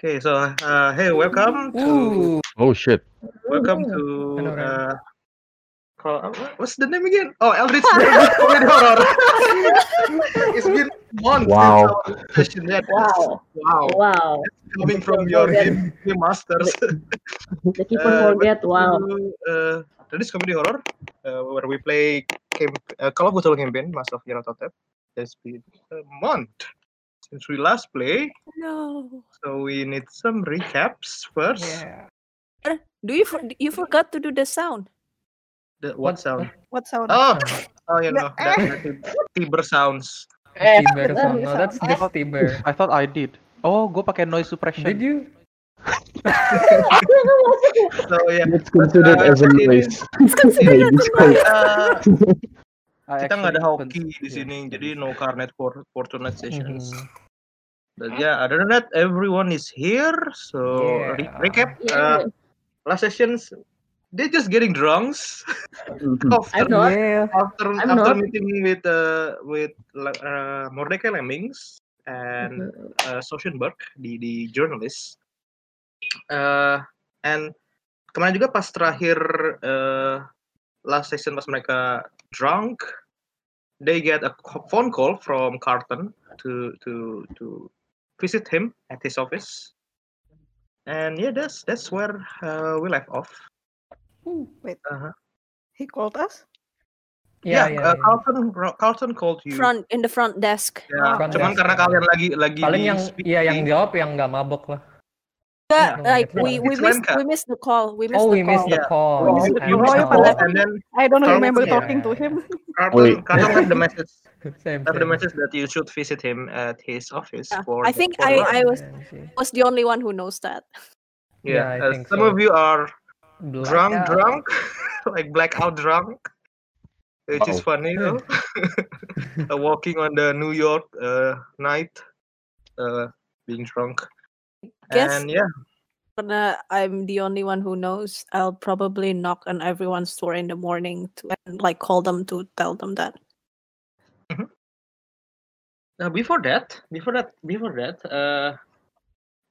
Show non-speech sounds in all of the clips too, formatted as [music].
Okay, so uh, hey, welcome to Oh shit. welcome to Hello, Ren. uh, call, [laughs] uh, what- what's the name again? Oh, Eldritch Blade Comedy Horror. it's been months since Wow. our session yet. Wow. wow, Wow. coming from your game, game masters. The keep on [laughs] Eh, Uh, forget. Wow. to, uh, Eldritch Comedy Horror, uh, where we play camp- uh, Call of Cthulhu campaign, Master of Yerototep. It's been a month since we last played, No. so we need some recaps first. Yeah. Do you for- you forgot to do the sound? The, what What- sound? What sound? Oh, oh, you know that, that tib- Tiber sounds. Eh, Tiber bener, sound. No, that's sound. just Tiber. I thought I did. Oh, gue pakai noise suppression. Did you? So yeah, It's considered Uh, as a ini- noise. It's considered Baby as a noise. uh, I kita nggak ada actually open- hoki di yeah. sini, jadi no carnet for fortunate sessions. Mhm. But yeah, other than that, everyone is here. So re- Yeah. recap, Yeah. uh, last sessions, they just getting drunks I Mm-hmm. [laughs] after know. Not- Yeah. after, I'm after not. meeting with uh, with uh, Mordecai Lemmings and uh, Soschenberg, the the journalist. Uh, and kemarin juga pas terakhir uh, last session pas mereka drunk, they get a co- phone call from Carlton to to to visit him at his office. And yeah, that's that's where uh, we left off. Wait, Uh-huh. Hmm. he called us? Yeah, yeah. yeah, uh, Carlton Carlton called you. Front in the front desk. Ah. Ya, Front cuman desk. karena kalian lagi lagi Paling di yang speaking, iya yang jawab yang nggak mabok lah. Yeah, no, like no, we no. we It's missed Lenka. we missed the call. We missed Oh, we the call. missed the Oh, call. you missed- you And- missed the oh, call, yeah. and then I don't Carlton, remember yeah. talking to him. Carlton, Wait. Carlton left the message [laughs] Same, left the same. message that you should visit him at his office Yeah, for I the- think for I- lunch. I was- Yeah, see. Was the only one who knows that. yeah, Yeah, I uh, think some so. of you are Black drunk out. drunk [laughs] like blackout drunk which is Oh. funny you know? [laughs] [laughs] Uh, walking on the New York uh, night uh, being drunk Guess and yeah gonna- I'm the only one who knows. I'll probably knock on everyone's door in the morning to and like call them to tell them that. Uh, before that, before that, before that, uh,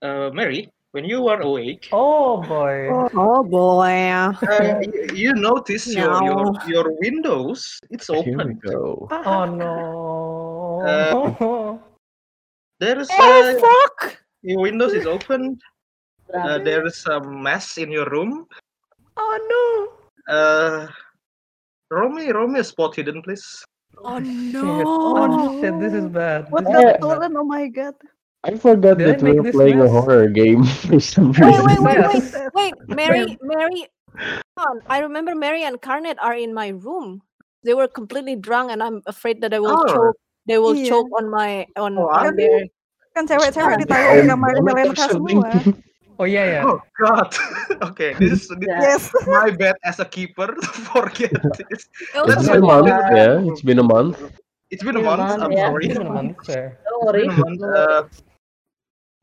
uh, Mary, when you were awake, Oh boy. Oh boy. [laughs] uh, you, you notice your, your No. your windows it's Here we open. go. Oh no. Eh, Uh, There is Oh uh, fuck! your windows is open. Uh, [laughs] there is a mess in your room. Oh Uh, Romy, Romy, a spot hidden, please. Oh no. Oh no. shit, this is bad. What the Eh, This is Yeah. bad. stolen? Oh my god. I forgot Did I that we make were this playing a mess? horror game [laughs] for some Wait, reason. wait, wait, wait, Yes. [laughs] wait, Mary, Mary. Come on. I remember Mary and Carnet are in my room. They were completely drunk, and I'm afraid that I will Oh. choke. They will Iya. choke on my on, Oh, on aduh. their. Kan cewek-cewek ditaruh di Oh, kamar damn it, Melenka or something. semua. Oh yeah, yeah. Oh God. [laughs] okay, this is this Yeah. Yes. is my bad as a keeper. [laughs] Forget this. It was It's my been a fault. month. Yeah, it's been a month. It's been a Been a month. month, I'm yeah. sorry. It's been a month, sir. Don't It's worry. been a month, uh,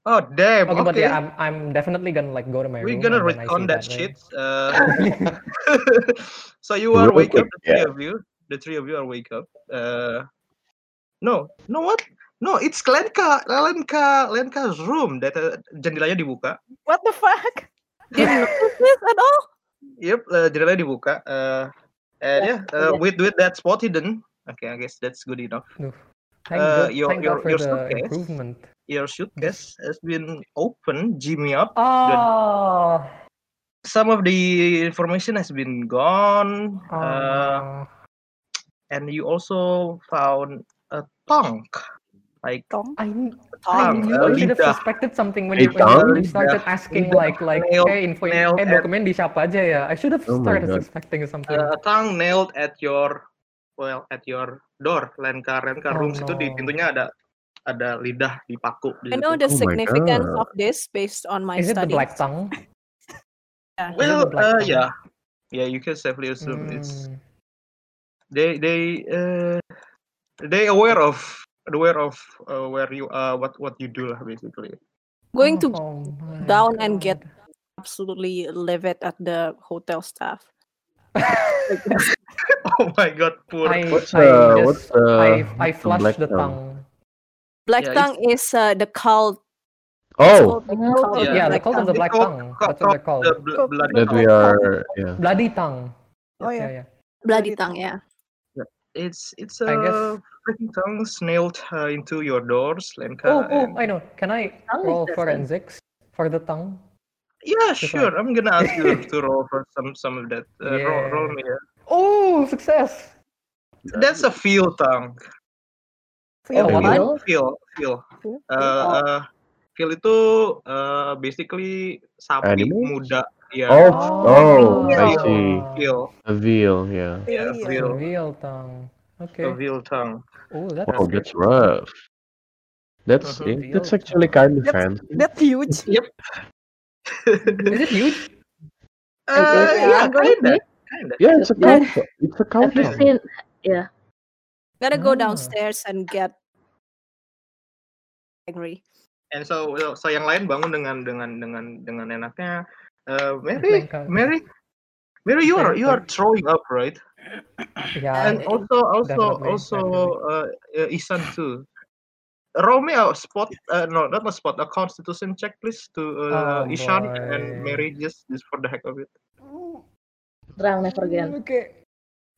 oh damn. Okay, Okay, but yeah, I'm I'm definitely gonna like go to my We're room. gonna and then I see retcon that right? shit. Uh, [laughs] [laughs] so you are Real wake up, quick, the three yeah. of you. The three of you are wake up. Uh, no, no what? No, it's Lenka, Lenka, Lenka's room that uh, jendelanya dibuka. What the [laughs] fuck? Didn't notice this at all. Yep, uh, jendelanya dibuka. Uh, and yeah, yeah. uh, with with that spot hidden. Okay, I guess that's good enough. Thank, God, Uh, your- thank your- God for your the suitcase. improvement. Your suitcase has been open, Jimmy up. Oh, Some of the information has been gone. Oh. Uh, and you also found a tongue, like Tom. I, kn- I tongue, knew a I should have lidah. suspected something when Hey, you, when you Tom? first started asking Lidah, like like nail, hey info nail, eh and- dokumen di siapa aja ya. I should have Oh my started God. suspecting something. Uh, a tongue nailed at your well at your door lenka lenka Oh, rooms itu no. di pintunya ada ada lidah dipaku di I know situ. the Oh my significance God. of this based on my Is it the study. black tongue? Yeah. Is it well the black uh, tongue? yeah yeah you can safely assume it's Hmm. they they uh, they aware of aware of uh, where you are what what you do lah basically [laughs] Going to Oh my down and get- God. absolutely livid at the hotel staff. oh my god poor I, What's I uh, just what's uh, I I what's the black flushed the tongue? tongue. Black Yeah, it's- tongue is uh, the cult Oh, Called Yeah. Yeah, they Black call them the Tongue. black They call- tongue. call- That's what they call The bl- Cool. blood that we are. Yeah. bloody tongue. Oh Yeah, yeah. yeah. bloody tongue. Yeah. It's it's a I guess- freaking tongue nailed uh, into your doors, Lenka. Oh, oh, and- I know. Can I Tongue is roll different. forensics for the tongue? yeah, Just sure. I'm gonna ask you [laughs] to roll for some some of that. Uh, roll, roll Yeah. me. a- Oh, success! That's a feel tongue. Oh, Feel. what? Feel feel. Feel? Uh, uh, feel itu uh, basically sapi Animals? muda. Yeah. Oh, oh, I Yeah. see. Feel A veal, yeah. Feel. yeah, feel. Real tongue. a Okay. veal tongue. Oh, that's Wow, that's rough. That's Uh-huh. it- that's actually kind of fancy. That's huge. Is it huge? Eh, Uh, yeah, yeah, I'm going kinda, kinda. Yeah, it's a cow. tongue. It's a cow. Have you tongue. seen? Yeah. Gotta go Ah. downstairs and get angry. [laughs] And so, so, so yang lain bangun dengan dengan dengan dengan enaknya. Uh, Mary, Lengkap. Mary, Mary, you are you are Lengkap. throwing up, right? Yeah. And also also definitely, also uh, uh, Isan too. Roll me a spot, uh, no, not a spot, a constitution check, please, to uh, Oh, Ishan boy. and Mary, just just for the heck of it. [laughs] Drown never again. Okay.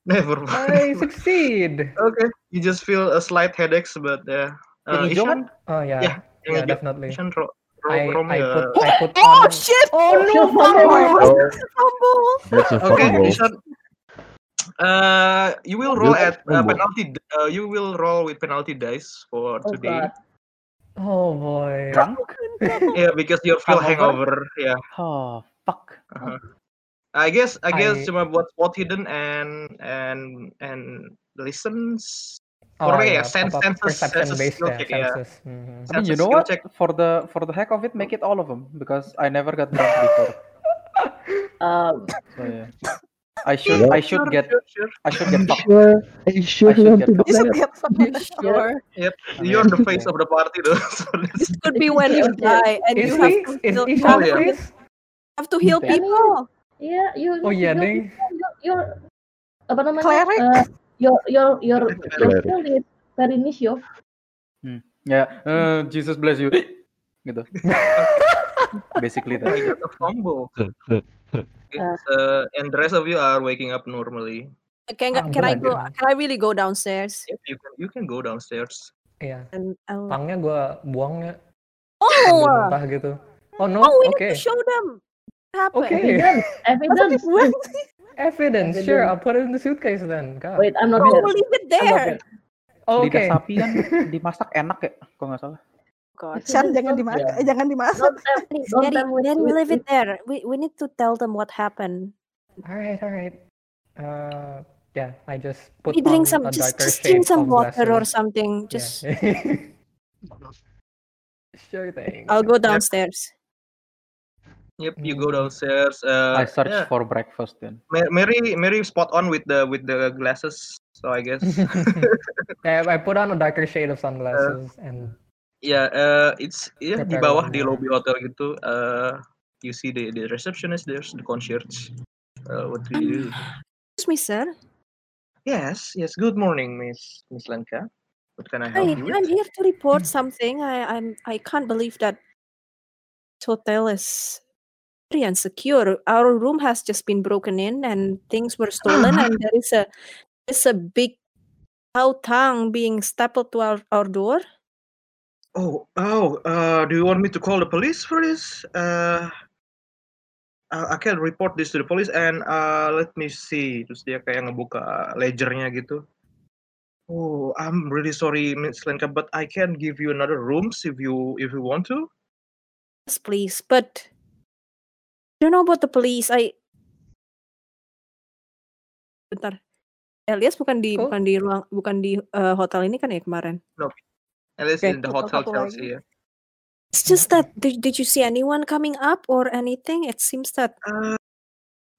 Never I mind. succeed. okay, you just feel a slight headaches, but yeah. Uh, Yang hijau kan? Ishan, Oh yeah. yang Yeah, hijau. definitely. Ishan, roll, roll, I, roll me I a- Uh, put I put Oh on shit! Oh no! fumble! Oh, that's a Okay, fumble. Ishan. Uh, you will roll You're at uh, fumble. penalty. d- Uh, you will roll with penalty dice for Oh today. god. Oh boy. [laughs] Drunk? Yeah, because you're feel hangover. Hangover? Yeah, Oh, fuck. I guess I I- guess cuma buat spot hidden and and and listens. Oh, Correct, yeah, yeah, sense- apa- senses- perception senses based skill yeah, check, yeah. senses. Mhm. I mean, Sense you of know skill what? check. For the for the heck of it, make it all of them because I never got drunk [laughs] before. Um, So yeah. I should I should Sure, get sure, sure. I should get fucked. Sure, are you sure should you want get to do fucked. You should that? get Sure. I mean, You're the face yeah. of the party, though. [laughs] so that's- This could be when you die and Is you he? have to Is heal, you Ishan Oh, yeah. please? have to heal Yeah. people. yeah, you. Oh yeah, you- ding. your your apa namanya? Cleric? Uh, your your your Cleric. skill is very niche. Yeah. Uh, Jesus bless you. [laughs] gitu. Basically I that. got a fumble. It's, uh, and the rest of you are waking up normally. Can Ah, can I good go? idea. Can I really go downstairs? Yep, you can you can go downstairs. Iya. And I'll... Tangnya gue buangnya Oh, sambil uh, muntah gitu. Oh no, oh, we oke. need to show them. What happened? Oke. Evidence, [laughs] evidence. [laughs] Evidence, Evidence. sure. I'll put it in the suitcase then. God. Wait, I'm not Oh, here. we'll leave it I'm not there. here. Oh, oke. Lidah sapi kan dimasak enak ya, kalau nggak salah. God. Shan, jangan dimakan. Yeah. Eh, jangan dimakan. Don't tell me, don't Daddy, tell me Daddy, we leave it's- it there. We we need to tell them what happened. Alright, alright. Uh, yeah, I just put We drink on some a just, darker just shade drink some of water or lesser. something. Yeah. [laughs] Just sure thing. I'll go downstairs. Yep, you go Mm. downstairs. Uh, I search yeah. for breakfast then. Ma- Mary, Mary, spot on with the with the glasses. So I guess, yeah, I put on a darker shade of sunglasses and yeah, uh, it's yeah di Prepare bawah one di more. lobby hotel gitu. Uh, you see the the receptionist, there's the concierge. Uh, what do you do? Ah. Excuse me, sir. Yes, yes. Good morning, Miss Miss Lenka. What can Hi, I help you I'm with? here to report something. I I'm I can't believe that this hotel is very insecure. Our room has just been broken in and things were stolen and there is a there's a big cow tongue being stapled to our, our door. Oh, oh. Uh, do you want me to call the police for this? Uh, I I can report this to the police and uh, let me see. Terus dia kayak ngebuka ledgernya gitu. Oh, I'm really sorry, Miss Lenka, but I can give you another rooms if you if you want to. Yes, please. But I don't know about the police. I bentar. Elias bukan di Cool. bukan di ruang bukan di eh, hotel ini kan ya kemarin. At least Okay, in the tutup hotel satu Chelsea. Yeah. It's just that did, did you see anyone coming up or anything? It seems that Uh,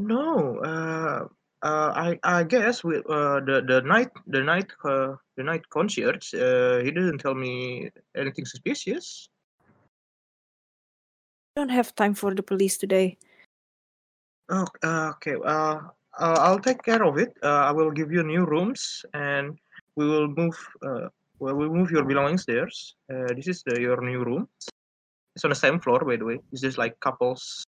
no. Uh, uh, I I guess with uh, the the night the night uh, the night concierge. Uh, he didn't tell me anything suspicious. I don't have time for the police today. Oh, uh, okay. Uh, uh, I'll take care of it. Uh, I will give you new rooms, and we will move. Uh, well, we move your belongings there. Uh, this is the, your new room. It's on the same floor, by the way. It's just like couples.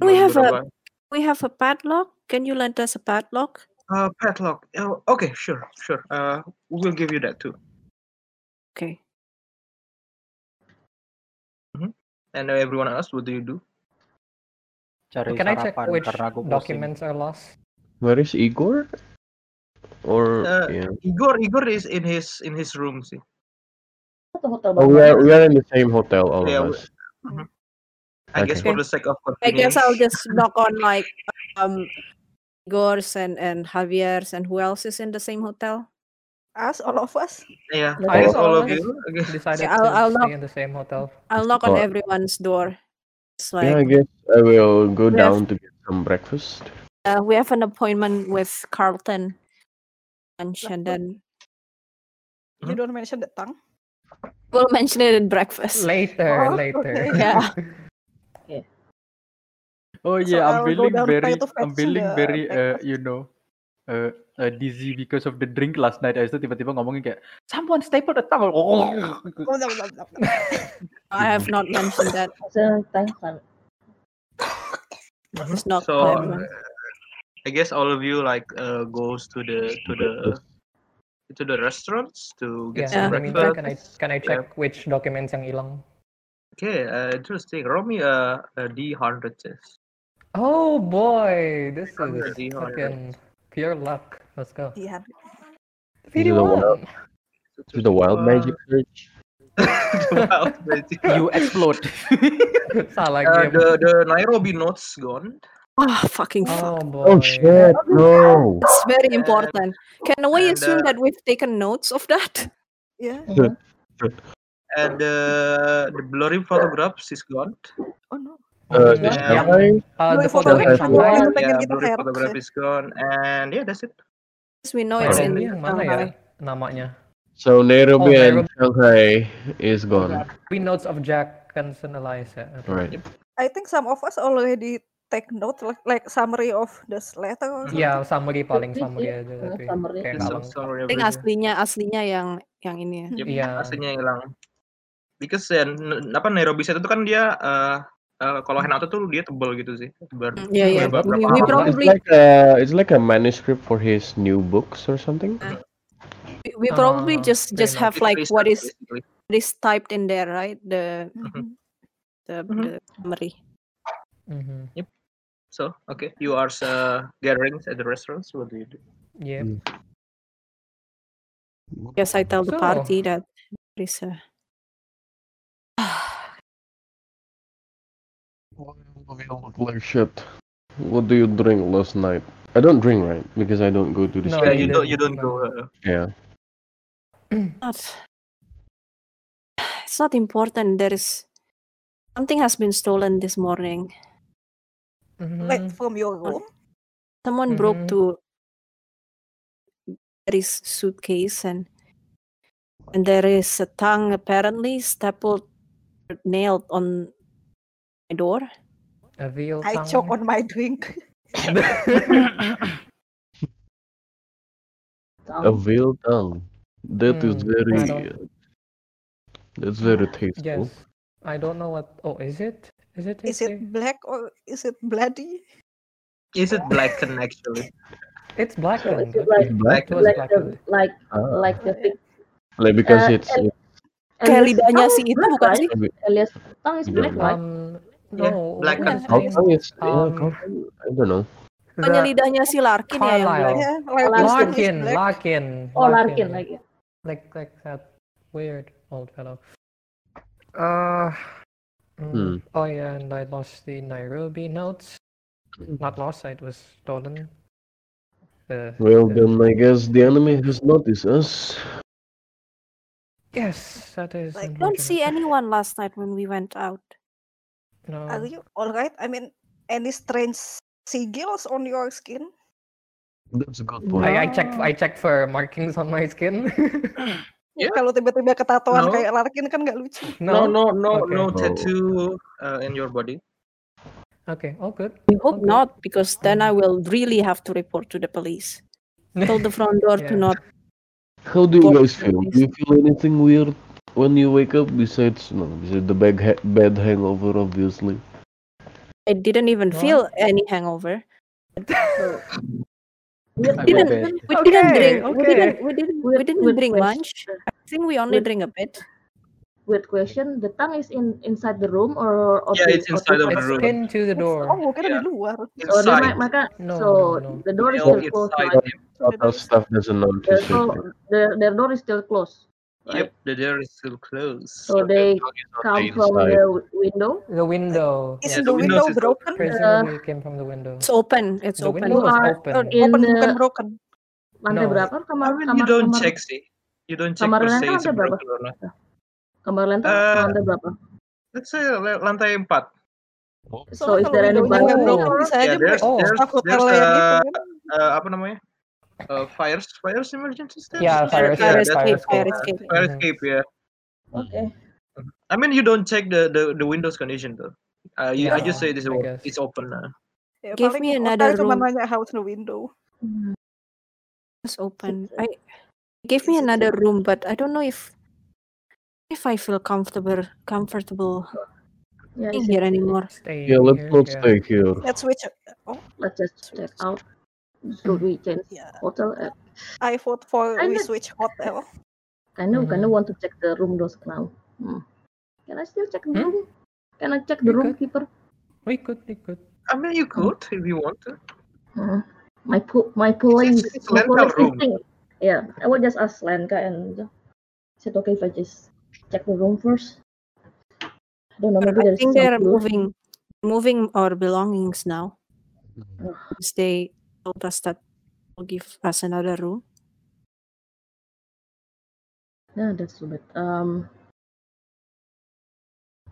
We have a- beberapa- We have a padlock. Can you lend us a padlock? uh, padlock. Oh, okay, sure, sure. Uh, we'll give you that too. Okay. And everyone else, what do you do? Cari Can I check sarapan which karena gue documents are lost? Where is Igor? Or Uh, yeah. Igor, Igor is in his in his room. See. Satu hotel Oh, we bawah. are we are in the same hotel, all Yeah, we- of us. I guess Okay. for the sake of I convenience. guess I'll just knock on like um Igor's and and Javier's and who else is in the same hotel. Us, all of us. Yeah, Let's I guess all all of of us. you. I guess- Decided I'll- to I'll stay knock. in the same hotel. I'll knock on Oh. everyone's door. It's yeah, I like guess I will go We have- down to get some breakfast. uh, we have an appointment with Carlton and Like, Shannon. You don't mention the tongue. We'll mention it in breakfast. Later, Oh, later. okay. Yeah. [laughs] Oh So yeah, I'll I'm go feeling down very, to I'm fetch feeling the very, uh, ya, breakfast. you know, uh, uh, dizzy because of the drink last night. Abis itu tiba-tiba ngomongin kayak, someone stapled a towel. oh. Blah, blah, blah, blah, blah. I have not mentioned that. Saya tanya kan. Mhm. It's not so uh, for everyone. I guess all of you like uh, goes to the to the to the restaurants to Yeah, get Yeah. some in the meantime, breakfast. can I can I check which documents yang hilang? Okay, uh, interesting. Roll me a, a D hundred test. Oh boy, this Under is the hundred. fucking pure luck. Let's go. Yeah. This is a wild, One. this is a wild magic search. Wild magic. you [laughs] explode. Salah game. Uh, the the Nairobi notes gone. Ah, fucking fuck. Oh boy. Oh shit! Oh, No. It's very And- important. Can we and, assume uh, that we've taken notes of that? Yeah. And uh, the blurry photographs is gone. Oh no. Iya. Uh, Yang- Shanghai, Uh, Dua the foto photo yang yang satu. Shanghai. Yang pengen Yeah, kita blurry hire. photograph is gone. And yeah, that's it. Because we know it's in Nairobi yang mana ya Shanghai. namanya? so Nairobi Oh, and Nairobi. Shanghai is gone. We notes of Jack eh. Benson Eliza. Okay. Right. I think some of us already take note like, like summary of this letter or something. Ya, summary paling Tapi summary sih, aja eh, tapi summary. kayak Just nggak some lengkap. summary I think everything. aslinya aslinya yang yang ini ya. Hmm. Iya. aslinya hilang. Because ya, n- apa Nairobi set itu kan dia eh eh, kalau handout tuh dia tebel gitu sih. Tebal. Mm, Yeah, yeah. Berapa- We, berapa we halaman? probably It's like a it's like a manuscript for his new books or something. we- we probably Ah, just fair just enough. have like Research, what is basically. Mm-hmm. what is typed in there, right? The Mhm. the, Mhm. the summary. Mhm. So, okay, you are uh, gatherings at the restaurants. What do you do? Yep. Yes, I tell the So- party that there is a Like shit. What do you drink last night? I don't drink, right? Because I don't go to this. No, yeah, place. you you don't you don't don't go. Uh, Yeah. Mm. not it's not important. There is something has been stolen this morning. Mhm. Mm-hmm. Like from your room. Someone broke Mhm. to there is suitcase and and there is a tongue apparently stapled nailed on my door. A veal I tongue. choke on my drink. [laughs] A Tahu. veal tongue. That is Hmm, Oh. I very. don't- That's very tasteful. Yes. I don't know what. Oh, is it? Is it? Is it black or is it bloody? is it blackened actually? It's So blackened. is it like It's black. It was like the blackened. like Ah, like the Yeah. big like because Uh, it's and- Kayak Elias lidahnya tongue si is itu black, bukan right? sih? Elias tongue is black, Yeah. right? Um. Yeah, Oh, No. what blackened. iya. was how his tongue name? is. yeah, um, how tongue- I don't know. Bukannya The- lidahnya si Larkin ya yang Carlisle. black. Yeah, Larkin. Larkin is Larkin, black. Larkin, Oh, Larkin lagi. like like that weird old fellow. Uh, Hmm. mm, Oh yeah, and I lost the Nairobi notes. Not lost, it was stolen. Uh, The- Well the- then, I guess the enemy has noticed us. Yes, that is. Like, Don't unfortunate. see anyone last night when we went out. No. Are you alright? I mean, any strange sigils on your skin? That's a good No. point. I, I checked. I checked for markings on my skin. [laughs] Yeah. Kalau tiba-tiba ketatoan No. kayak Larkin kan nggak lucu. No, no. no, no, Okay. no Oh. tattoo uh, in your body. Okay. All good. Um, We hope Okay. not, because then I will really have to report to the [laughs] police. Told the front door to Yeah. not. How do you Well, guys feel? Do you feel anything weird? when you wake up besides no besides the bad ha- bad hangover obviously? I didn't even What? feel any [laughs] hangover. I didn't- bet. We didn't Okay, drink. We didn't. okay. We didn't. With- We didn't with drink question. lunch. I think we only With- drink a bit. Weird question. The tongue is in inside the room or out Yeah, the- it's out inside of front? the It's room. pinned to the Oh, door. mungkin Iya. di luar. Oh, they Inside. might- maka No, so no, no. the door is Nailed still closed. inside. right? Other stuff doesn't There's notice no, it. their, their door is still closed. Yep, the door is still closed. So they on come the from inside. the wi- window. The window. Is Yeah, the the window windows is broken? Uh, Prisoner Lee came from the window. It's open. It's The open. window was are- open. In Open the- bukan broken. Lantai No. berapa? Kamar I mean, kamar you don't kamar check sih. You don't check kamar per se rental it's ada berapa? broken or not. kamar lantai Eh. lantai berapa? Let's say la- lantai 4. Oh. So is Soalnya there kalau window-nya any nggak button? broken bisa Yeah, aja there's, Oh. there's, staff hotel there's, yang itu uh, kan. uh, apa namanya? Uh, fires, fires emergency stairs? Yeah, fire Yeah, fire that's escape. what- Fire escape. escape. fire Mhm. escape, yeah. Okay. I mean, you don't check the the, the windows condition though. Uh, you, I Yeah, just say this is I o- guess. it's open. Uh. Ya, Give paling me hotel another cuma room. nanya how's the window. Hmm. It's open. I gave me another room, but I don't know if if I feel comfortable comfortable Yeah, being is here anymore. Stay Yeah, let's here, not yeah. stay here. Let's switch. Oh, it- let's just check out. Should we change ya. hotel? Uh, I vote for I we know. switch hotel. kind of kind of Mhm. want to check the room doors now. Hmm. [laughs] Can I still check the Hmm? room? Can I check the You room could. keeper? We could, we could. I mean, you could if you want to. Hmm. My po- my police, it's my rental police room. instinct. Yeah, I would just ask Lenka and is it okay if I just check the room first? I don't know. Maybe Uh, I there's think some they're clue. moving moving our belongings now. Mm-hmm. Because they told us that will give us another room. Yeah, that's too bad. Um.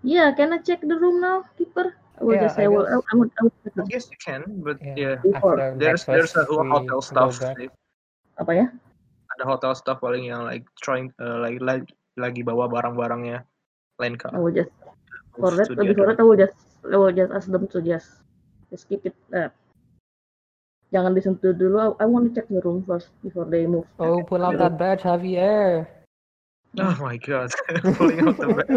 Yeah, can I check the room now, keeper? I will Yeah, just say, I well, guess. I, I would, I would check I the guess you can, but yeah, Yeah. Before. After there's there's breakfast, a ho- we hotel go stuff. back. sih. apa ya? Ada hotel stuff paling yang like trying uh, like, like lagi bawa barang-barangnya I lain kak. will Oh, just for Move that, to the before other- that, I will just, I will just ask them to just, just keep it. Uh, jangan disentuh dulu. I, I want to check the room first before they move. Oh, pull out that badge, Javier. Oh my [laughs] god, pulling [laughs] out the bag.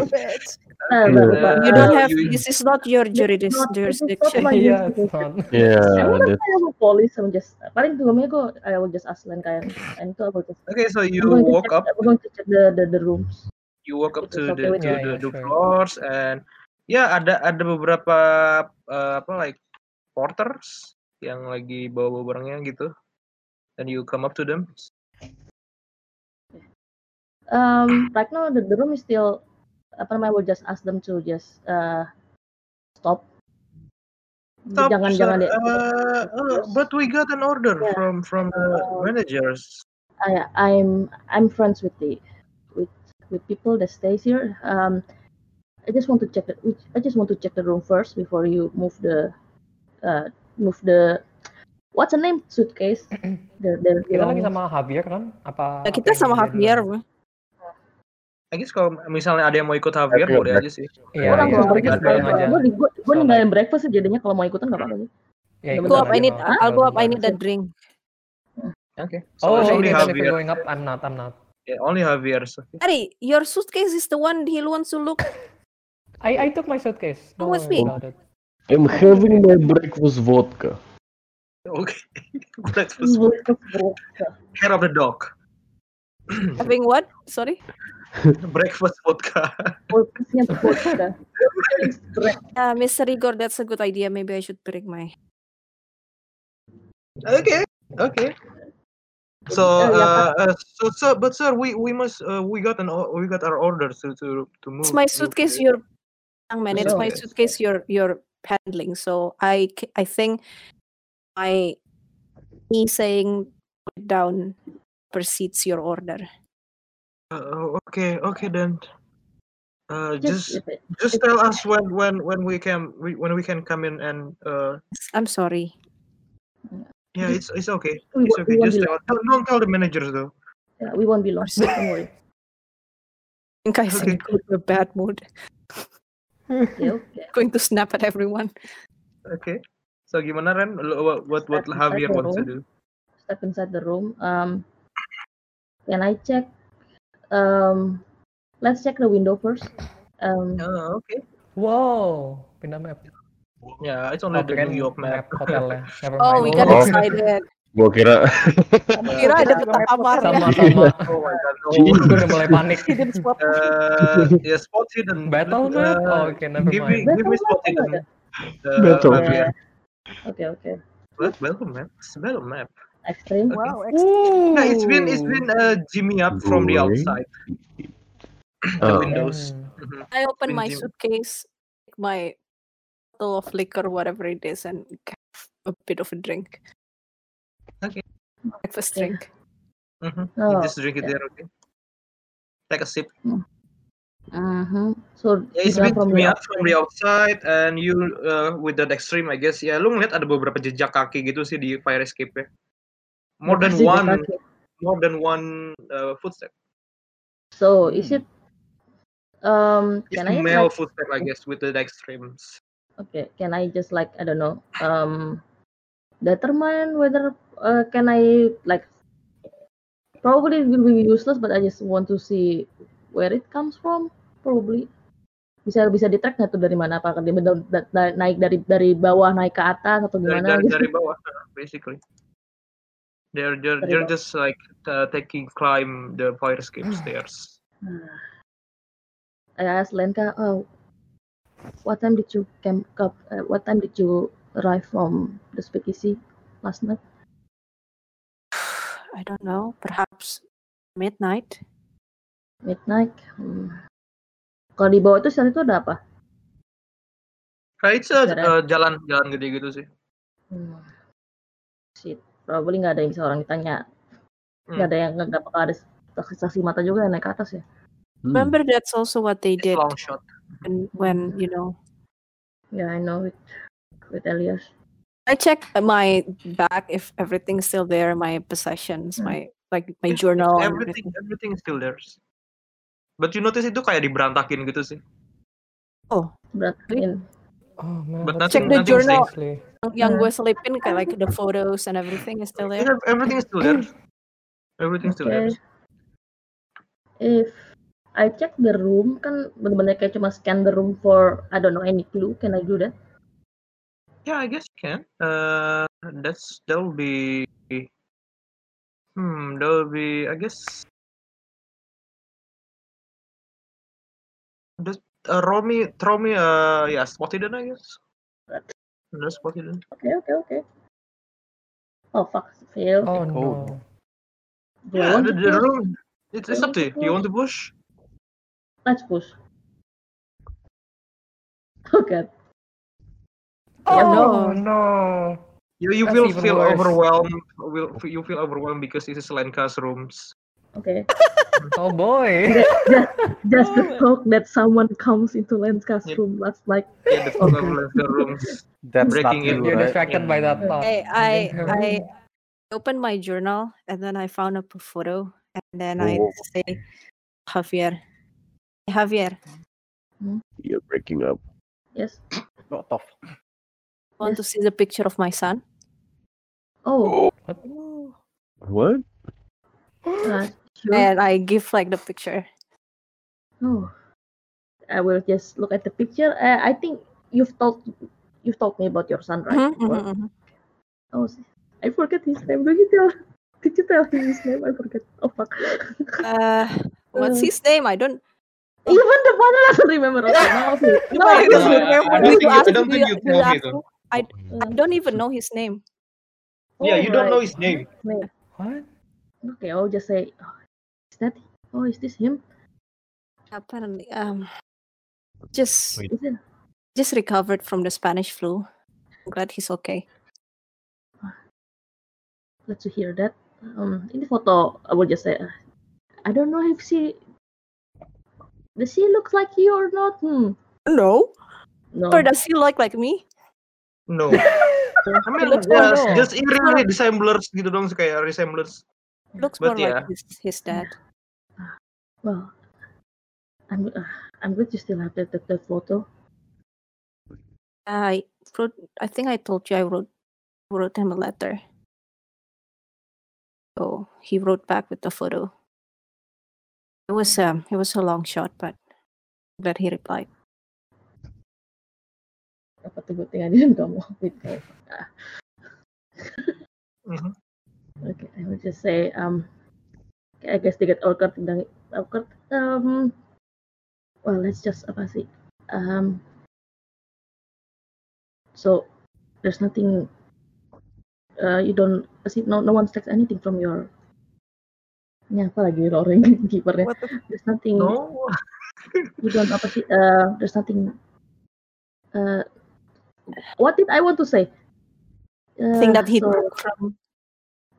Iya. Ah, Yeah. but- but, you uh, don't have you- this is not your juridis- not- this is not jurisdiction. my- yeah, it's I not. Yeah, want to that- say I'm a police. I'm just paling sebelumnya gue I will just ask Lenka and and I will just Okay, so you I'm going to walk check, up, I'm going to check the the, the rooms. you walk up It's to okay the with you. to the, Yeah, yeah, the sure. floors and ya ada ada beberapa uh, apa like porters yang lagi bawa barangnya gitu. And you come up to them. Um, right now the, the room is still apa namanya? I will just ask them to just uh stop. Stop, jangan sir. jangan deh. Uh, uh, but we got an order Yeah. from from the Um, managers. I I'm I'm friends with the with with people that stays here. Um, I just want to check the which- I just want to check the room first before you move the uh move the what's the name suitcase the the Kita Iya, belongings. lagi sama ya. Javier kan? Nah, Apa? apa kita yang sama dia Javier. duluan? I guess kalau misalnya ada yang mau ikut Javier Tapi boleh aja sih. Iya, Gua langsung iya. I guess breakfast bareng bareng aja. gue gue gue So, ninggalin like- breakfast sih jadinya kalau mau ikutan nggak apa-apa sih Ya, Go Go ikutan up, I aja. need, no, I'll go up, I bareng. need that drink. Okay. Oh, So oh, it's only they said if you're Javier. going up, I'm not, I'm not. Yeah, only Javier. So. Harry, your suitcase is the one he wants to look. I, I took my suitcase. Don't Oh, it's worry me. about it. I'm having my breakfast vodka. Okay. [laughs] [laughs] Let's Terus go. breakfast bro. Care of the [laughs] dog. Having what? Sorry. Breakfast [laughs] vodka. Podcastnya [laughs] podcast. Uh, Mr. Igor, that's a good idea. Maybe I should bring my. okay. Okay. So, Yeah, yeah, uh, uh, so, so, but sir, we we must uh, we got an o- we got our order to to to move. It's my move suitcase. the- Your young man. It's my suitcase. Suitcase. Your your handling. So I c- I think my me saying put it down precedes your order. Uh, okay. Okay then. Uh, just just just tell us when when when we can we, when we can come in and uh I'm sorry. yeah it's it's okay we, it's won't- we okay won't just be tell, lost. don't, don't tell the managers though Yeah, we won't be lost. Don't [laughs] worry. I think I Okay. think I'm in a bad mood. [laughs] Okay, okay. Going to snap at everyone. okay so gimana Ren Lo- what what, what Start- start Javier the wants to roll. do Step inside the room. Um, can I check um Let's check the window first. Um, Oh, okay. Wow, pindah map. Yeah, Ya, it's only Oh, the kirain New York map. [laughs] hotelnya. ya, Never Oh, we mind. got Oh. excited. Gua kira Mm-hmm. Kira ada Kita juga map kamarnya. hotelnya. Sama-sama. Oh my god. Gee. Oh. Gue udah mulai panik. Hidden swap. Uh, yeah, spot hidden. Battle map? Uh, Oh, okay, never give me, mind. give me spot Battle map hidden. Battle Uh, map. yeah. okay, okay. What battle map? It's battle map. Extreme. Wow, ex- Ooh. Nah, it's been it's been uh, Jimmy up from the Boring. outside. Oh. Windows. Hmm. Mhm. I open my Benjim. suitcase, take my bottle of liquor, whatever it is, and have a bit of a drink. Okay. Breakfast Okay. drink. Mhm. You Oh, just drink it yeah. there, okay? Take a sip. mhm. So Yeah, it's Hidra been from the Jimmy up outside. from the outside, and you uh, with that extreme, I guess. Ya, lu ngeliat ada beberapa jejak kaki gitu sih di fire escape-nya. More than Jejak one, kaki. more than one uh, footstep. So is it? Um, It's can I like, male footstep, I guess, with the extremes. okay? Can I just like I don't know? Um, determine whether uh, can I like? Probably it will be useless, but I just want to see where it comes from. Probably bisa bisa di track nggak tuh dari mana? Apakah dia benar- da- da- naik dari dari bawah naik ke atas atau Dari, gimana? dari, gitu? dari bawah, uh, basically. They're they're, Dari they're bawah. just like uh, taking climb the fire escape stairs. Ah. I asked Lenka, oh, what time did you came up? Uh, what time did you arrive from the speakeasy last night? [sighs] I don't know, perhaps midnight. Midnight. Hmm. Kalau di bawah itu saat itu ada apa? Kayak it's a, Daerah. uh, jalan jalan gede gitu sih. Hmm. Shit, probably nggak ada yang bisa orang ditanya. Nggak Hmm. ada yang nggak bakal ada saksi mata juga yang naik ke atas ya. Hmm. Remember, that's also what they It's did long shot. when, when you know. Hmm. Yeah, I know it with Elias. I check my bag if everything's still there, my possessions, Hmm. my like my It's- it's journal and everything, everything. everything is still there. But you notice itu kayak diberantakin gitu sih. Oh, Berat. in- Oh man, But that's Check nothing- the nothing journal. seriously. yang Hmm. gue selipin kayak like the photos and everything is still there. Yeah, everything is still [clears throat] there. Everything is still there. Okay. If I check the room kan benar-benar kayak cuma scan the room for I don't know any clue. Can I do that? Yeah, I guess you can. Uh, that's that will be. Hmm, that will be. I guess. Just uh, roll me, throw me. Uh, yeah, spot hidden. I guess. Right. No spot hidden. Oke oke oke. Oh fuck, fail. Oh cool. no. Do I Yeah, want the, to the push? room. It's, it's Do I want up to to you. You want to push? Let's push. [laughs] Oh god. Oh, Oh no. You you That's will even feel worse. overwhelmed. Will you feel overwhelmed because this is Lenka's rooms? Okay. Oh [laughs] boy. Just [laughs] the Oh. thought that someone comes into Lenska's Yep. room last like Yeah, the thought of Lenka's rooms. That's not Breaking in. you, You're right? distracted by that thought. I I Leave her I room. opened my journal and then I found a photo and then I Oh. say Javier, Javier, [laughs] You're breaking up. yes. What the fuck? want to see the picture of my son? Oh, What? uh, sure. And I give like the picture. Oh. I will just look at the picture. Uh, I think you've told you've told me about your son, Mhm, right? before? mhm, mhm. Oh, s- I forget his name. Did you tell? Did you tell him his name? I forget. Oh fuck. Uh, what's Uh. his name? I don't. Even the father doesn't remember. Okay, now okay. No, I don't don't think- remember. I don't You think you- I ask- don't think you- you you told me ask though. who? I I don't even know his name. Yeah, you don't know his Alright. name. Wait, What? okay, I'll just say, oh, is that? Oh, is this him? Apparently, um, just Wait. Is it? just recovered from the Spanish flu. I'm glad he's okay. Glad to hear that. Um, in the photo, I will just say, uh, I don't know if she. Does she look like you or not? Hmm. No. No. Or does he look like me? [laughs] No. I mean, looks yeah, like no. ya, just eerily resemblers gitu dong sih, kayak resemblers. ya. Looks But more like his, his dad. [sighs] Well, I'm. Uh, I'm glad you still have that that, that photo. I wrote. I think I told you I wrote wrote him a letter. So he wrote back with the photo. It was um, it was a long shot, but glad he replied. Apa tuh good thing I [laughs] didn't come up with that. Ah. Mhm. Okay, I will just say um, I guess they get awkward dan awkward. Um, well, let's just apa sih? Um, so there's nothing. Uh, you don't see no no one takes anything from your. Ini apa lagi roaring [laughs] keepernya? What the- There's nothing. No, [laughs] you don't apa sih uh, there's nothing uh, what did I want to say uh, Thing that he so, broke from.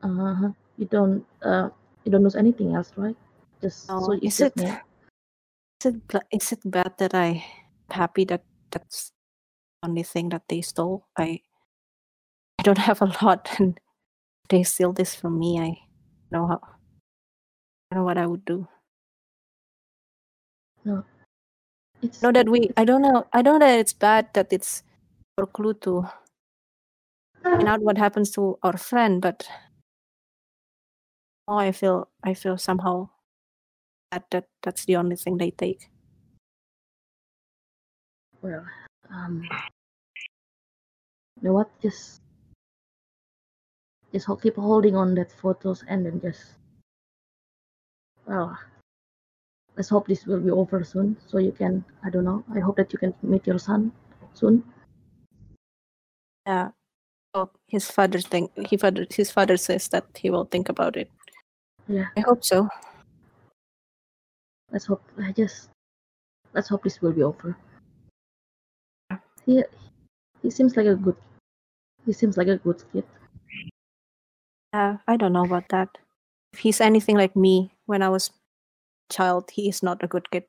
uh, you don't uh, you don't lose anything else right just No, so you Oh, is just it- know. Is it gla- is it bad that I happy that that's the only thing that they stole? I I don't have a [laughs] lot, and they steal this from me. I know how. I know what I would do. it's No, that we. I don't know. I don't know that it's bad that it's for Clue to find out what happens to our friend, but oh, I feel I feel somehow that that that's the only thing they take. well um, you know what just just ho- keep holding on that photos and then just oh, well let's hope this will be over soon so you can I don't know I hope that you can meet your son soon Yeah. Oh, his father think he father his father says that he will think about it. Yeah. I hope so. let's hope I just let's hope this will be over. He he seems like a good he seems like a good kid. Uh, I don't know about that. If he's anything like me when I was child, he is not a good [laughs] kid.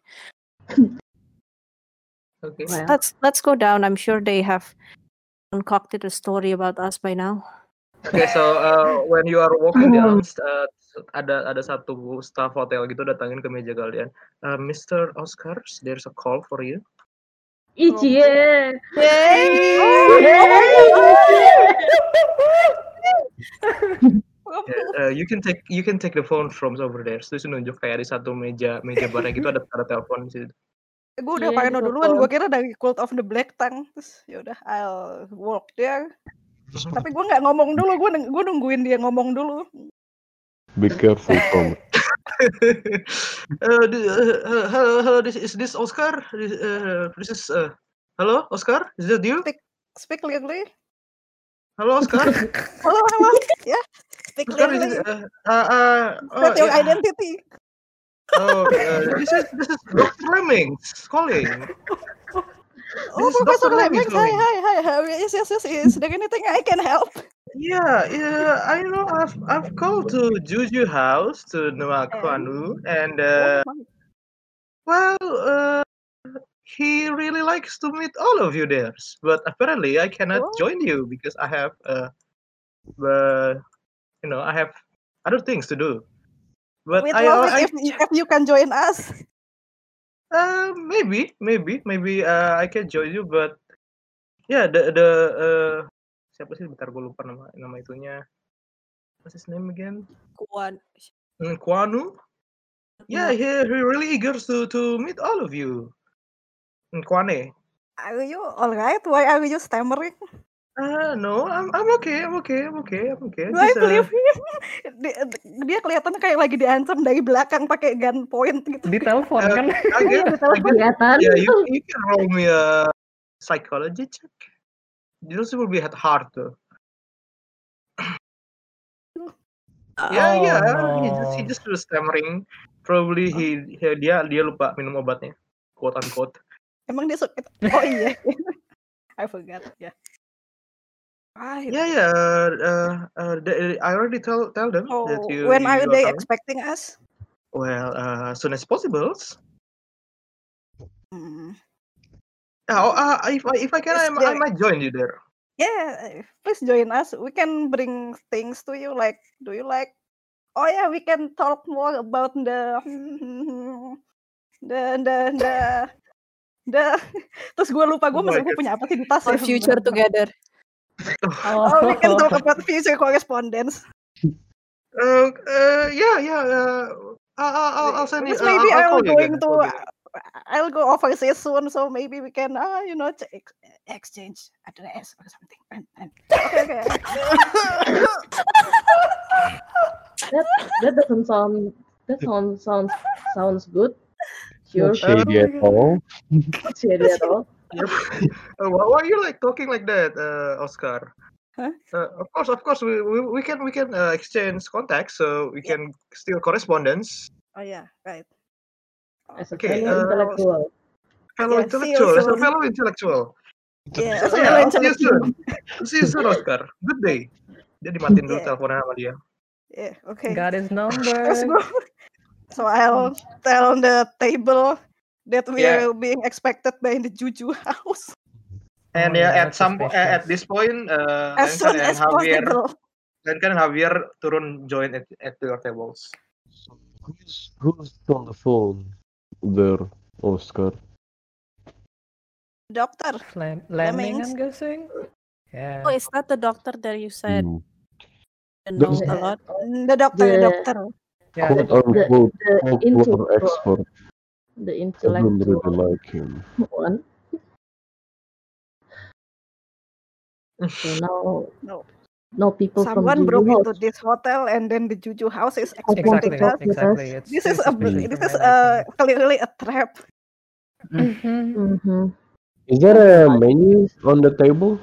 okay. Well, Let's let's go down. I'm sure they have concocted a story about us by now. Okay, so uh, when you are walking [laughs] down, Um. uh, ada ada satu staff hotel gitu datangin ke meja kalian. Uh, Mr. Oscar, there's a call for you. Ichi, yeah. Oh, Oh. Yeah, uh, you can take you can take the phone from over there. Terus nunjuk kayak di satu meja meja barnya gitu ada ada telepon di situ. [laughs] gue udah Iya, pakai di no duluan gue telepon. kira dari Cult of the Black Tongue terus ya udah I'll walk there tapi gue nggak ngomong dulu gue neng- gue nungguin dia ngomong dulu Be [laughs] careful, Tom. uh, di- uh, uh, hello, hello, this is this Oscar. This, uh, this is uh, hello, Oscar. Is that you? speak clearly Hello, Oscar. [laughs] halo [laughs] halo ya speak Oscar, is clearly it, uh, uh, uh, oh, state your yeah. identity [laughs] Oh, uh, this is this is Dr. Lemmings calling. oh This is Professor Dr. Lemmings Lemix hi calling. hi hi hi yes yes yes is there anything I can help Yeah, yeah, I know. I've I've called to Juju House to Noah And? Kwanu, and uh, well, uh, he really likes to meet all of you there. But apparently, I cannot Oh. join you because I have uh, uh, you know, I have other things to do. But We'd I, love I, it if, if you can join us Uh, maybe, maybe, maybe uh, I can join you, but yeah, the the uh, siapa sih? Bentar gue lupa nama nama itunya. What's his name again? Kuan. Mm, Kwanu. Yeah, he he really eager to to meet all of you. Mm, Kwane. are you alright why are you stammering Uh, no, I'm I'm okay, I'm okay, I'm okay, I'm okay. do I Just, uh, believe him Di- [laughs] dia kelihatan kayak lagi diancam dari belakang pakai gun point gitu Di telepon Eh, kan? I [laughs] guess, I guess, kelihatan. yeah, you you can roll me a psychology check. This will be hard though. [clears throat] Ya Oh, ya, he just he no. just was stammering. Probably he, he- dia dia lupa minum obatnya. Quote unquote. Emang dia suka? Oh iya. [laughs] I forgot. Ya. Right. Ya ya, uh, uh, they- I already tell tell them Oh, that you when you are are they coming. expecting us? Well, uh, as soon as possible. Hmm. Oh, uh, if I if I can, Yes, I, I they- might join you there. Yeah, eh, please join us. We can bring things to you. Like, do you like? Oh yeah, we can talk more about the [laughs] the the the the. [laughs] Terus gue lupa gue Oh my masih gue God. punya apa sih di tas Our ya. future sebenarnya. together. Oh, we can talk about future correspondence. Uh, uh, Oh, eh, yeah yeah. Uh, I'll, I'll, [laughs] I'll send you. Because uh, I'll, maybe I'll I'll call going you again. I'll to call you. I'll go overseas soon, so maybe we can uh, you know ch- ex- exchange address or something. And- and- Okay, okay. That doesn't sound. That sound, sounds sounds good. Sure, Not shady at [laughs] all. shady at all. [laughs] [laughs] Uh, why, why are you like talking like that, uh, Oscar? Huh? Uh, of course, of course, we we, we can we can uh, exchange contacts, so we can still correspondence. [laughs] Oh yeah, right. As a Okay, fellow uh, intellectual, Fellow Yeah, see you intellectual, as a soon. fellow intellectual. Yeah, So, so I'll yeah, I'll see you intellectual. soon. See you soon, Oscar. Good day. Dia dimatiin dulu Yeah. teleponnya sama dia. Yeah, okay. Got [laughs] his Let's number. Oh. go. So I'll tell on the table that we Yeah. are being expected by the Juju [laughs] house And Oh, yeah, yeah, at some po- suspicious. at this point, uh, as soon Lincoln and as Javier, possible. Lincoln and Javier turun join at, at your [laughs] tables. So who's who's on the phone there, Oscar? Doctor, Lam- Lemming, Lemmings. I'm guessing. Yeah. Oh, is that the doctor that you said Hmm. didn't Does- know a lot? the doctor, the The- doctor. yeah. Quote unquote the folklore intellectual, expert. the I don't intellectual really like him. one. So now, No. no people Someone from broke Juju into house. this hotel and then the Juju house is want expecting Exactly. us. talk with Exactly. us. It's This too is a, suspicious this for is my uh, liking. clearly a trap. Mm-hmm. Mhm. hmm Is there a menu on the table?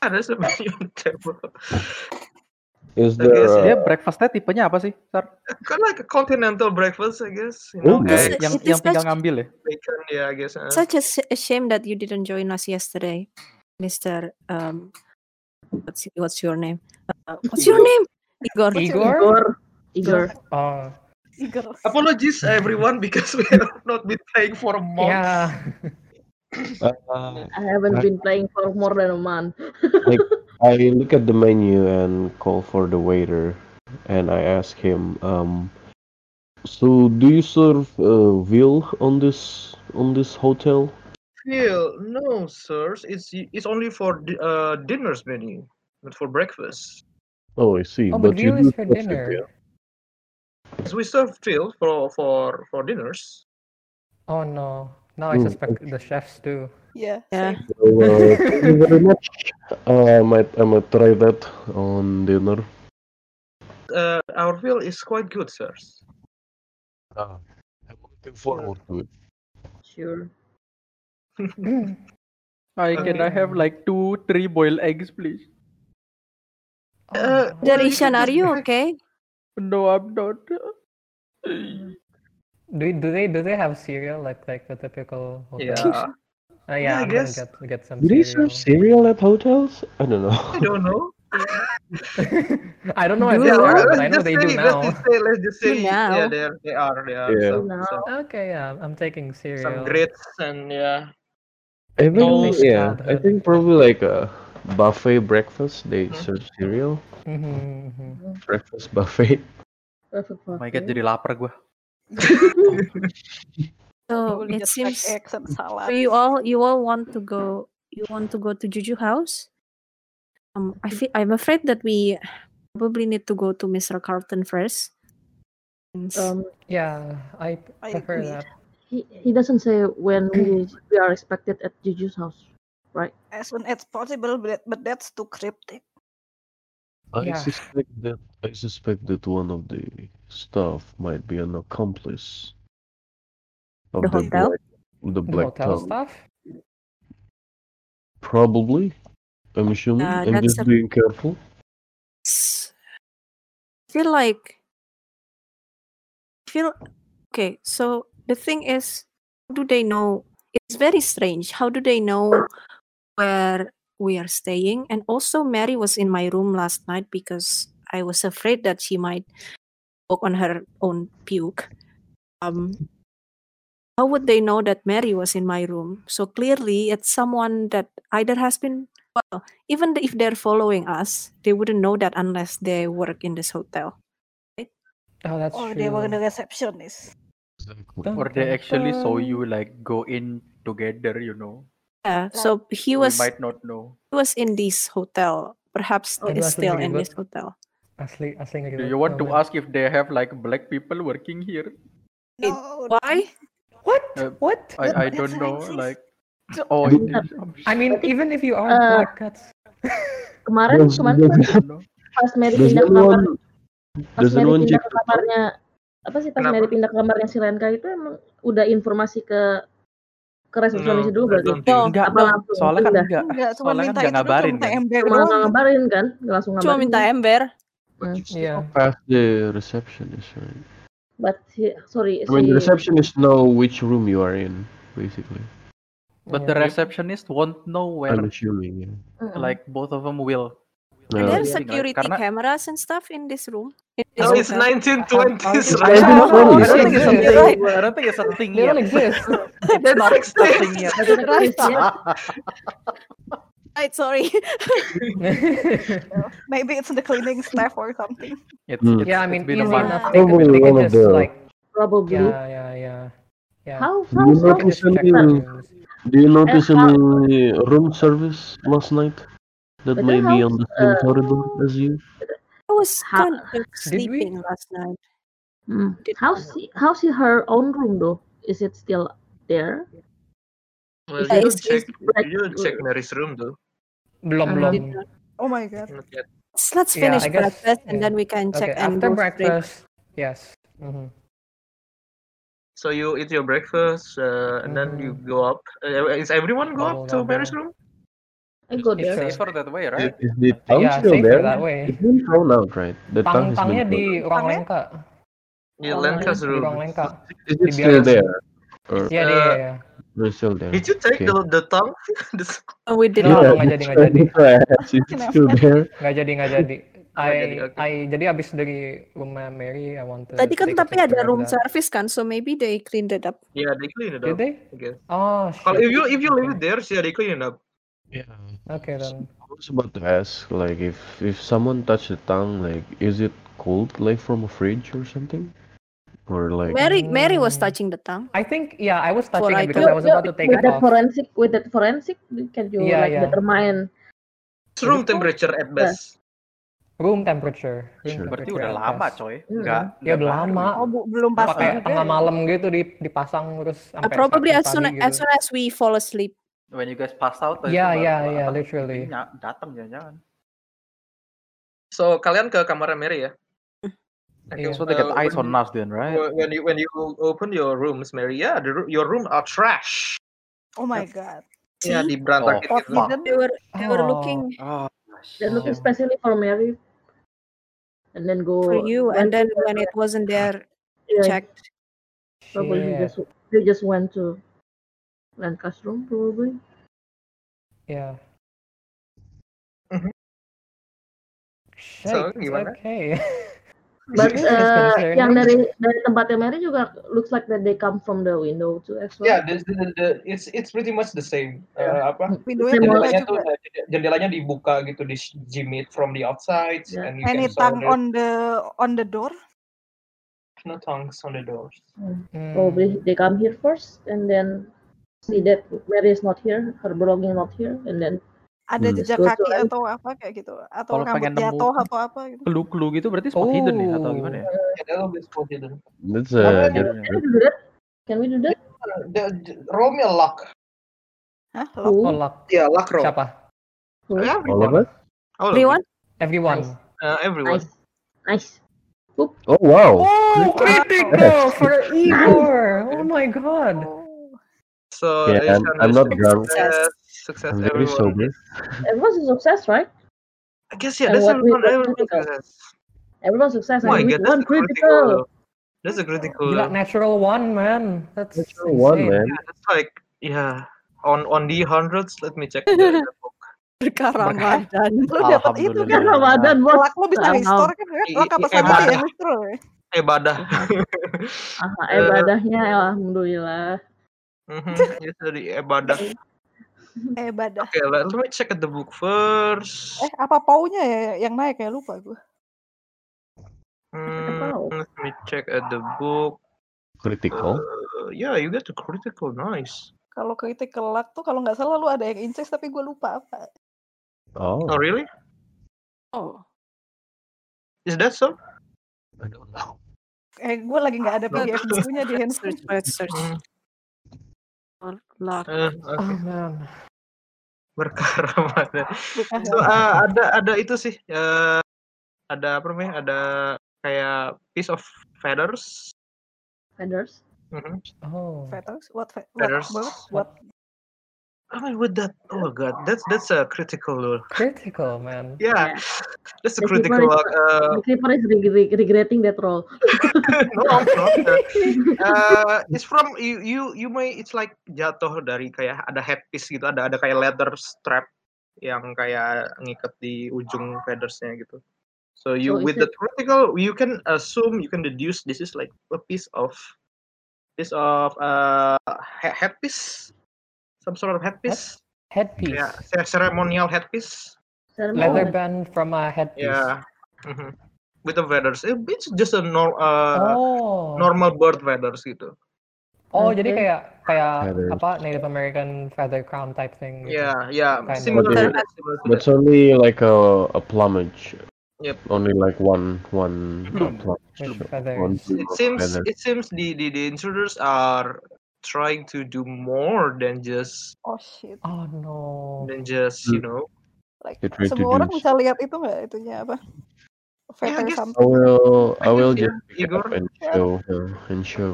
Ah, there's a menu on the [laughs] table. Is I guess, there yeah. a, Dia breakfastnya tipenya apa sih, Sar? Kind of like a continental breakfast, I guess. You Oh, know, yeah. eggs, Yang eh? It is yang tinggal such- ngambil ya? bacon. Yeah, I guess. Uh, Such a, s- a shame that you didn't join us yesterday, Mister. Um, what's what's your name? Uh, what's your Igor. name? Igor. What's your Igor? Igor, Igor. Oh. Igor. apologies everyone [laughs] because we have not been playing for a month. Yeah. uh, I haven't Right. been playing for more than a month. like I look at the menu and call for the waiter, and I ask him, um, so do you serve uh, veal on this on this hotel? Still, no, sirs. It's it's only for di- uh, dinner's menu, not for breakfast. Oh, I see. Oh, but but you veal do is for serve it, dinner. yeah? So we serve veal for for for dinners. Oh no. Now I Hmm, suspect the chefs do. Yeah, Yeah. same. Oh, So, uh, thank you very much. Uh, I might I might try that on dinner. Uh, our veal is quite good, sirs. Uh, I'm looking forward to it. Sure. I can I have Um. like two, three boiled eggs, please? Oh, Uh, well, Dari you can Shan, are just- you okay? No, I'm not. do, do they do they have cereal like like the typical hotel? Yeah, Uh, Yeah, yeah, I I'm gonna guess. get get some Do they serve cereal. cereal at hotels? I don't I know. [laughs] don't know. [laughs] I don't know if Do they Yeah, are, but let's I know just they say, do let's now. just say, let's just Do say, yeah, now. they are, they are, they are Yeah. some Now. some, Okay, yeah, I'm taking some cereal. grits and yeah. Even Those- yeah, I childhood. think probably like a buffet breakfast. They Mm-hmm. Hmm. serve cereal Mhm, mhm. breakfast buffet. Perfect for Oh my god, you. jadi lapar [laughs] gue. So We'll it get seems eggs and salad. so you all you all want to go you want to go to Juju House. Um, I feel I'm afraid that we probably need to go to Mr. Carlton first. Since- Um, Yeah, I p- I prefer agree. that. he, he doesn't say when we, we are expected at Juju's house. As soon as possible, but, but that's too cryptic. I Yeah. suspect that I suspect that one of the staff might be an accomplice of The the hotel? black the The black hotel town. stuff? Probably. I'm assuming. Uh, I'm that's just being careful. s- feel like feel okay so the thing is how do they know it's very strange how do they know where we are staying and also mary was in my room last night because i was afraid that she might walk on her own puke um how would they know that mary was in my room so clearly it's someone that either has been well even if they're following us they wouldn't know that unless they work in this hotel Oh, that's Or they were the true. receptionist. Exactly. Dun, Or they dun, actually saw dun. you like go in together, you know. yeah so he We was might not know. It was in this hotel. Perhaps Oh, It it's was still in really good. this hotel. Asli, asli nggak Iya, Do gitu. you want to ask if they have like black people working here? It- No, Why? What? Uh, what? That- I, I that's what don't know. I'm saying. Like, oh, it is. I mean, even if you are Uh, black [laughs] cats. Kemarin Does- kemarin does- pas, I don't know. [laughs] pas Mary Does pindah ke kamar, anyone pas does Mary anyone pindah ke check kamarnya apa sih pas Kenapa? Mary pindah ke kamarnya si Lenka itu emang udah informasi ke ke resepsionis No, dulu I berarti don't think. No. Enggak apa dong. langsung Soalnya kan pindah? enggak. Enggak, cuma Soalnya kan minta itu enggak doang, ngabarin cuma minta ya. kan. ember cuma doang. ngabarin kan nggak langsung Cuma ngabarin minta kan? ember. But you Yeah. still past the receptionist, right? but si- sorry I si mean, the receptionist know which room you are in, basically. But yeah. the receptionist won't know where. I'm assuming. Yeah. Mm-mm. Like both of them will. Are No. there Yeah. security Uh, Karena- cameras and stuff in this room? In this Oh, No, Oh, it's hotel? Uh, 1920s, It's I right? don't know, I I don't think it's a don't thing. think I don't think it's a thing They don't yet. [laughs] exist. That's Not like a thing yet. Doesn't exist Right. yet. Right, [laughs] sorry. [laughs] Maybe it's the cleaning staff or something. It's, Hmm. it's, yeah, I it's mean, been a easy month. enough. They Probably could, they could one of just the- like, probably yeah, yeah, yeah, yeah. how Do how you They how could notice just check the any? rooms. Do you notice how- any room service last night that But may the be house, on the same uh, corridor as you? I was Ha- kind of Did we? sleeping last night. mm, Did- how's she- how's she her own room though is it still there Well, Yeah, you don't it's- it's check. You don't check Mary's room though. I Blom, blom. did not. Oh my god. Not yet. Let's- Let's Yeah, finish I guess- breakfast and yeah. then we can check Okay, and go after straight. breakfast, yes. hmm So you eat your breakfast, uh, and then you Mhm. go up. Uh, is everyone go Double, up to Mary's double. room? I go It's there Sure. Safer that way, Is right? is the tongue Yeah, still safer there? that way. It's been thrown out, right? The tongue has Tang-tangnya di been thrown ruang Tangnya? lengka. Yeah, Oh, Lenka's Di ruang room. lengka. Is Di it still biaya. there? Or Iya, dia, Uh, iya, iya. it's still there? Did you take Okay. the, the tongue? [laughs] This- Oh, we did not. No, no, Yeah, nggak jadi, that's nggak right, jadi. Iya. that's why I asked. Is it Kenapa? still there? Nggak jadi, nggak jadi. I, Oh, nggak jadi, oke. I, jadi abis dari rumah Mary, I want to Tadi kan take a tapi ada picture of room that. service kan, so maybe they cleaned it up. yeah, Iya, they clean it Did up. they? I guess. Oh, shit. Well, if you if you leave it Okay. there, yeah, they clean it up. Yeah. Okay, then. I was about to ask, like, if if someone touched the tongue, like, is it cold, like, from a fridge or something, or like, Mary, Mary was Mm. touching the tongue. I think, yeah, I was For touching I it because do. I was about to take with it that off. forensic with that forensic can you Yeah, like yeah. determine It's it cold? room temperature at best. Room temperature. Room Sure. Berarti temperature udah at lama, best. coy. Hmm. Enggak. Ya, udah lama. Oh, bu- belum Pas pasti Pakai juga tengah ya. malam gitu di- dipasang terus Uh, sampai probably sampai as soon pagi as, gitu. soon as we fall asleep. When you guys pass out, itu Yeah, yeah, baru kelihatan. yeah, Mungkin iya, literally. ny- datang jangan-jangan. So kalian ke kamarnya Mary ya. Okay, Iya. So they get uh, eyes when on us then, right? Wh- when you when you open your rooms, Mary, yeah, the, roo- your room are trash. Oh my god. Ya, See? diberantakin Oh, Fourth gitu. fuck. season. They were, they were Oh. looking Ah, they're looking shit. Oh. specially for Mary and then go for you, went and then to- when it wasn't there, yeah, checked. probably he Shit. just they just went to Lanca's room probably Yeah. Mhm. Mm-hmm. Shit. So gimana? Okay. [laughs] [laughs] but This is uh, concerning. yang dari dari tempatnya Mary juga looks like that they come from the window too as well Yeah, the, the, the, the- it's it's pretty much the same. Uh, apa? Pintunya terbuka Same Jendelanya tuh juga. uh, jende- jendelanya dibuka gitu di gym it from the outside Yeah. and you Any can saw tongue there's on the on the door? no tongues on the doors. Hmm. Hmm. probably they come here first and then see that Mary is not here her belonging not here and then Ada Hmm. jejak Go to kaki an- atau apa kayak gitu? Atau Kalau rambut pengen nemu- jatuh atau apa gitu? Clue-clue gitu berarti spot hidden nih Oh, atau gimana ya? Yeah, that will be spot hidden. that's uh, Karena a dia- that, can Jadinya. we do that can we do that Uh, the- the- roll me a luck. Hah? Lock? Oh, who luck. Yeah, luck roll. Siapa? who all of Everyone. us? All of Everyone? Everyone. Nice. you. Uh, everyone. nice nice Oop. Oh wow! Oh, critical Yes. [laughs] for Igor. Oh my god. Oh. So Yeah, it's I'm, I'm another not drunk. success. Success I'm very everyone. sober. everyone's a success right I guess yeah, And that's what we everyone. got Everyone critical. success. everyone's success Oh and my with god, that's one a critical. critical That's a critical. Gila, natural one, man. That's Natural one, insane. man. That's like yeah. On on the hundreds, let me check the, [laughs] the book. [laughs] Berkaramadan. [laughs] Lu dapat itu kan? kan Alhamdulillah. Ramadan bos Lak lu bisa Wow. restore kan? kan? I- Lak i- apa eh, sama sih ya Badah. restore ya? Eh [laughs] badah. Aha, Eh. ibadahnya alhamdulillah. Mhm, Itu dari eh badah. Eh badah. Okay, let, let me check at the book first. Eh apa paunya ya yang naik ya lupa gue. Hmm, let me check at the book. Critical. Uh, yeah, you get a critical. Nice. Kalau critical luck tuh kalau nggak salah lu ada yang incest tapi gue lupa apa. Oh. Oh really? Oh. Is that so? I don't know. Eh, gue lagi nggak ada Nah, PDF bukunya di Let's handphone. search, let's search. Mhm. Or lock. Eh, Oh oke. man. [laughs] Berkaramada. Bukan. So, eh, ada ada itu sih. eh, ada apa namanya? Ada kayak piece of feathers. feathers. Mhm. Oh. Feathers? What? fe- What? Feathers. What? What? Oh, with that. Oh god, that's that's a critical. Critical man. Yeah. Yeah, that's The a keeper critical. is- Uh, The creeper is reg- reg- regretting that role. no, no, no. Uh, it's from you you you may it's like jatuh dari kayak ada headpiece gitu, ada ada kayak leather strap yang kayak ngikat di ujung feathersnya gitu. So you Oh, So is with the critical you can assume you can deduce this is like a piece of piece of uh he- headpiece some sort of headpiece Headpiece. yeah ce- ceremonial headpiece Ceremony. Leather band from a headpiece. yeah Mhm. with the feathers It- it's just a nor- uh, Oh. normal bird feathers gitu Oh, jadi Okay. kayak kayak Feathers. apa Native American feather crown type thing gitu. Yeah, yeah, Kind of. similar But to they- that. Similar to But that. it's only like a, a plumage. Yep. Only like one one uh, Plume. plumage. With uh, feathers. One plume It of seems feathers. it seems the, the the intruders are trying to do more than just Oh shit. Oh no. than just you Hmm. know. Like They try to semua orang do bisa lihat itu nggak itunya apa? Feather guess- I something. will I I will guess, yeah, just pick it up Igor. and show uh, and show.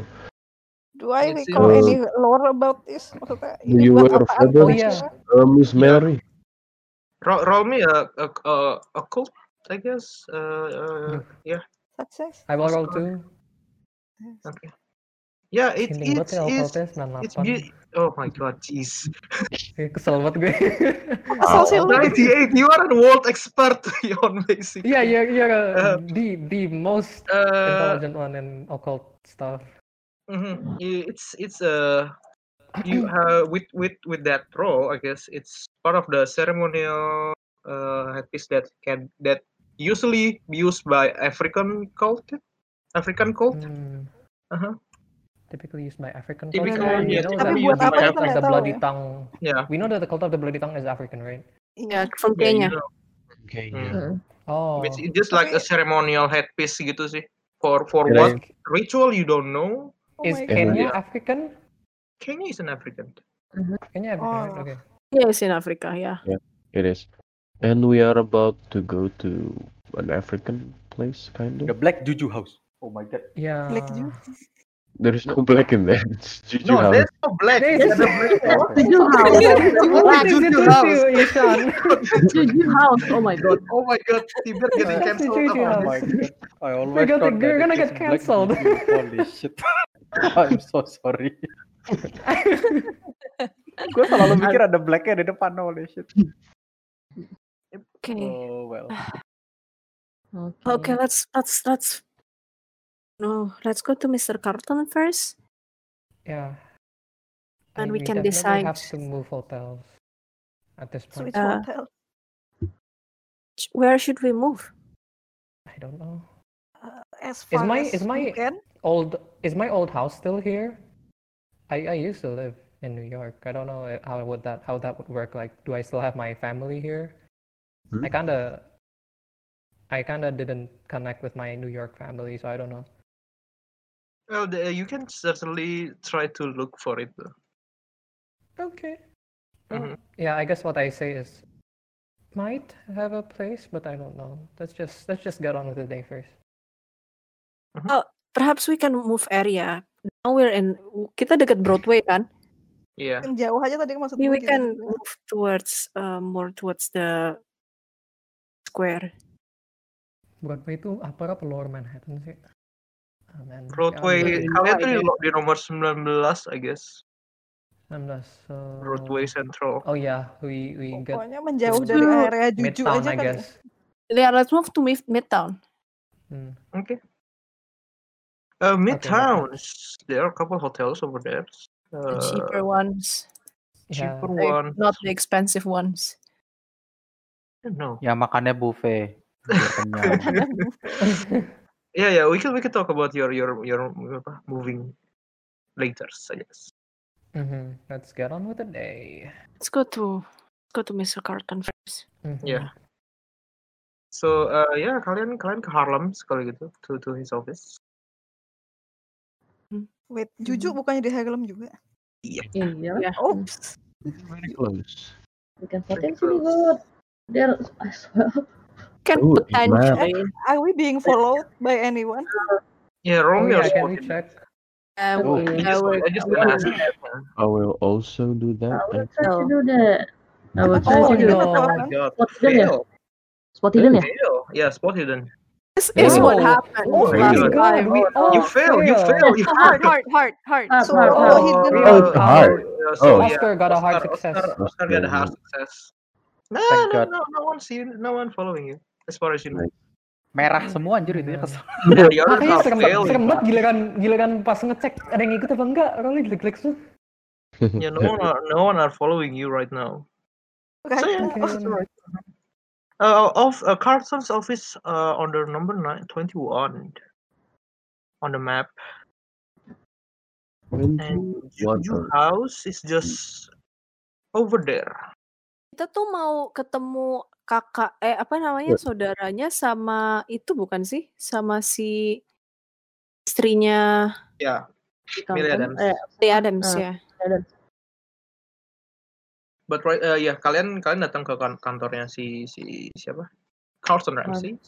Do I It recall seems- any lore about this? Maksudnya Do ini you buat wear apaan feathers? Oh iya. kira-kira? Uh, Miss Yeah. Mary. Roll, roll me a a, a a cult, I guess. Uh, uh Aduh. yeah. Success. I will roll Sorry. two. Okay. Yeah, it Sinting banget it's ya it's occultist dan it's lapon. be- Oh my god, jeez. Kesel banget [laughs] gue. Asal sih lu. 98, Oh, you are a world expert [laughs] on basic. Iya, you're, you're uh, Uh, the the most Uh, intelligent one in occult stuff. mhm. It's it's uh [clears throat] you uh, with with with that role i guess it's part of the ceremonial uh, headpiece that can that usually be used by african cult african cult Hmm, uh-huh. typically used by African culture. Typically, and you yeah, know that typically Tapi buat used the apa by cult kita of african nggak the tahu bloody ya. tongue. yeah We know that the cult of the bloody tongue is African, right? Yeah, Iya. from yeah, you Kenya. know. Okay. Mm. Hmm. Mm. Oh, It's, it's just like a Tapi- ceremonial headpiece gitu sih for for Can what I- ritual you don't know Oh is my god. Can I- Kenya African? kenya is an african Kenya African, right? Oh. Okay. Yeah, it's in Africa. Yeah. It is. And we are about to go to an African place, kind The of. Black Juju House. Oh my god. Yeah. Black Jew. There is no [laughs] black in there. It's Juju no House. there's no black There's There's no black. no- What? Juju house. Black What is Juju it with house. you, Ishan? [laughs] Juju house. Oh my god. oh my god tiber getting That's the cancelled Juju about Oh this my god. I always gonna- thought we're that gonna it get is cancelled. Black Juju. Holy shit. [laughs] I'm so [laughs] sorry. Gue selalu mikir ada blacknya di depan. Holy shit. Okay. Oh well. Okay. Let's let's let's. No, let's go to Mr. Carlton first, yeah. I and we can decide. definitely have to move hotels at this point. Switch Uh, hotel. Sh- Where should we move? I don't know. Uh, as Is far my- as is my- you can. Old is my old house still here? I I used to live in New York. I don't know i- how would that how that would work. Like, do I still have my family here? I Hmm? kind of I kind of didn't connect with my New York family, so I don't know. Well, the, you can certainly try to look for it. though. Okay. Um, Mhm. Yeah, I guess what I say is might have a place, but I don't know. Let's just let's just get on with the day first. Mm-hmm. Oh, Perhaps we can move area. Now we're in kita dekat Broadway kan? Yeah. Yang jauh aja tadi maksud Maybe gue we gitu. can move towards uh, more towards the square. Broadway itu apa apa lower Manhattan sih? Ah, man. Ya, Broadway, ambil Mm. kalian tuh di, Friday. lo- di nomor 19, I guess. 16, so... Broadway Central. Oh yeah, we we get Pokoknya menjauh to dari Hmm. area Juju Midtown aja kali. I ya. guess. Yeah, let's move to Mid- Midtown. Hmm. Okay. Uh, Okay, Midtown, s- there are a couple hotels over there. The Uh, cheaper ones, Yeah. cheaper Like, one. not the expensive ones. No. Ya makannya buffet. Biar kenyang. Ada buffet. Yeah, yeah. We can we can talk about your your your apa, moving later, I guess. Mhm, Let's get on with the day. Mm-hmm. Let's go to let's go to Mr. Carlton first. Mhm. Yeah. So uh, ya yeah, kalian kalian ke Harlem sekali gitu to to his office. Wait, Hmm. Juju bukannya di Harlem juga? Iya. Ya. Oops. Very close. We can potentially go there as well. Can Ooh, it's mad. potentially. Kan Are we being followed by anyone? Yeah, Oh Romeo. yeah, is can we walking. check? Uh, Oh, we- I I just, will- I just gonna ask. I will also do that. I will I- try to Oh. do that. I will try Oh, to do no. that. Oh my god. Spot hidden ya? Fail. Spot hidden ya? Fail. [laughs] Yeah, spot hidden. This is Oh. what happened Oh my last God. time. We all You fail. You fail. You fail. hard, hard, hard, hard. Ah, Hard, So hard, we're all hard. hidden. We all Oh, hard. yeah, so Oh. yeah, Oscar got a hard Oscar- success. Oscar, Oh, Oscar got a hard Oscar. success. No, Thank no, God. no, no one seen, no one following you. As far as you know. Merah semua anjir itu [laughs] Iya. kesel. And Makanya the others are serem banget, serem failing. banget giliran giliran pas ngecek ada yang ikut apa enggak, orangnya jelek-jelek tuh. Yeah, no [laughs] one are, no one are following you right now. So yeah, Right. that's alright. Uh, of uh, Carson's office uh, on the number nine, 21 on the map. And Juju One. House is just over there. Kita tuh mau ketemu kakak eh apa namanya Iya. saudaranya sama itu bukan sih? Sama si istrinya Yeah, Di Millie kampung. Adams. Eh, Lee Adams Ah. ya. Adams. But right, uh, yeah, kalian kalian datang ke kan- kantornya si si siapa? Carson Ramsey.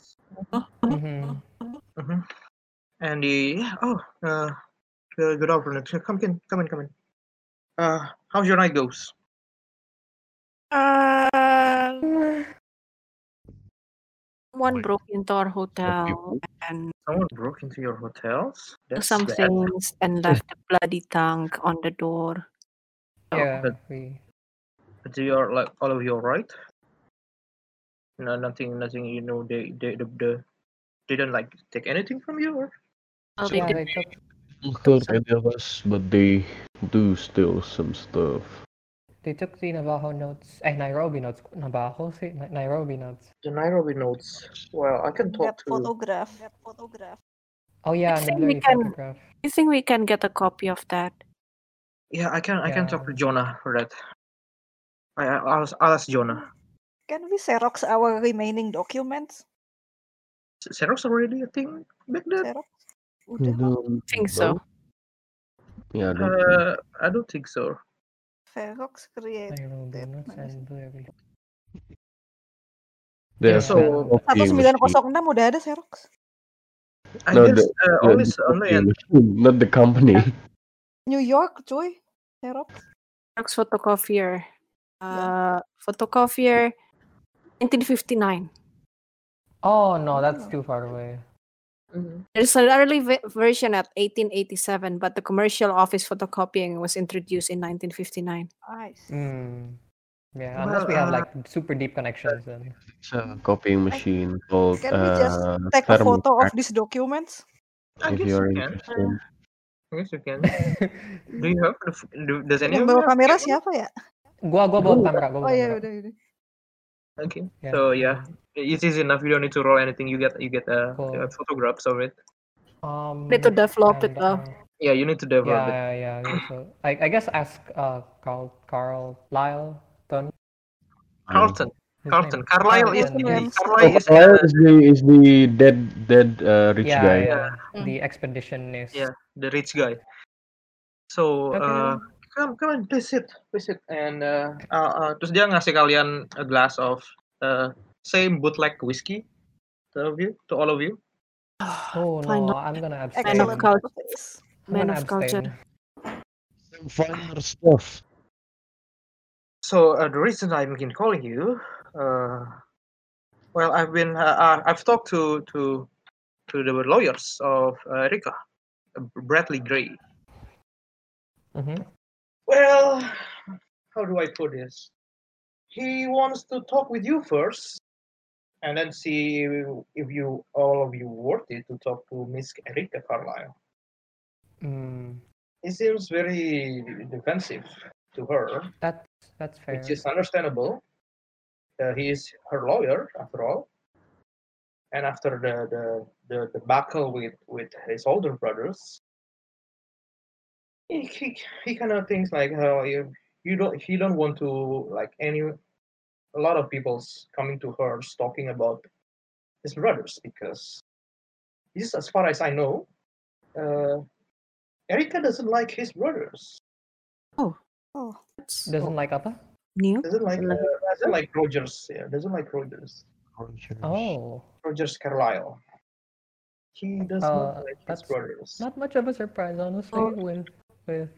Mhm. Mhm. And the yeah, oh, uh, good, good afternoon. Come in, come in, come in. Uh, how's your night goes? Someone Wait. broke into our hotel and Someone broke into your hotels. took That's some bad. things and left the bloody tongue on the door. oh. Yeah, But- we But you are like all of you alright? No, nothing, nothing. You know, they they the, the they don't like take anything from you. Or? I'll yeah, take it. they took Don't hurt any of us, but they do steal some stuff. they took the Navajo notes, eh Nairobi notes, Navajo sih, Nai- Nairobi notes. The Nairobi notes. Well, I can talk That to. photograph. That photograph. Oh yeah, and the think we blurry can- photograph. You think we can get a copy of that? Yeah, I can I can talk to Yeah. Jonah for that. I I- I'll ask- I'll ask Jonah. Can we Xerox our remaining documents? Xerox already a thing back then. Xerox? Udah lah, Mm, don't think so. Yeah, I don't think. Uh, I don't think so. Xerox create. Nairobi notes Manis. and blurry. They Yeah, have so- a copying machine. 1906 udah ada Xerox. I No, guess the- uh, Yeah, only the s- only an copying machine, not the company. New York, cuy. Xerox. Xerox photocopier. Uh, photocopier 1959. Oh no, Oh. that's Mm-hmm. too far away. Mhm. There's an early ve- version at 1887, but the commercial office photocopying was introduced in 1959. I see. Hmm. Yeah, unless we have uh, like Well, super deep connections then. [laughs] It's a copying machine called Can we just uh, Take a photo of Thermopack, these documents. I if guess you're you can. interested. I guess you can. Do [laughs] you have? The, f- do, does Yang anyone bawa have? kamera siapa ya? gua gua bawa kamera, gua Oh bawa ya kamera. Ya. udah udah. Okay. Yeah. So yeah, it's easy enough. You don't need to roll anything. You get you get uh, Cool. uh, photographs of it. Um, Need to develop it and, though. uh, Yeah, you need to develop it. yeah, yeah, yeah. So I, I guess ask uh Carl Carl Lyle Dunn Carlton, his Carlton, name. Carlisle is Carlton the Ramsey. Carlisle is Carl uh, Oh, is the is the dead dead uh, rich Yeah, guy. yeah. Mm. The expeditionist. yeah the rich guy. So [sighs] Okay. uh, come come on, please sit, please sit. And uh, uh, uh, terus dia ngasih kalian a glass of uh, same bootleg whiskey to all of you, to all of you. Oh Fine, no, I'm gonna abstain. of Excellent I'm culture. place. man gonna of culture. abstain. Some finer stuff. So uh, the reason I'm been calling you, uh, well, I've been uh, uh, I've talked to to to the lawyers of uh, Rika, uh, Bradley Gray. hmm Well, how do I put this? He wants to talk with you first, and then see if you all of you worth it to talk to Miss Erika Carlisle. Mm, It seems very defensive to her, that's that's fair. which is understandable. Uh, he is her lawyer after all, and after the the the debacle with with his older brothers, he he, he kind of thinks like how you you don't he don't want to like any a lot of people's coming to her talking about his brothers because this, as far as I know, uh, Erika doesn't like his brothers. Oh, Doesn't like apa? New. Doesn't like uh, doesn't like Rogers. Yeah, doesn't like Rogers. Oh, Rogers Carlyle. He does Uh, not like his that's brothers. not much of a surprise honestly. Oh. With with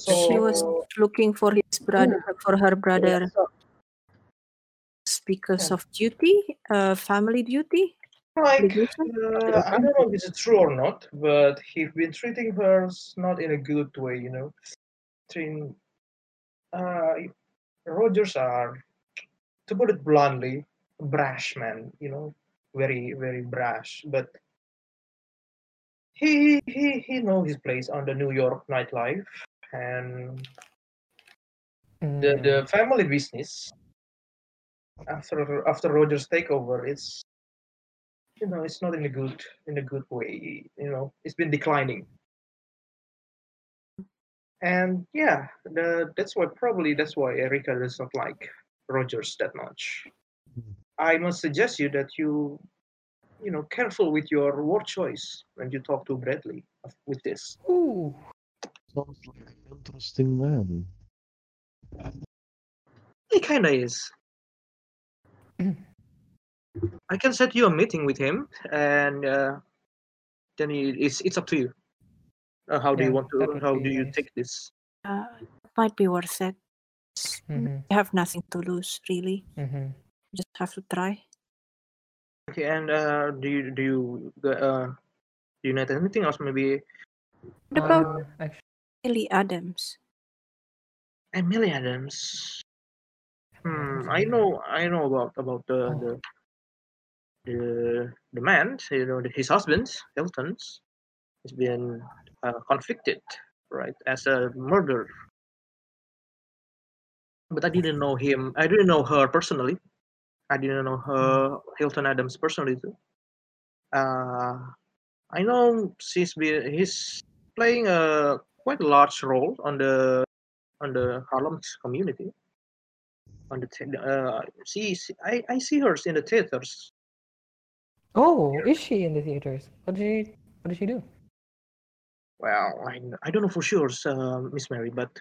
she was So- Hmm. looking for his brother for her brother So, because of duty, uh, family duty. Like obligation. Uh, I don't know if it's true or not, but he's been treating her s- not in a good way, you know. Treating, uh, Rogers are, to put it bluntly, brash man, you know, very very brash. But he he he know his place on the New York nightlife and the, Mm, the family business after after Rogers takeover it's you know it's not in a good in a good way you know it's been declining and yeah the, that's why probably that's why Erika does not like Rogers that much I must suggest you that you you know careful with your word choice when you talk to Bradley of- with this Ooh. Sounds like an interesting man. he kinda is I can set you a meeting with him, and uh, then it- it's it's up to you. Uh, how do you Yeah, want that to? would How be do you nice. take this? Uh, might be worth it. It's- Mhm. You have nothing to lose, really. Mm-hmm. Just have to try. Okay, and uh, do you do you uh, do you need anything else? Maybe What Uh, about actually, Ellie Adams? Emily Adams. Adams, Hmm, I Emily know I know about about the Oh. the the uh, the man. You know his husband Hilton's has been uh, convicted right as a murderer. but I didn't know him. I didn't know her personally. I didn't know her Hilton Adams personally too. Uh, I know she's been he's playing a quite large role on the on the Harlem community. On the the- uh, she, she- I I see her in the theaters. oh, is she in the theaters? What did she What did she do? Well, I, I don't know for sure, uh, Miss Mary, but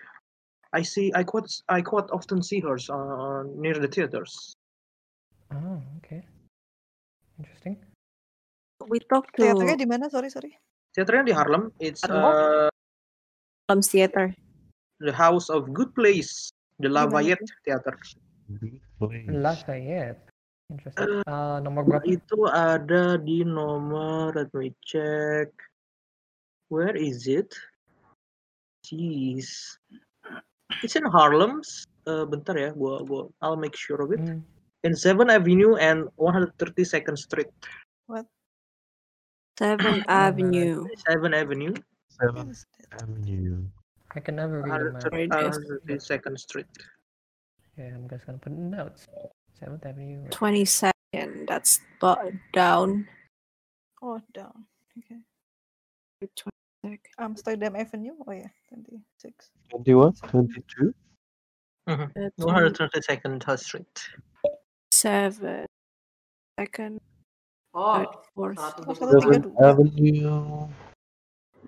I see I quite I quite often see her uh, near the theaters. Oh, okay. Interesting. We talked to teaternya di mana? Sorry, sorry. Theaternya di Harlem. It's Harlem? uh, Harlem Theater. the House of Good Place, the Di mana Lafayette tuh? Theater. Good place. Lafayette. Interesting. Uh, nomor berapa? Ah, Itu ada di nomor, let me check. Where is it? Jeez. It's in Harlem. Eh, bentar ya, gua, gua, I'll make sure of it. Hmm. In 7th Avenue and 132nd Street. [laughs] Seventh right. Avenue. 7th Avenue, Seventh Avenue. I can never read a map. 130 Right, yes. 132nd Street. Yeah, I'm just gonna put in notes. Seventh Avenue. right. Twenty second. That's bo- down. Oh, down. Okay. Twenty second. Amsterdam Avenue. Oh ya, twenty six. 21, 22. Mm-hmm. Twenty 132nd Street. seven. Second. Oh, Third. Fourth. Oh, satu tiga Seventh dua. Avenue.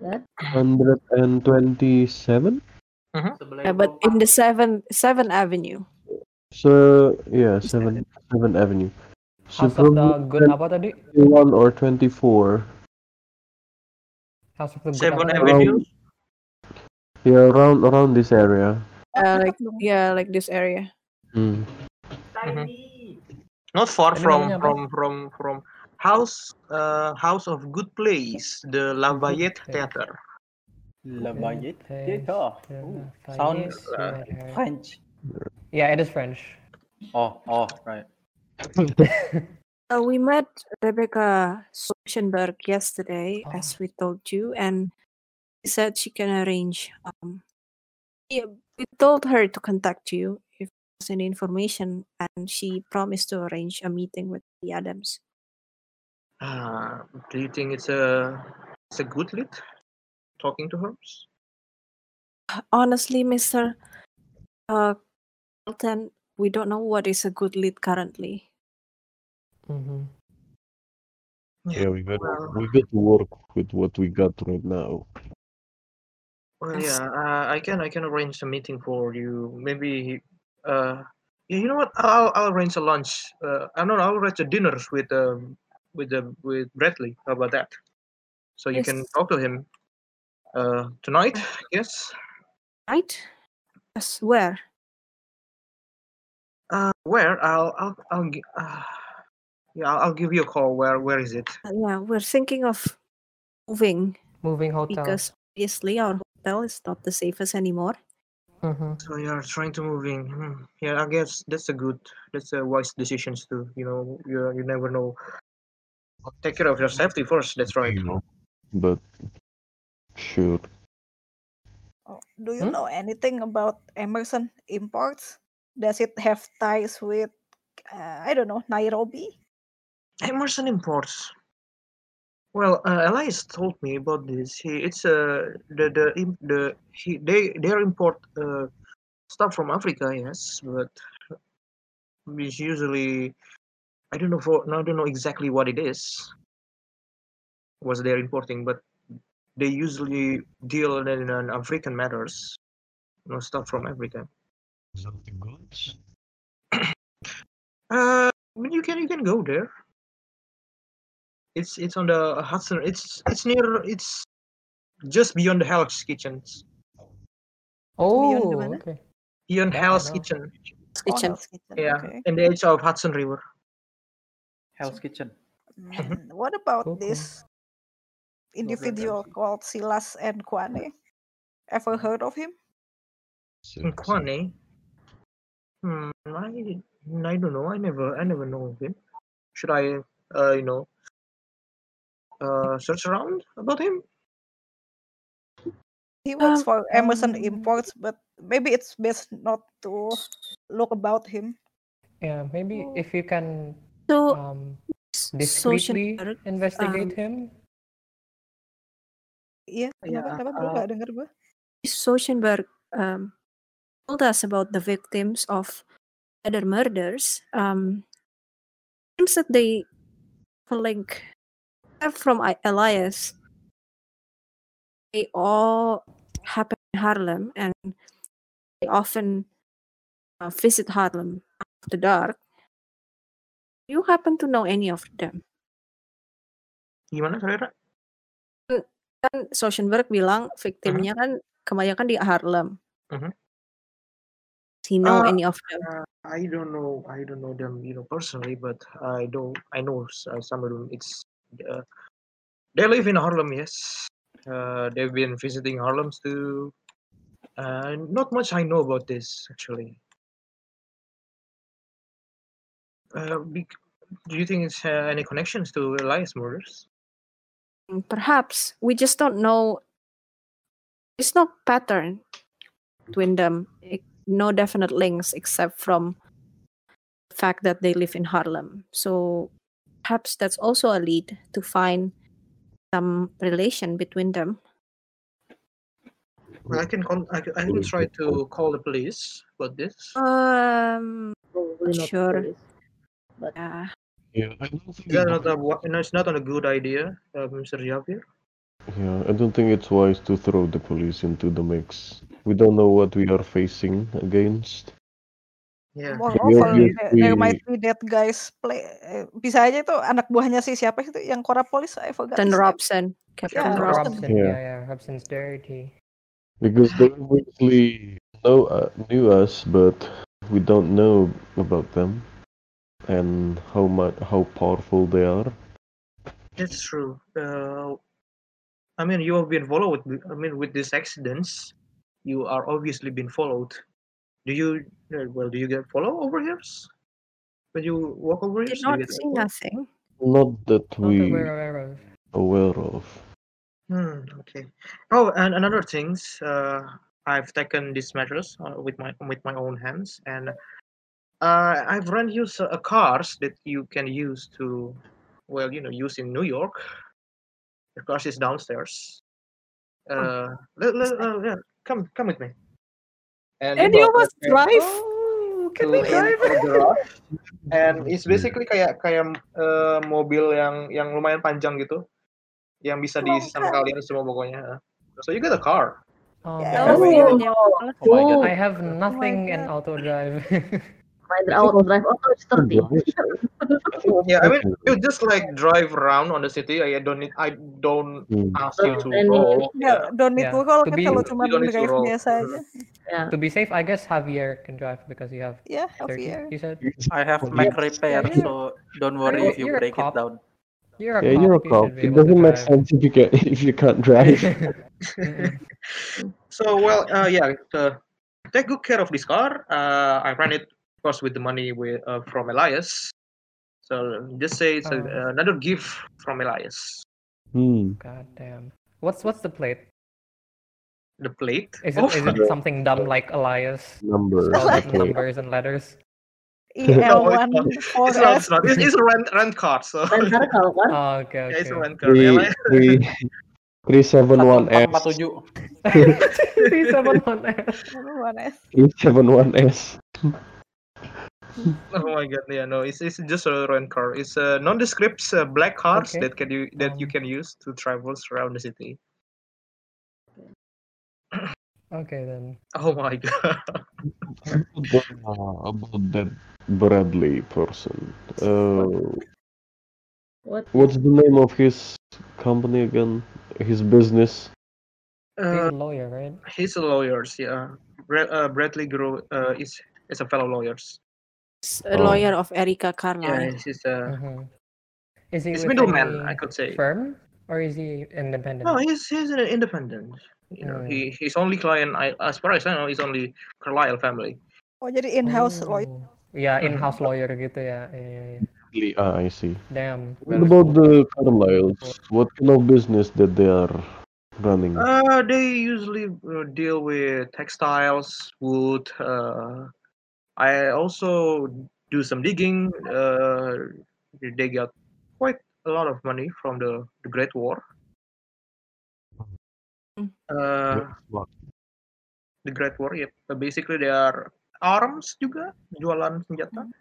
that 127. sebelah Yeah, but in the seventh seventh Avenue. So yeah, seven seven Avenue. So House of the probably Good apa tadi? 21 or 24. House of the Good apa Seventh tadi? Avenue. Yeah, around around this area. dekat Uh, like dong. yeah, like this area. Hmm. tiny. Not far Tadi from namanya apa? from from from House uh, House of Good Place, the Lafayette Place. Theater. Good Lafayette place Theater. to Ooh, Lafayette, sounds red hair. French. Yeah, it is French. Oh, oh, right. Uh, we met Rebecca Sochenberg yesterday, Oh. as we told you, and she said she can arrange. Um, yeah, we told her to contact you if there's any information, and she promised to arrange a meeting with the Adams. Uh, do you think it's a it's a good lead talking to her? Honestly, Mister uh, Carlton, we don't know what is a good lead currently. Mhm. Yeah, we got we got to work with what we got right now. Well, yeah, uh, I can I can arrange a meeting for you. Maybe, uh, yeah, you know what? I'll I'll arrange a lunch. Uh, I don't know. I'll arrange a dinner with um with the with Bradley. How about that? So you can Yes. talk to him. Uh, tonight, yes. Right? I swear. Uh, where? I'll I'll I'll gi- uh, yeah I'll, I'll give you a call. Where where is it? Uh, Yeah, we're thinking of moving Moving hotel. because obviously our hotel is not the safest anymore. Mhm. So you're trying to move in. Hmm. Yeah, I guess that's a good, that's a wise decisions too. You know, you you never know. Take care of your safety first. That's right. You know, but sure. Oh, do you Hmm? know anything about Emerson Imports? Does it have ties with, uh, I don't know, Nairobi? Emerson Imports. Well, uh, Elias told me about this. He, it's uh, the the im- the he, they they import uh, stuff from Africa, yes, but it's usually I don't know for I don't know exactly what it is. Was they're importing, but they usually deal in an African matters, you know, stuff from Africa. Is that the goods? Uh, but you can you can go there. It's it's on the Hudson. It's it's near. It's just beyond the Hell's Kitchens. Beyond Oh, the mana? okay. Beyond Yeah, I Hell's know. Kitchen. Oh, Kitchen. Hell's Kitchen. Yeah, Okay. in the edge of Hudson River. Hell's Kitchen. Man, what about Cool, cool. this individual Ramsey. called Silas and Kwane? Hmm. Ever heard of him? In Kwane. Hmm. I, I don't know. I never I never know of him. Should I uh you know uh search around about him? He works Um, for Emerson um, Imports, but maybe it's best not to look about him. Yeah, maybe if you can So, um, social discreetly network, investigate um, him. Iya, kenapa? Iya, Kenapa gue uh, gak denger gue? Sochenberg um, told us about the victims of other murders. Um, things that they link have from I- Elias, they all happen in Harlem, and they often uh, visit Harlem after dark. Do you happen to know any of them? Gimana saudara? Kan Sochenberg bilang victimnya kan kebanyakan di Harlem. Mhm. Does he know Uh, any of them? Uh, I don't know. I don't know them, you know, personally, but I know. I know s- uh, some of them. It's uh, they live in Harlem. Yes, uh, they've been visiting Harlem too. Uh, not much I know about this actually. Uh, bec- do you think it's uh, any connections to Elias murders? Perhaps we just don't know. It's no pattern between them. e- No definite links except from the fact that they live in Harlem. So perhaps that's also a lead to find some relation between them. Well, I can con- I, c- I can try to call the police about this. Um, Probably not the Sure. police. yeah. Yeah, I don't think. Is that it- not a, wa- no, it's not a good idea, uh, Mr. Javier. Yeah, I don't think it's wise to throw the police into the mix. We don't know what we are facing against. Yeah. Moreover, Yeah. there, there might Obviously- be that guys play. eh, Bisa aja itu anak buahnya si siapa itu yang korapolis, I forgot his name. Captain Ya. Robson. Captain Yeah, Robson. Robson. Robson. Yeah. Yeah, yeah. Robson's dirty. Because they obviously know uh, knew us, but we don't know about them and how much how powerful they are. That's true. Uh, I mean, you have been followed. b- I mean, with these accidents, you are obviously been followed. Do you? uh, Well, do you get follow over here? When you walk over here, Did do you not get see followed? nothing. Not that Not that we we're aware of. aware of. Hmm, okay. Oh, and another things. Uh, I've taken these measures uh, with my with my own hands, and uh, I've rent you s- uh, cars that you can use to, well, you know, use in New York. The cars is downstairs. Uh, let, let, uh, yeah, come come with me. And, And you know, you uh, must uh, drive. Oh, to in for the garage. [laughs] and it's basically kayak kayak eh, mobil yang yang lumayan panjang gitu yang bisa diisi sama kalian semua pokoknya uh. so you get a car Oh, Yeah. man. Oh. Oh my god. I have nothing in God. auto drive. Rider auto drive auto is 30. [laughs] yeah I mean you just like drive around on the city I don't need I don't Hmm. ask you to Don't roll Nggak, [laughs] yeah. don't need Yeah. to roll To kan be- kalau cuma You don't need to drive roll. biasa [laughs] aja. to be safe, I guess Javier can drive because you have Ya, 30. Javier. You said I have Mac repair, Yeah, yeah. so don't worry You're- if you you're a break it cop. down. you're a cop. Yeah, you're a you should cop. be It able to doesn't make drive. sense if you can [laughs] if you can't drive. [laughs] Mm-mm. [laughs] so well uh, yeah uh, take good care of this car uh, I ran it of course with the money with, uh, from Elias so just say it's a, uh, Oh. another gift from Elias Hmm. God damn. What's what's the plate? the plate Is it Oh, is it something dumb like Elias? Number. Spelled with okay. numbers and letters. E IL1 [laughs] it's not, it's 4S. not. It's, it's a rent rent car so Rent car kalau kan Oh, okay, yeah, it's a okay. rent car Three Elias three three seven one 144747. S. [laughs] Three seven one S. 4S. [laughs] Three seven one S. Oh my god, yeah, no, it's, it's just a rent car. It's a nondescript uh, black cars Okay. that can you that you Um, can use to travel around the city. Okay then. Oh my [laughs] god. About that, uh, about that Bradley person. Uh, what what's the name of his company again? His business. He's a Uh, lawyer, right? he's a lawyers, yeah. Bra- uh, Bradley Grove uh, is is a fellow lawyers. S- a Oh. lawyer of Erika Yeah, Carlisle. he's, he's uh, a Mm-hmm. Is he he's with any middleman, I could say. firm or is he independent? No, he's he's an independent. You know, Hmm. he his only client, I, as far as I know, is only Carlisle family. Oh, jadi in-house lawyer. Oh. Ya, Mhm. in-house lawyer gitu ya. Iya, iya, iya. Bradley, Ah, I see. Damn. What about the Carlyles? What kind of business that they are running? Uh, they usually uh, deal with textiles, wood. Uh, I also do some digging. Uh, they got quite a lot of money from the, the Great War. Mm. Uh, What? the Great War, yep. But basically, they are arms juga, jualan senjata. Mm.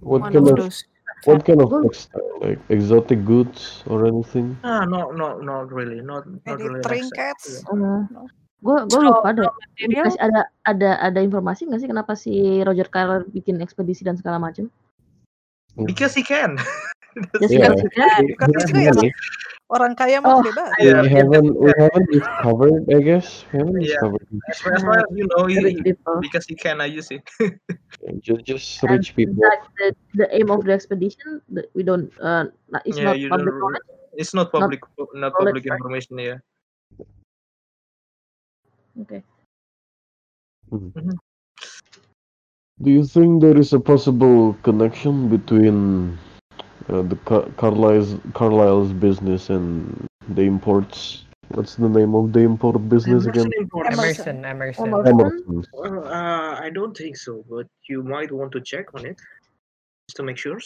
What One kind of of those. what kind of textile? Like exotic goods or anything? Ah, no, no, not really, not not Any really. an exact- trinkets. Mm-hmm. gue gue Raw- lupa deh raw material? Kasih ada ada ada informasi nggak sih kenapa si Roger Carler bikin ekspedisi dan segala macam Because he can. [laughs] Ya, That's- Just because Yeah. he can We, Because we it's have iya, good, money. ya? Orang kaya mah Oh, bebas. Yeah, because- we haven't we haven't discovered. I guess we haven't Yeah. discovered. as, far, as far as you know, he, rich he- people because he can, I use it. Just, just And rich people. that the, the aim of the expedition the, we don't uh, like, it's yeah, not you don't. public knowledge It's not public, knowledge, not public right? information. [gasps] Yeah. okay Mm-hmm. Do you think there is a possible connection between uh, the Car- Carlisle's, Carlisle's business and the imports? What's the name of the import business again? Emerson imports. Emerson, Emerson. Emerson. Emerson. Well, uh, I don't think so, but you might want to check on it just to make sure.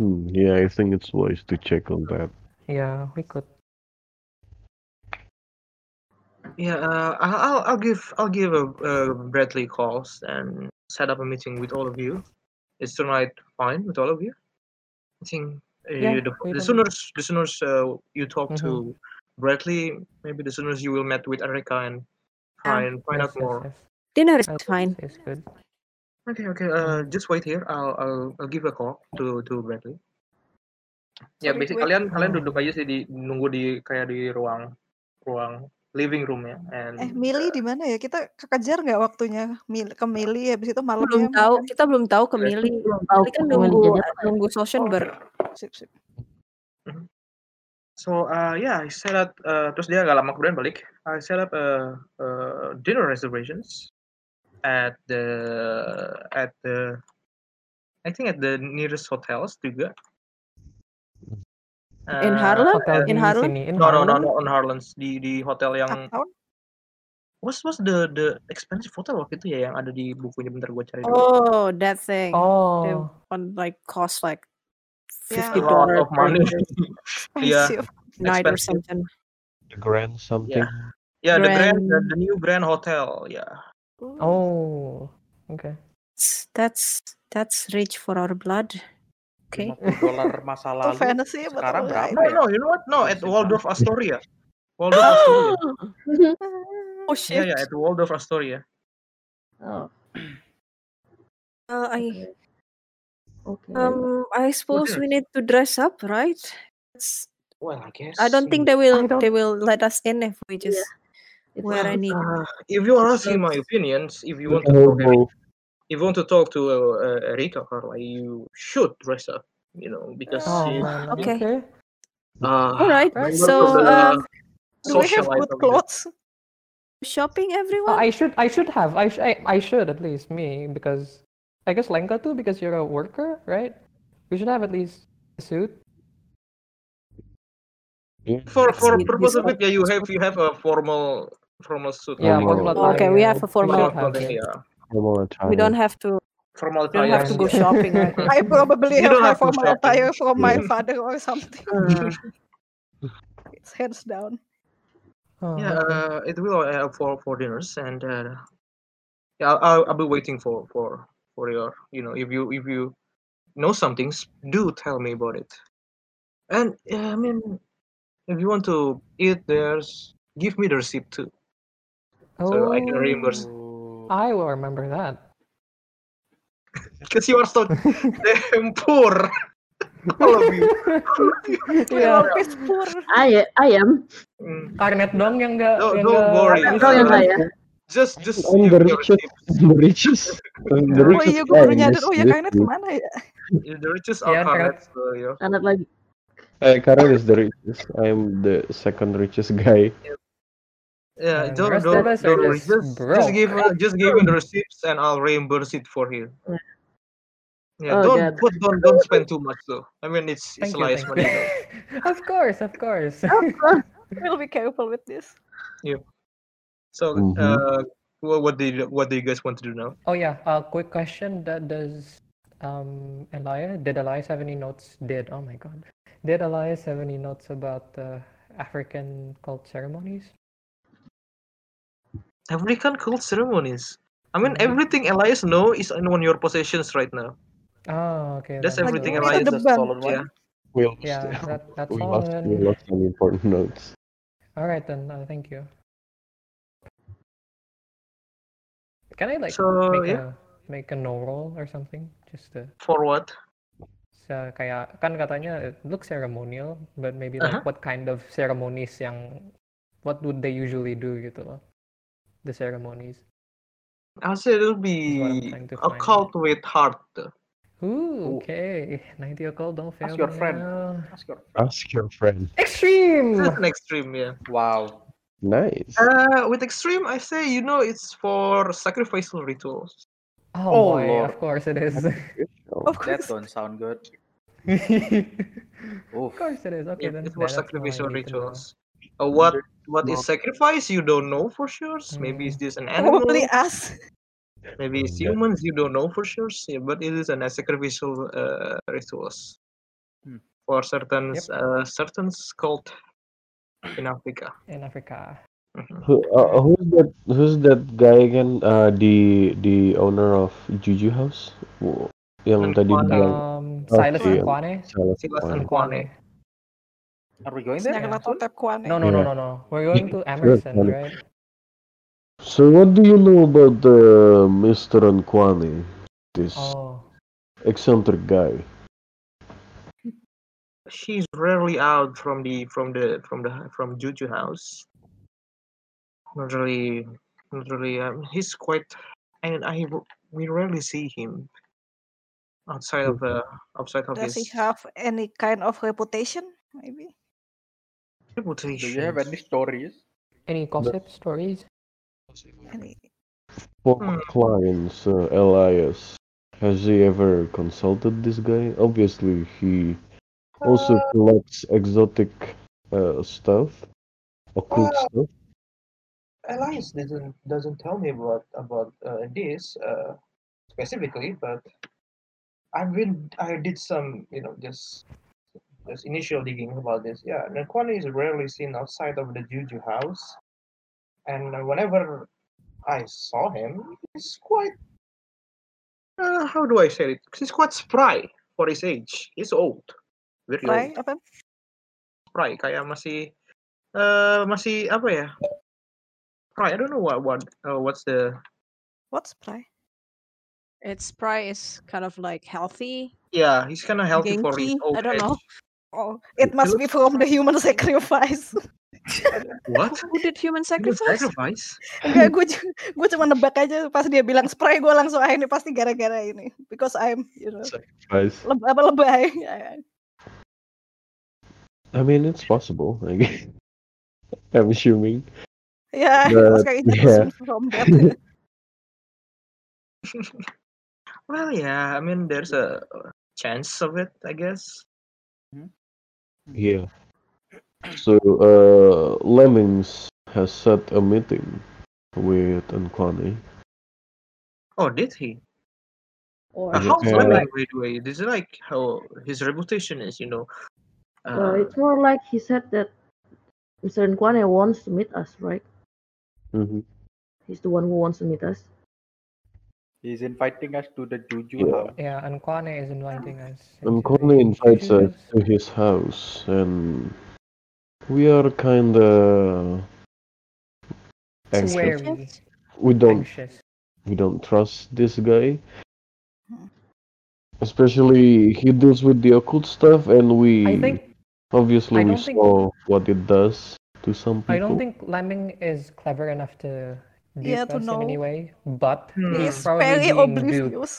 Hmm, yeah, I think it's wise to check on that. Yeah, we could. Yeah, uh, I- I'll I'll give I'll give a, uh Bradley calls and set up a meeting with all of you. Is tonight fine with all of you? I think uh, Yeah, the, we Mm-hmm. the don't- sooner the sooner uh, you talk to Bradley, maybe the sooner you will meet with Erica and try and find Ah, Yes, out yes, more. yes. Dinner is I think fine. It's good. Okay, okay. Uh, Mm-hmm. just wait here. I'll I'll I'll give a call to to Bradley. Ya, Sorry, basic gue- kalian kalian Oh. duduk aja sih di nunggu di kayak di ruang ruang living room ya. And Eh, Mili di mana ya? Kita kekejar nggak waktunya Mil- ke Mili habis itu malamnya Belum tahu, makan. kita belum tahu ke Oke. Mili. Iya, belum tahu Mili kan mau nunggu jadi apa nunggu Oh, Soshenberg. Sip, sip. so uh, yeah, I set up uh, terus dia agak lama kemudian balik. I set up a, a dinner reservations at the at the I think at the nearest hotels juga. In Uh, Harlem? Hotel In di Harlem? sini, in No, no, no, Harlem. no, on Harlem di di hotel yang Uptown? what's what's the the expensive hotel waktu itu ya yang ada di bukunya bentar gue cari dulu. Oh, that thing. They Oh, on like cost like Yeah. fifty A lot dollar of per money. [laughs] yeah, Expensive. night or Expensive. something. The Grand something. Yeah, the grand, the, Grand- the new Grand Hotel. Yeah, Ooh. oh. Okay. That's- That's that's rich for our blood. Okay. 50 dolar [laughs] masa Itu lalu fantasy betul sekarang ya. berapa No, ya? no, you know what? No, at Waldorf Astoria. Waldorf Astoria. [laughs] Oh Yeah, shit. yeah, at Waldorf Astoria. Oh, Uh, I okay. Okay. um I suppose we need to dress up, right? It's- Well, I guess. I don't think they will don't- they will let us in if we just It's wear not- any. Uh, if you are asking my opinions, if you want to talk, Oh. if you want to talk to uh, uh, Rika, Carla, you should dress up. You know, because Oh she's man. Okay. uh, All right. member of So the uh, Do we have good socialite of the- clothes? shopping, Oh, everyone. I should I should have I, sh- I I should at least me because I guess Lenka too because you're a worker right. We should have at least a suit. For for Yes, purpose of yes. it, yeah, you have you have a formal formal suit. Yeah, Formal. formal Okay, attire, we yeah. have a formal formal should have clothing, it. yeah. we don't have to Formal we don't have to attire. go shopping [laughs] right now. I probably Oh, iya, You have don't my formal have to shop, yeah. attire from my Yeah. father or [laughs] something. Uh, It's hands down. Oh, Yeah, okay. uh, it will uh, for for dinners and uh, yeah, I'll, I'll I'll be waiting for for for your you know if you if you know something, s- do tell me about it. And yeah, I mean, if you want to eat there's give me the receipt too, so I Oh, can reimburse. I will remember that. Oh. [laughs] Because you are [laughs] so damn poor, [laughs] all of [laughs] you. [laughs] yeah. It's poor. I I am. Mm. Karnet dong yang enggak Don't- yang don't enggak- worry. apa- Kau yang Alright. saya. Just just I'm give the me your richest, receipt. the richest, I'm [laughs] the Oh richest iya, gue guy baru in nyadar. this Oh iya, this kayaknya group. kemana ya? The riches Yeah, are karena- carrots, so yeah. Anak lagi. Uh, Karen is the richest. I'm the second richest [laughs] guy. Yeah, And the don't rest of don't, us are don't worry. just Just just broke. give uh, just give me the receipts and I'll reimburse it for you. Yeah. Yeah, Oh, don't God. but don't don't spend too much though. I mean it's Thank it's you, Elias thank money you. though. of course, of course. [laughs] We'll be careful with this. So Mhm. uh, what, what do you, what do you guys want to do now? oh yeah, uh, quick question. That does um Elias did Elias have any notes? Did oh my god. Did Elias have any notes about uh, African cult ceremonies? African cult ceremonies. I mean Mhm. everything Elias know is in on your possessions right now. Oh, okay. That's then, Lagi everything so- pun itu Elias. The deban. stolen one. Yeah. We lost. Yeah, that that's [laughs] we all lost. We then. lost some important notes. All right then. Uh, thank you. Can I like So, make yeah. a make a no roll or something? Just to For what? se kayak kan katanya it looks ceremonial, but maybe like Uh-huh. what kind of ceremonies yang what would they usually do gitu loh. The ceremonies. I said it'll what I'm be trying to a find. cult with heart. Ooh, Ooh. okay. 90 occult, don't fail Oh. Ask your me friend. now. Ask your friend. Ask your friend. That's Extreme. an extreme, yeah. Wow. Nice. Uh, with extreme, I say you know it's for sacrificial rituals. Oh, Oh, boy, Lord. of course it [laughs] is. Of That course. don't sound good. of Oof. course it is. Okay, Yeah, then it yeah, was that's all I sacrificial need to know. rituals. Uh, what what is sacrifice? You don't know for sure. Maybe Hmm. is this an animal? Probably us. Maybe it's Yeah. humans. You don't know for sure. Yeah, but it is an uh, sacrificial uh, rituals Hmm. for certain Yep. uh, certain cult in Africa. In Africa. Mm-hmm. Mhm. Who, uh, who's that? Who's that guy again? Uh, the the owner of Juju House, Wo- yang tadi Nkwane. bilang Um, Oh, Silas iya. Nkwane. salah Silas one. Nkwane. Nkwane. Are we going there? Yeah. Nyakla totep kuane. No, no, no, Yeah. no, no. We're going to Sure, Emerson, Kwame. right? So what do you know about uh, Mr. Anquani, this Oh. eccentric guy? She's rarely out from the from the from the from Juju house. Not really, not really. Um, he's quite, and I we rarely see him outside of uh, outside of Does his he have any kind of reputation? Maybe. Do you have any reputation. stories? Any gossip stories? Any. For Hmm. clients, uh, Elias, has he ever consulted this guy? Obviously, he Uh. also collects exotic uh, stuff, occult Uh, stuff. Elias doesn't doesn't tell me about about uh, this uh, specifically, but I've been I did some you know just just initial digging about this. Yeah, Nakwana is rarely seen outside of the Juju house, and whenever I saw him, he's quite uh, how do I say it? He's quite spry for his age. He's old, very Right? old. Apa? Spry, kayak masih eh masih apa ya? Spry, I don't know what what uh, what's the What's spry? Its pride is kind of like healthy. yeah. He's kind of healthy for his Genki? old [laughs] I don't age. know. Oh, it must be from the human [laughs] sacrifice. What? Who did human Human sacrifice? sacrifice? Enggak, gue gue cuma nebak aja pas dia bilang spray gue langsung ah ini pasti gara-gara ini because I'm you know Guys, leb apa lebay. [laughs] I mean it's possible. I guess. [laughs] I'm assuming. [laughs] [laughs] Ya, But, Oscar itu yeah. from that. [laughs] Well, yeah. I mean, there's a uh, chance of it, I guess. [laughs] Yeah. So uh, Lemmings has set a meeting with Nkwane. Oh, did he? Or Uh, how's Yeah. Lemming, by the way? This is like how his reputation is, you know. well, Uh, it's more like he said that Mr. Nkwane wants to meet us, right? Mm-hmm. He's the one who wants to meet us. He's inviting us to the Juju Yeah. Mm. house. Yeah, and Kwane is inviting us. into Nkwane his invites us house. to his house, and we are kinda anxious. Wary, We don't anxious. we don't trust this guy. Hmm. Especially he deals with the occult stuff, and we I think I obviously we don't think- saw what it does to some people. I don't think Lemming is clever enough to dupe Yeah, to us in any know. way, but Hmm. He's probably very being oblivious.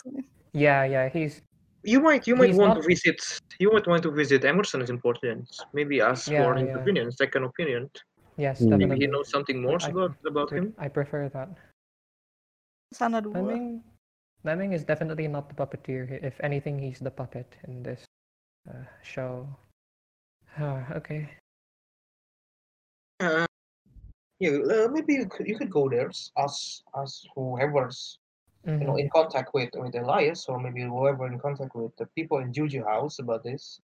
yeah, yeah, he's you might you might He's want not- to visit you might want to visit Emerson's importance. Maybe ask for Yeah, his yeah. opinion, second opinion. yes, Hmm. Maybe definitely. he knows something more I- about about Would- him. I prefer that. Sana dua. Lemming, Lemming is definitely not the puppeteer. He- If anything, he's the puppet in this uh, show. [sighs] Ah, okay. Uh, yeah, uh, maybe you could, you could go there, s- ask ask whoever's you know Mhm. in contact with with Elias or maybe whoever in contact with the people in Juju House about this.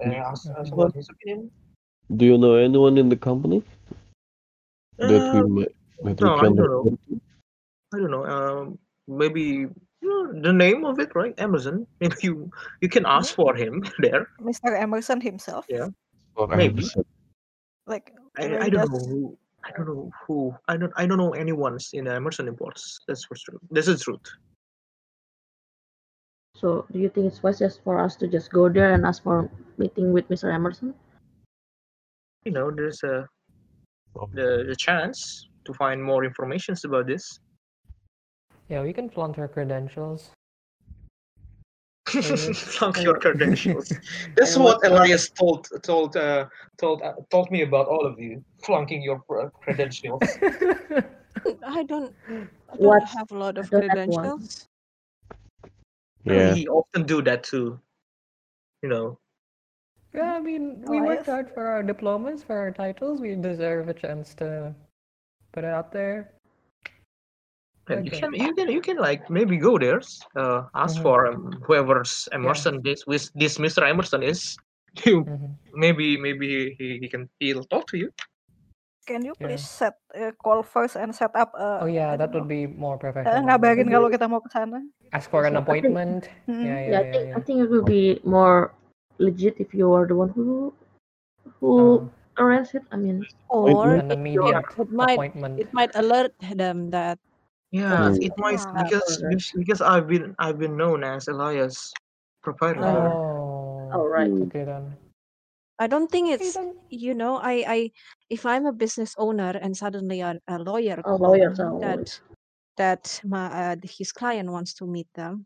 Uh, ask, ask Mhm. about his opinion. Do you know anyone in the company that we Uh, might no, that we I can don't know. report to? I don't know. Um, maybe uh, the name of it, right? Amazon. [laughs] Maybe you you can ask for him [laughs] there. Mr. Emerson himself. Yeah. Or Maybe. Amazon? Like you know, I, I he don't does- know who I don't know who I don't I don't know anyone's in Emerson imports. That's for sure. This is truth. So, do you think it's wise just for us to just go there and ask for meeting with Mr. Emerson? You know, there's a Oh, the, the chance to find more informations about this. Yeah, we can flaunt her credentials. Really? Flunk your credentials. That's what Elias told told uh, told uh, told me about all of you flunking your pr- credentials. I don't. I don't What? have a lot of don't have one. credentials. Yeah. He often do that too. You know. yeah, I mean, we Elias. worked hard for our diplomas, for our titles. We deserve a chance to put it out there. And you Okay. can you can you can like maybe go there, uh, ask Mhm. for um, whoever's Emerson this with this Mr. Emerson is. [laughs] You Mhm. maybe maybe he, he can he'll talk to you. Can you Yeah. please set a call first and set up a Ya. Oh yeah, I that don't would be more know, eh, professional. ngabarin kalau kita mau ke sana. Ask for I an think- [laughs] appointment. Hmm. Yeah, Mm-hmm. Yeah, yeah, I yeah, think I yeah. think it will be more legit if you are the one who Oh. who arranged it. I mean, Or an it, immediate it might appointment. it might alert them that Yeah, Mm. it might Ah. because be- Alright. because I've been I've been known as Elias proprietor. Oh. all right. Okay then. I don't think Okay it's then. you know I I if I'm a business owner and suddenly a, a lawyer Oh, called lawyers are always. that that my uh, his client wants to meet them,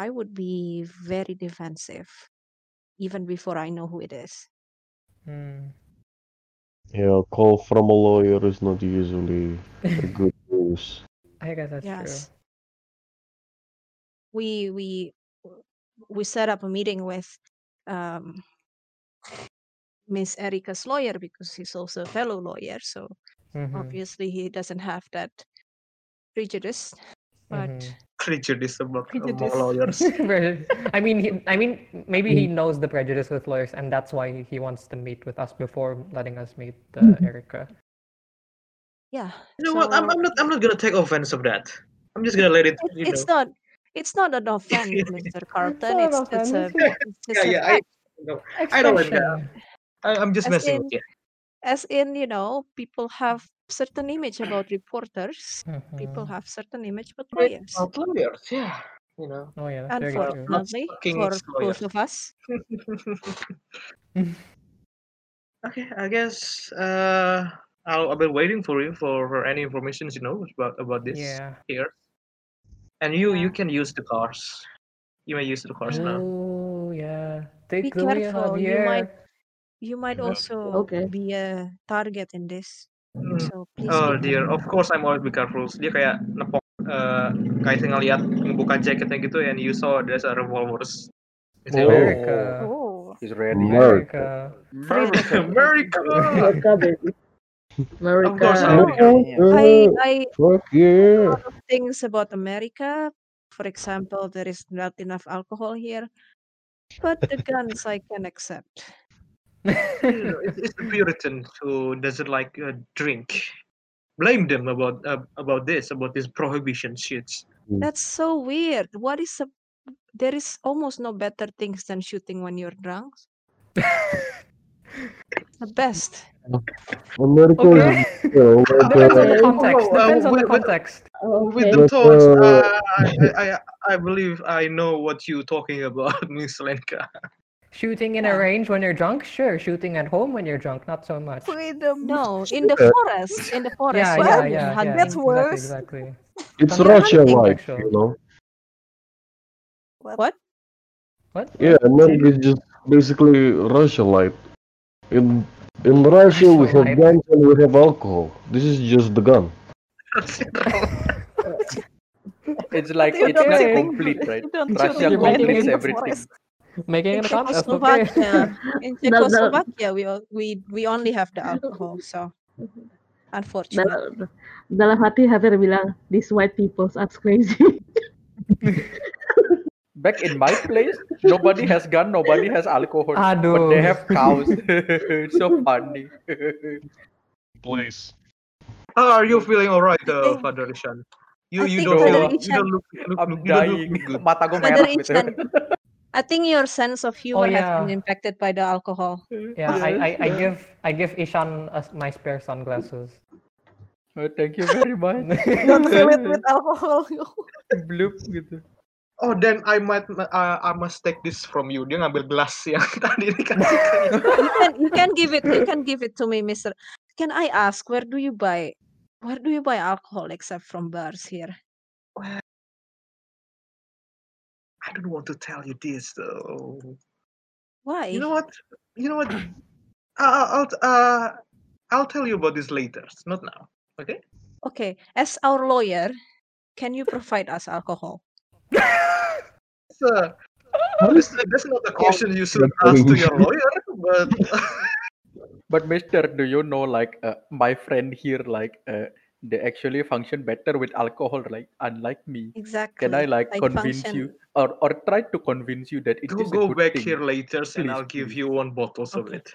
I would be very defensive, even before I know who it is. Hmm. Yeah, a call from a lawyer is not usually [laughs] a good news. I guess that's Yes. we we w- we set up a meeting with um miss erica's lawyer because he's also a fellow lawyer so true. Mm-hmm. Mhm, obviously he doesn't have that prejudice but Mm-hmm. mhm. Prejudice about Prejudice. among [laughs] [laughs] lawyers. Very- I mean, he, I mean, maybe he Mm. knows the prejudice with lawyers, and that's why he- he wants to meet with us before letting us meet uh, Mm-hmm. Erica. yeah You know what? I'm, so I'm not I'm not gonna take offense of that. I'm just gonna let it. it- You know. it's not It's not [laughs] an offense, Mr. Carlton. It's, not an it's a, offense. it's just a yeah, I- fact. I don't like Expression. I, I'm just As messing in- with you. As in, you know, people have certain image about reporters. People Mhm. have certain image about lawyers. Not lawyers, yeah. You know. Oh yeah, that's very true. Not Unfortunately, fucking for it's both lawyers. of us. Okay, I guess uh, I'll, I'll be waiting for you for, for any information you know about about this Yeah. here. And you you Yeah. can use the cars. You may use the cars now. Oh yeah. Take Be the wheel, careful, you Javier. might- You might Yeah. also Okay. be a target in this. Mm. So please Oh be dear, of course I'm always be careful. Dia kayak nepok, uh, kayak ngeliat ngebuka jaketnya gitu, and you saw there's a revolvers. It's Oh. a- America. Oh, He's ready. America. [laughs] America! America, baby. America. course, I will. I, I Fuck yeah. things about America. For example, there is not enough alcohol here, but the guns I can accept. You know, it's, it's the Puritan who doesn't like uh, drink. Blame them about uh, about this, about this prohibition shit. That's so weird. What is a there is almost no better things than shooting when you're drunk. the best. America Okay. is you know, like, Depends Okay. on the context. Depends on Oh, uh, the with- with- context. Oh. With Okay. the But, thoughts, uh, uh, I, I, I I believe I know what you're talking about, [laughs] Miss Lenka. Shooting in a range when you're drunk, sure. Shooting at home when you're drunk, not so much. freedom. No, in the Yeah. forest. In the forest. Yeah, when yeah, you're yeah, yeah. hunting. That's exactly, worse. Exactly. it's Something Russia hunting, like, actually. you know. What? What? Iya, Yeah, America is just basically Russia like. In in Russia we have Russia-lite. guns and we have alcohol. This is just the gun. It's like You it's don't not shoot- [laughs] complete, right? You don't Russia shoot completes in the everything. forest. Making In it a contest, okay. Czechoslovakia, in No, no. Czechoslovakia, we al- we we only have the alcohol. So, unfortunately, Dalam, dalam hati Javier bilang, these white peoples are crazy. Back in my place, nobody has gun, nobody has alcohol, but Aduh. they have cows. [laughs] it's so funny. Place. How are you feeling, alright, uh, think- Father Ishan? I You you think don't Father feel you Ishan- don't look, look, I'm look, you don't dying. look good. Mata gue Father merah gitu. Ishan, I think your sense of humor has been Oh, yeah. impacted by the alcohol. [laughs] Yeah, I, I, I Yes. give I give Ishan a, my spare sunglasses. Oh, thank you very [laughs] much. Don't fill it with [laughs] alcohol. Bloop gitu. Oh, then I might uh, I must take this from you. Dia ngambil gelas [laughs] yang tadi dikasih ke You can you can give it you can give it to me, Mister. Can I ask where do you buy where do you buy alcohol except from bars here? I don't want to tell you this though. Why? You know what? You know what? I'll I'll uh, I'll tell you about this later. Not now. Okay. Okay, as our lawyer, can you provide us [laughs] alcohol? It's, uh, this, that's Oh, not a question you should you're ask to doing. your [laughs] lawyer, but But Mister, do you know like uh, my friend here like uh, they actually function better with alcohol, like unlike me. Exactly. Can I like convince function- you or or try to convince you that it is go a go good back thing? here later, and Please, I'll give please. you one bottle of Okay. it.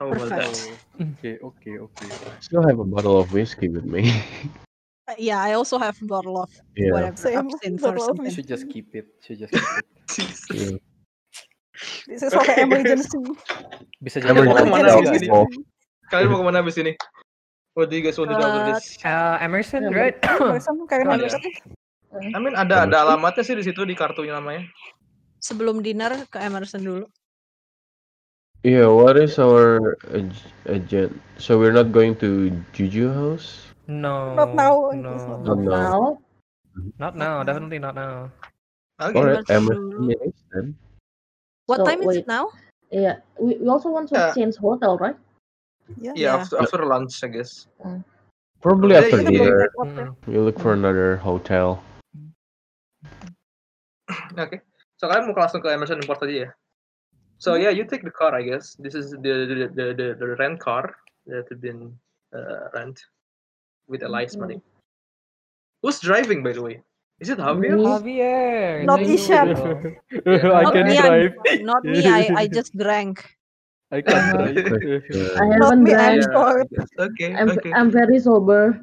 How about that? Perfect. Okay, okay, okay. Still have a bottle of whiskey with me. [laughs] Uh, Yeah, I also have a bottle of yeah. whatever Same, absinthe or bottle of something. Should just keep it. Should just keep it. [laughs] Jesus. yeah. This is for [laughs] the [laughs] emergency. Bisa jadi Kalian mau alcohol kemana juga. abis ini? alcohol. Kalian mau kemana abis ini? What do you guys want to do after Uh, this? Uh, Yeah, Emerson, right? Barusan kalian Iya. habis Uh, I mean ada ada alamatnya sih di situ di kartunya namanya. Sebelum dinner ke Emerson dulu. Yeah, what is our ag- agenda? So we're not going to Juju house? no. Not now, it is No. not Not now. Now, Not now. Definitely not now. Oke. Alright, Emerson Emerson dulu. it is then. [laughs] What So, time is wait. it now? yeah, we, we also want to Yeah. change hotel, right? Ya. Hmm. Yeah, Yeah. after after lunch I guess. Probably Yeah, after yeah, Kita belum dinner, Mm. cek hotel. Mm-mm. we look for another hotel. Oke. So kalian mau langsung ke Emerson Import aja ya? So yeah, you take the car I guess. This is the the the the, the rent car that had been uh, rent with Elias money. Who's driving by the way? Is it Javier? Me. Javier. Not there you Ishan. go. I Not can me, I'm- drive. Not me, I, I just drank. I can Uh-huh. drive. I Uh, Not haven't me, I'm drank. Yeah, sorry. I guess. Okay, Mm-hmm. I'm okay. I'm very sober.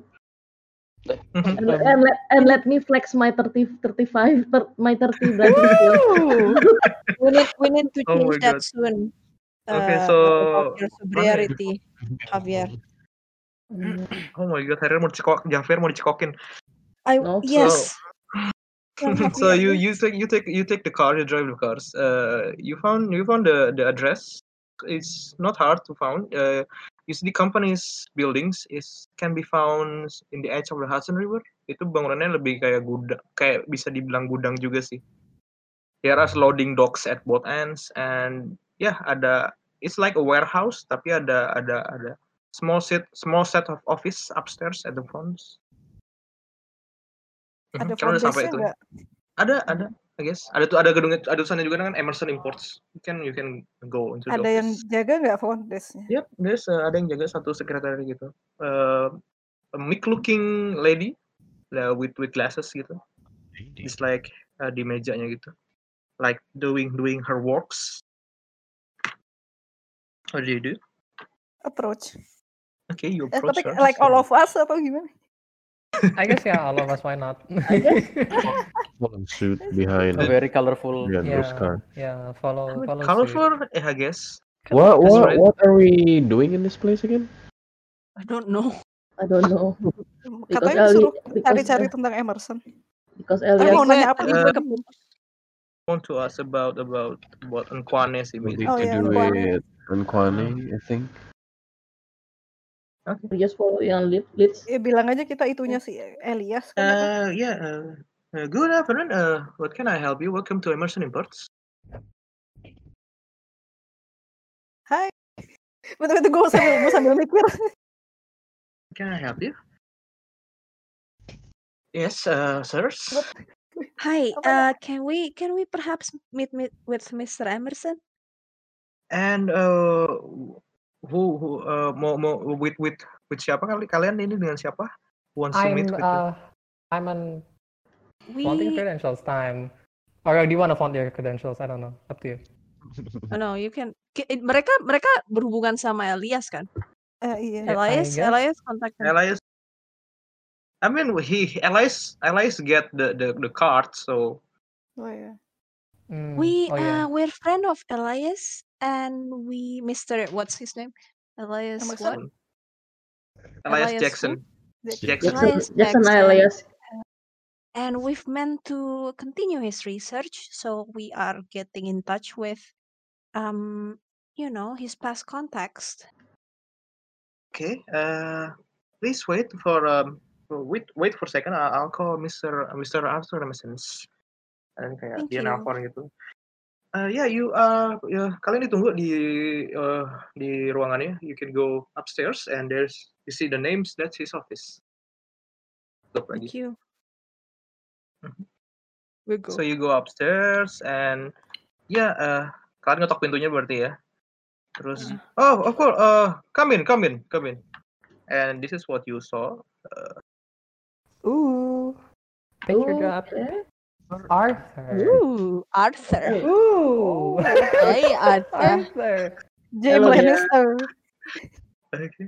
And, [laughs] and let, and let me flex my 30, 35, thir- my [laughs] 30 blood we need we need to Oh change my that God. soon. Okay, uh, so- about your sobriety, Javier. Mm-hmm. Oh my god, akhirnya mau dicekok, Javier mau dicekokin. I No. yes. [laughs] so you you take you take you take the car, you drive the cars. Uh, you found you found the the address. It's not hard to find. Uh, you see the company's buildings is can be found in the edge of the Hudson River. Itu bangunannya lebih kayak gudang, kayak bisa dibilang gudang juga sih. There are loading docks at both ends and yeah ada it's like a warehouse tapi ada ada ada small set small set of office upstairs at the front. Mhm, Ada karena udah sampai foundersnya itu. nggak? Ada, ada. I guess. Ada tuh ada gedung ada tulisannya juga kan Emerson Imports. You can you can go into the Ada yang office. jaga nggak foundersnya? Yep, there's uh, ada yang jaga satu sekretari gitu. Uh, a meek looking lady uh, with with glasses gitu. It's like uh, di mejanya gitu. Like doing doing her works. What do you do? Approach. Okay, you Eh, approach tapi her. like all of us atau gimana? I guess yeah, all of us. Why not? [laughs] One suit A behind it. very colorful. Leandro's yeah, car. yeah. Uh, Follow, follow suit. Colorful, eh, I guess. That's What what right. what are we doing in this place again? I don't know. I don't know Because Hmm, Katanya disuruh Ellie- because- cari-cari tentang Emerson. because uh, Tapi Elia mau Gue- nanya apa? eh, Gue kepo. Want to ask about about about Nkwane sih. Something Oh, to yeah, do Nkwane. with Nkwane, I think. we just follow yang lead, leads Ya, bilang aja kita itunya si Elias kan apa? Uh, yeah. Uh, uh, good afternoon. Uh, what can I help you? Welcome to Emerson Imports. Betul-betul gue sambil, gue sambil [laughs] mikir. Can I help you? Yes, uh, sirs. Hi, Apa ya? uh, can we can we perhaps meet, meet with Mr. Emerson? And uh, who who uh, mau mau with with with siapa kali kalian ini dengan siapa? Who wants to I'm meet with you? uh, I'm on We flaunting credentials time. Or do you want to flaunt your credentials? I don't know. Up to [laughs] you. oh, no, you can. Ki- it- Mereka mereka berhubungan sama Elias kan? Eh, iya. Eh, I Elias, guess. Elias kontak. kan? Elias. I mean, he Elias Elias get the the the card. So Oh, iya. Hmm. Mm, We oh yeah. uh, we're friend of Elias and we Mr. What's his name? Elias Emerson? what? Elias, Elias Jackson. Jackson. Jackson, Elias Jackson Jackson. Elias uh, And we've meant to continue his research, so we are getting in touch with, um, you know, his past contacts. Okay. Uh, please wait for um for- wait wait for a second. I- I'll call Mr. Mr. Arthur Emerson's. Dan kayak Thank dia you. nelfon gitu. Uh, yeah, you uh, ya, kalian ditunggu di uh, di ruangannya. You can go upstairs and there's you see the names. That's his office. Tutup Thank lagi. you. Mhm. We go. So you go upstairs and yeah, uh, kalian ngetok pintunya berarti ya. Terus Hmm. oh of course, uh, come in, come in, come in. And this is what you saw. Uh, Picture drop. Okay. Arthur. Ooh, Arthur. Oh, Ooh. Hey, Arthur. Arthur. Jaime Hello, Lannister. Okay.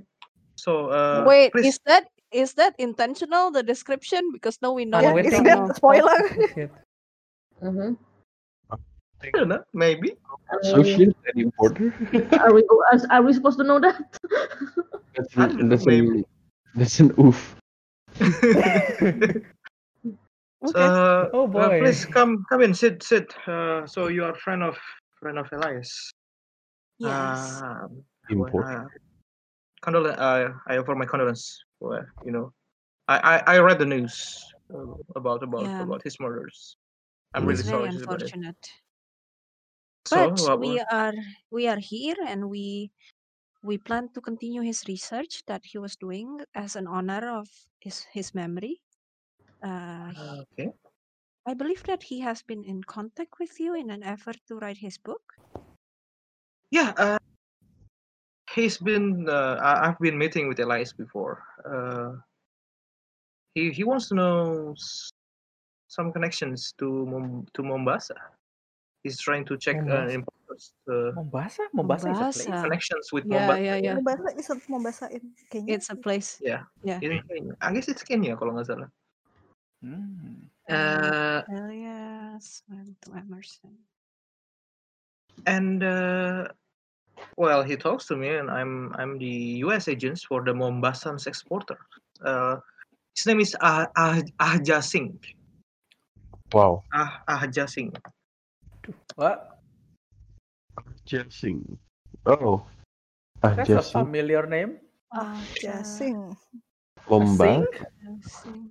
So uh, Wait, please is that is that intentional the description? Because now we know I'm Yeah, what is we waiting. that know. spoiler? Oh, [laughs] shit. Mhm. I don't know, maybe. I Some mean, shit Eddie Porter. are we are, are we supposed to know that? That's I don't an, know, that's an, that's an oof. So, Okay. Oh, uh, please boy. come come in, sit, sit. Uh, so you are friend of friend of Elias. Yes. Um, well, uh, Important. condol- uh, I offer my condolence. Well, you know, I, I, I read the news uh, about about Yeah. about his murders. I'm really Mm. It's very sorry about it. unfortunate. So, But what we was- are we are here and we we plan to continue his research that he was doing as an honor of his his memory. Uh, he- uh, okay. I believe that he has been in contact with you in an effort to write his book. Yeah, uh, he's been. Uh, I, I've been meeting with Elias before. Uh, he he wants to know s- some connections to Mom- to Mombasa. He's trying to check an Mombasa. important first uh, Mombasa, Mombasa, is a place. Mombasa. connections with Yeah, Mombasa. yeah, yeah. Mombasa is a Mombasain kayaknya. Iya, It's a place. Iya. Yeah. Yeah. Iya. Ini- ini- I guess it's Kenya kalau nggak salah. Mm. Hmm. Um, Uh, Elias went Oh, to Emerson. and uh, well, he talks to me, and I'm I'm the U.S. agents for the Mombasan's exporter. Uh, his name is ah ah Ahja Singh. Wow. Ah Ahja Singh. What? Jessing. Oh. Ah, That's a Jessing. familiar name. Ah, Iya. Jasing. Lomba. Singh?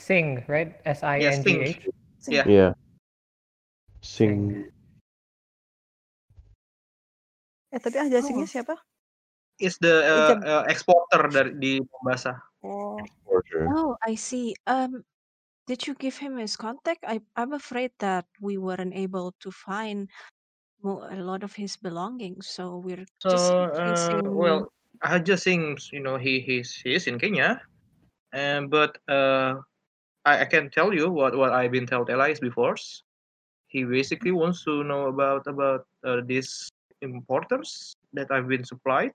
Sing, right? S I N G H. Yeah. Yeah. Sing. Eh tadi ah Oh. Jasingnya siapa? Is the uh, Ijab- uh, exporter dari di Mombasa. Oh, Order. Oh, I see. Um, did you give him his contact? I I'm afraid that we weren't able to find mo- a lot of his belongings, so we're So just uh, tracing. well, Ahja Singh, you know, he he's he is in Kenya, and but uh, I, I can tell you what what I've been told Elias before. He basically wants to know about about uh, these importers that I've been supplied,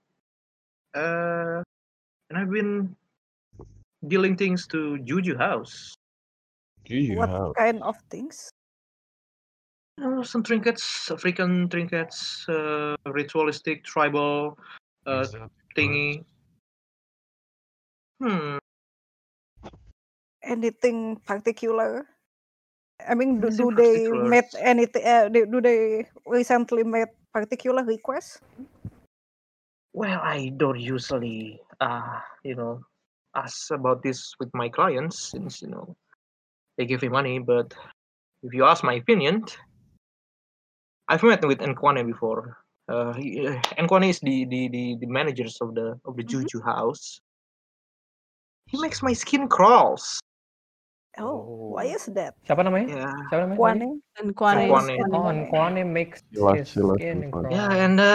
uh, and I've been dealing things to Juju House. Do you what have? kind of things? Uh, some trinkets, African trinkets, uh, ritualistic, tribal uh, Exotic thingy. Hmm. Anything particular? I mean, do, Anything do they particular? make anything? Uh, do, do they recently make particular requests? Well, I don't usually, uh, you know, ask about this with my clients since you know they give me money. But if you ask my opinion, I've met with Nkwane before. Uh, he- uh, Nkwane is the, the, the, the managers of the of the Mm-hmm. Mhm. Juju house. He makes my skin crawls. Oh, why Oh. is that? Siapa namanya? Yeah, Siapa namanya? tadi? Kwane. And Kwane. Kwane. Oh, Nkwane makes Jelas, his jelas, skin Nkwane. crawl. Ya, yeah, and uh,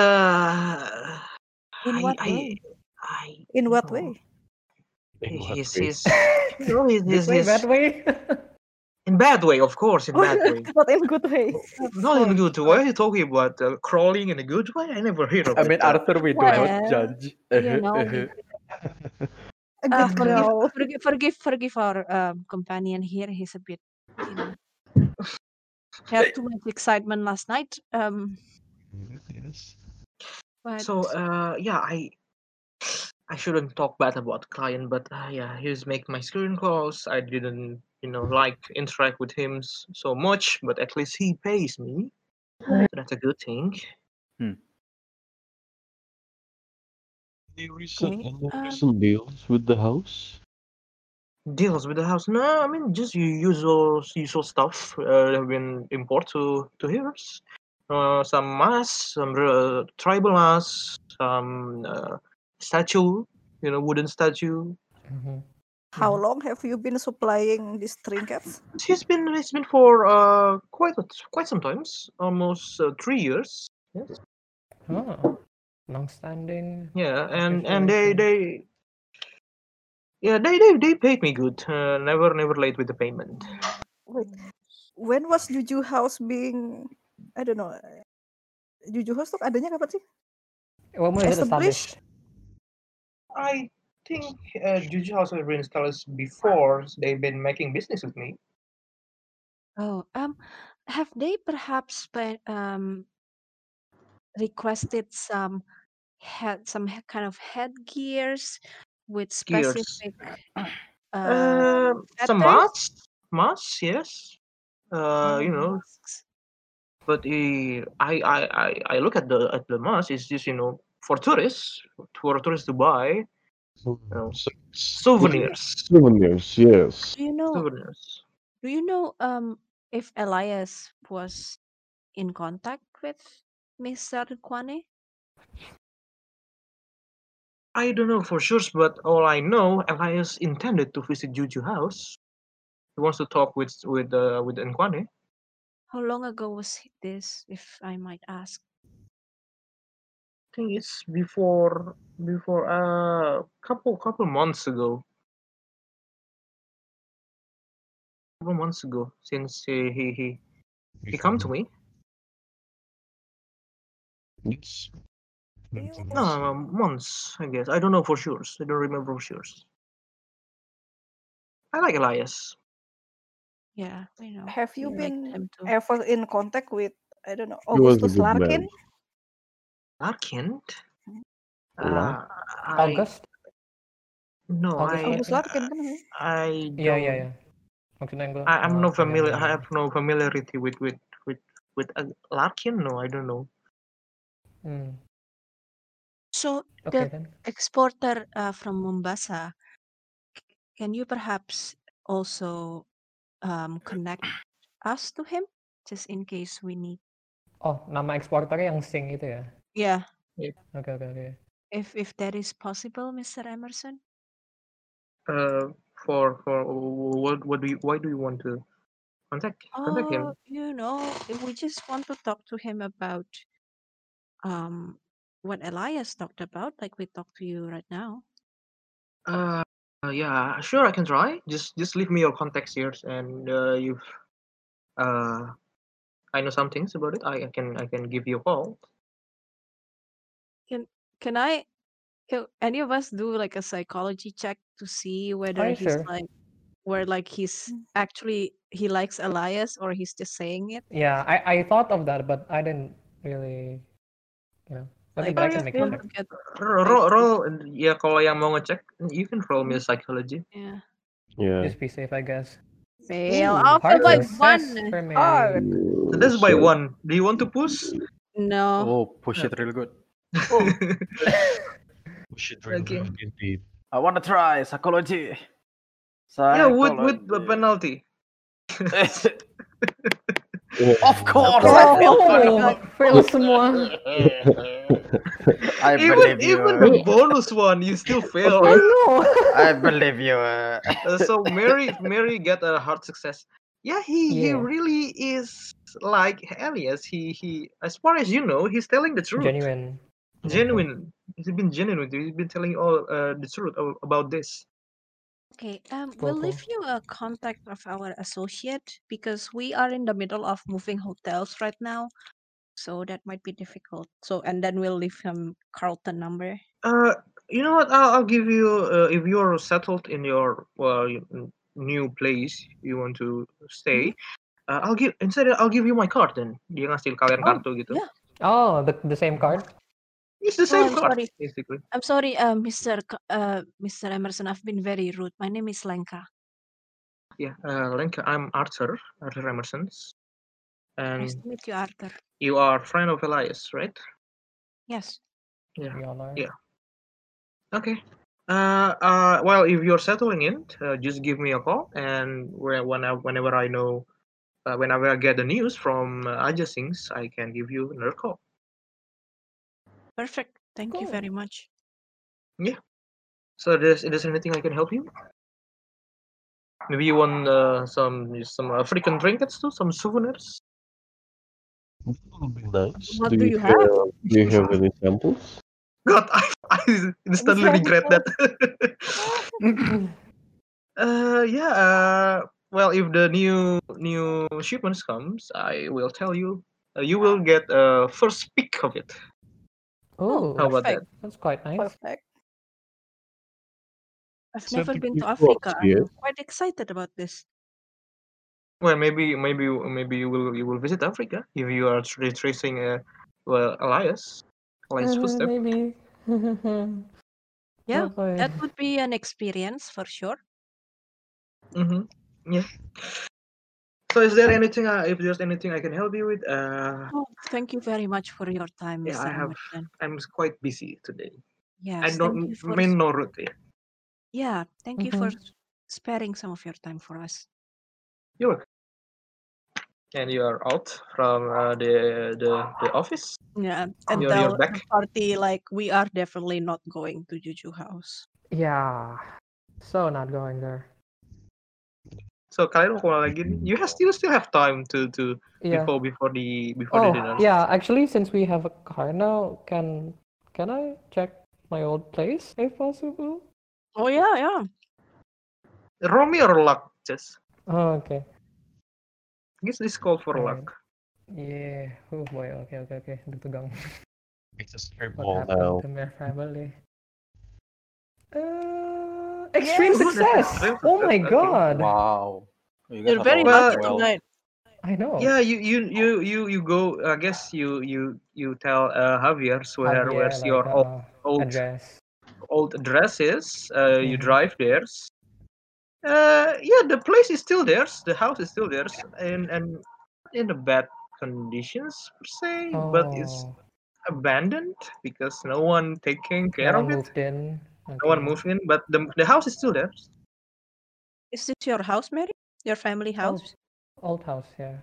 In I, what I, way? I, In you what know, [laughs] way? In what He's, way? he's, you know, he's, Good he's, way, he's bad way. [laughs] in bad way, of course, Oh, in bad way. Not in good way. Of Not in a course. good way. you talking about uh, crawling in a good way? I never heard of I it. mean, uh, Arthur, we do Well, not judge. Uh-huh, you know, A [laughs] [laughs] Uh, good forgive, girl. forgive, forgive, forgive our um, companion here. He's a bit, you know, [laughs] he had too much excitement last night. Um, yes. but so, uh, yeah, I I shouldn't talk bad about client, but uh, yeah, he was making my screen calls. I didn't, you know, like interact with him s- so much, but at least he pays me. So that's a good thing. Any recent, Okay, any um, recent deals with the house? Deals with the house? No, I mean just your usual usual stuff. Uh, have been import to to here. Uh, some masks, some uh, tribal masks, some uh, statue, you know, wooden statue. Mhm. How long have you been supplying these trinkets? She's been it's been for uh quite a, quite sometimes almost uh, three years. Yes. Oh, long-standing. Yeah, and Official and they reason. they yeah they they they paid me good. Uh, never never late with the payment. Wait, when was Juju House being? I don't know. uh, Juju House tuh adanya kapan sih? When was it Established? established? I think uh, Juju House has been installed before. They've been making business with me. oh, um, have they perhaps been, um requested some head, some he- kind of headgears with Gears. specific [clears throat] uh, Uh, feathers? some masks, masks, yes. Uh, Oh, you know, masks. but eh, I, I I I look at the at the mask. It's just you know for tourists for tourists to buy. Oh. So- souvenirs Souvenirs, yes. Do you know? souvenirs Do you know um if Elias was in contact with Mister Kwane? i don't know for sure but all i know elias intended to visit juju house he wants to talk with with uh, with Nkwane. How long ago was he- this, if I might ask? i think it's before before a uh, couple couple months ago couple months ago since he he he, he come to me Yes. No, months, I guess. I don't know for sure. I don't remember for sure. I like Elias. Yeah, we know. Have you we like been them too. ever in contact with I don't know He was a Augustus good man. Larkin? Larkin? Uh, Lar- I, August? No, August, I, Augustus Larkin kan? I Iya, iya, don't- iya. Maksudnya gue. I, I'm uh, no yang familiar. I di- have no familiarity with with with with uh, Larkin. No, I don't know. Hmm, So oke the then. exporter uh, from Mombasa, can you perhaps also um, connect us to him, just in case we need? Oh, nama eksporternya yang Sing itu ya? Yeah, Oke, oke, oke. if if that is possible, Mr. Emerson. Uh, for for what what do you why do you want to contact contact Oh, him? you know, we just want to talk to him about um what Elias talked about, like we talked to you right now. Uh, uh, yeah, sure, I can try. Just just leave me your contacts here, and uh, you've uh, I know some things about it. I, I can I can give you a call. Can I? Can any of us do like a psychology check to see whether Aye, he's sure. like, where like he's actually he likes Elias or he's just saying it? Yeah, I I thought of that, but I didn't really, you know. But Like, I Oh, can yeah, make yeah. a want to check. get Roll, roll, roll ya kalau yang mau ngecek, you can roll me psychology. yeah. yeah. Just be safe, I guess. fail. Ooh, I'll fail Hard by success one. for me. Hard. So that's by So- one. Do you want to push? No. Oh, push it real good. [laughs] Oh, We should really Okay. good indeed. I wanna try psychology. yeah, with with the penalty. Psychology. of course, I Oh, feel my good. God. fail semua. [laughs] I even believe even you. the uh, bonus one, you [laughs] still fail. I know. I believe you. Uh, so Mary Mary get a hard success. Yeah, he he Yeah. really is like Elias. He he as far as you know, he's telling the truth. Genuine. Okay. Genuine. He's been genuine with you. He's been telling you all uh, the truth a- about this. Okay. Um, Cool, we'll leave you a contact of our associate because we are in the middle of moving hotels right now, so that might be difficult. So, and then we'll leave him Carlton number. Uh, you know what? I'll, I'll give you uh, if you are settled in your well you- n- new place you want to stay. Uh, I'll give instead I'll give you my card then. Dia ngasih kalian Mm-hmm. Oh, kartu gitu. yeah. Oh, the the same card. It's the Oh, same I'm card sorry. basically. I'm sorry, uh, Mr. K- uh, Mr. Emerson. I've been very rude. My name is Lenka. Yeah. Uh, Link, I'm Arthur Arthur Emerson, Nice and to meet you, Arthur. you are friend of Elias, right? Yes. Yeah. We all are. Yeah. Okay. Uh, uh, well, if you're settling in, uh, just give me a call, and whe- when I, whenever I know, uh, whenever I get the news from uh, Ajay Singh's, I can give you another call. Perfect. Thank you Cool. very much. So, there's is there anything I can help you? [laughs] Maybe you want uh, some some African trinkets too, some souvenirs. [laughs] That would be nice. What do, do you you have? do you have any samples? God, I, I instantly regret [laughs] that. uh, yeah. Uh, well, if the new new shipments comes, I will tell you. Uh, you will get a uh, first pick of it. Oh, Oh, How about that? perfect. that's quite nice. perfect. I've never been to 72 Africa. plots, I'm yes. quite excited about this. Well, maybe, maybe, you- maybe you will you will visit Africa if you are tr- retracing uh, well, Elias, Elias' Uh, footsteps. maybe. Yeah, Lovely. that would be an experience for sure. hmm Yeah. So, is there anything? Uh, if there's anything I can help you with? Uh, Oh, thank you very much for your Oh, time, yeah, Mr. I have. Emerson. I'm s- quite busy today. I Yes, thank don't you for mean s- no route. Yeah. yeah, thank you for Mhm. s- sparing some of your time for us. You're welcome. And you are out from uh, the the the office. Yeah, and You're tell the you're back. party like we are definitely not going to Juju House. Yeah. Ah, So not going there. So kalian mau kemana lagi? nih? You have you still have time to to Yeah. before before the before the Oh, dinner. yeah. Actually, since we have a car now, can can I check my old place if possible? Oh yeah, yeah. Roll me or luck, just. Oh, okay. I guess this call for Alright. luck. Yeah. Oh boy. Okay, okay, okay. Udah tegang. It's a strip What mall happened now. to my family? Uh, extreme Yes. success! Extreme Oh my success, okay. god! Wow. Oh, You guys You're have very all Well- lucky done tonight. I know. Yeah, you you you you you go. I guess you you you tell uh, Javier where Javier, where's like, your old uh, old, address. old address is. Uh, You Mhm. drive theirs. Uh, yeah, the place is still theirs. The house is still theirs, and and in a bad conditions per se, Oh, but it's abandoned because no one taking care no of one it. moved in. No okay. one moved in, but the the house is still theirs. Is this your house, Mary? Your family house? Old house, yeah.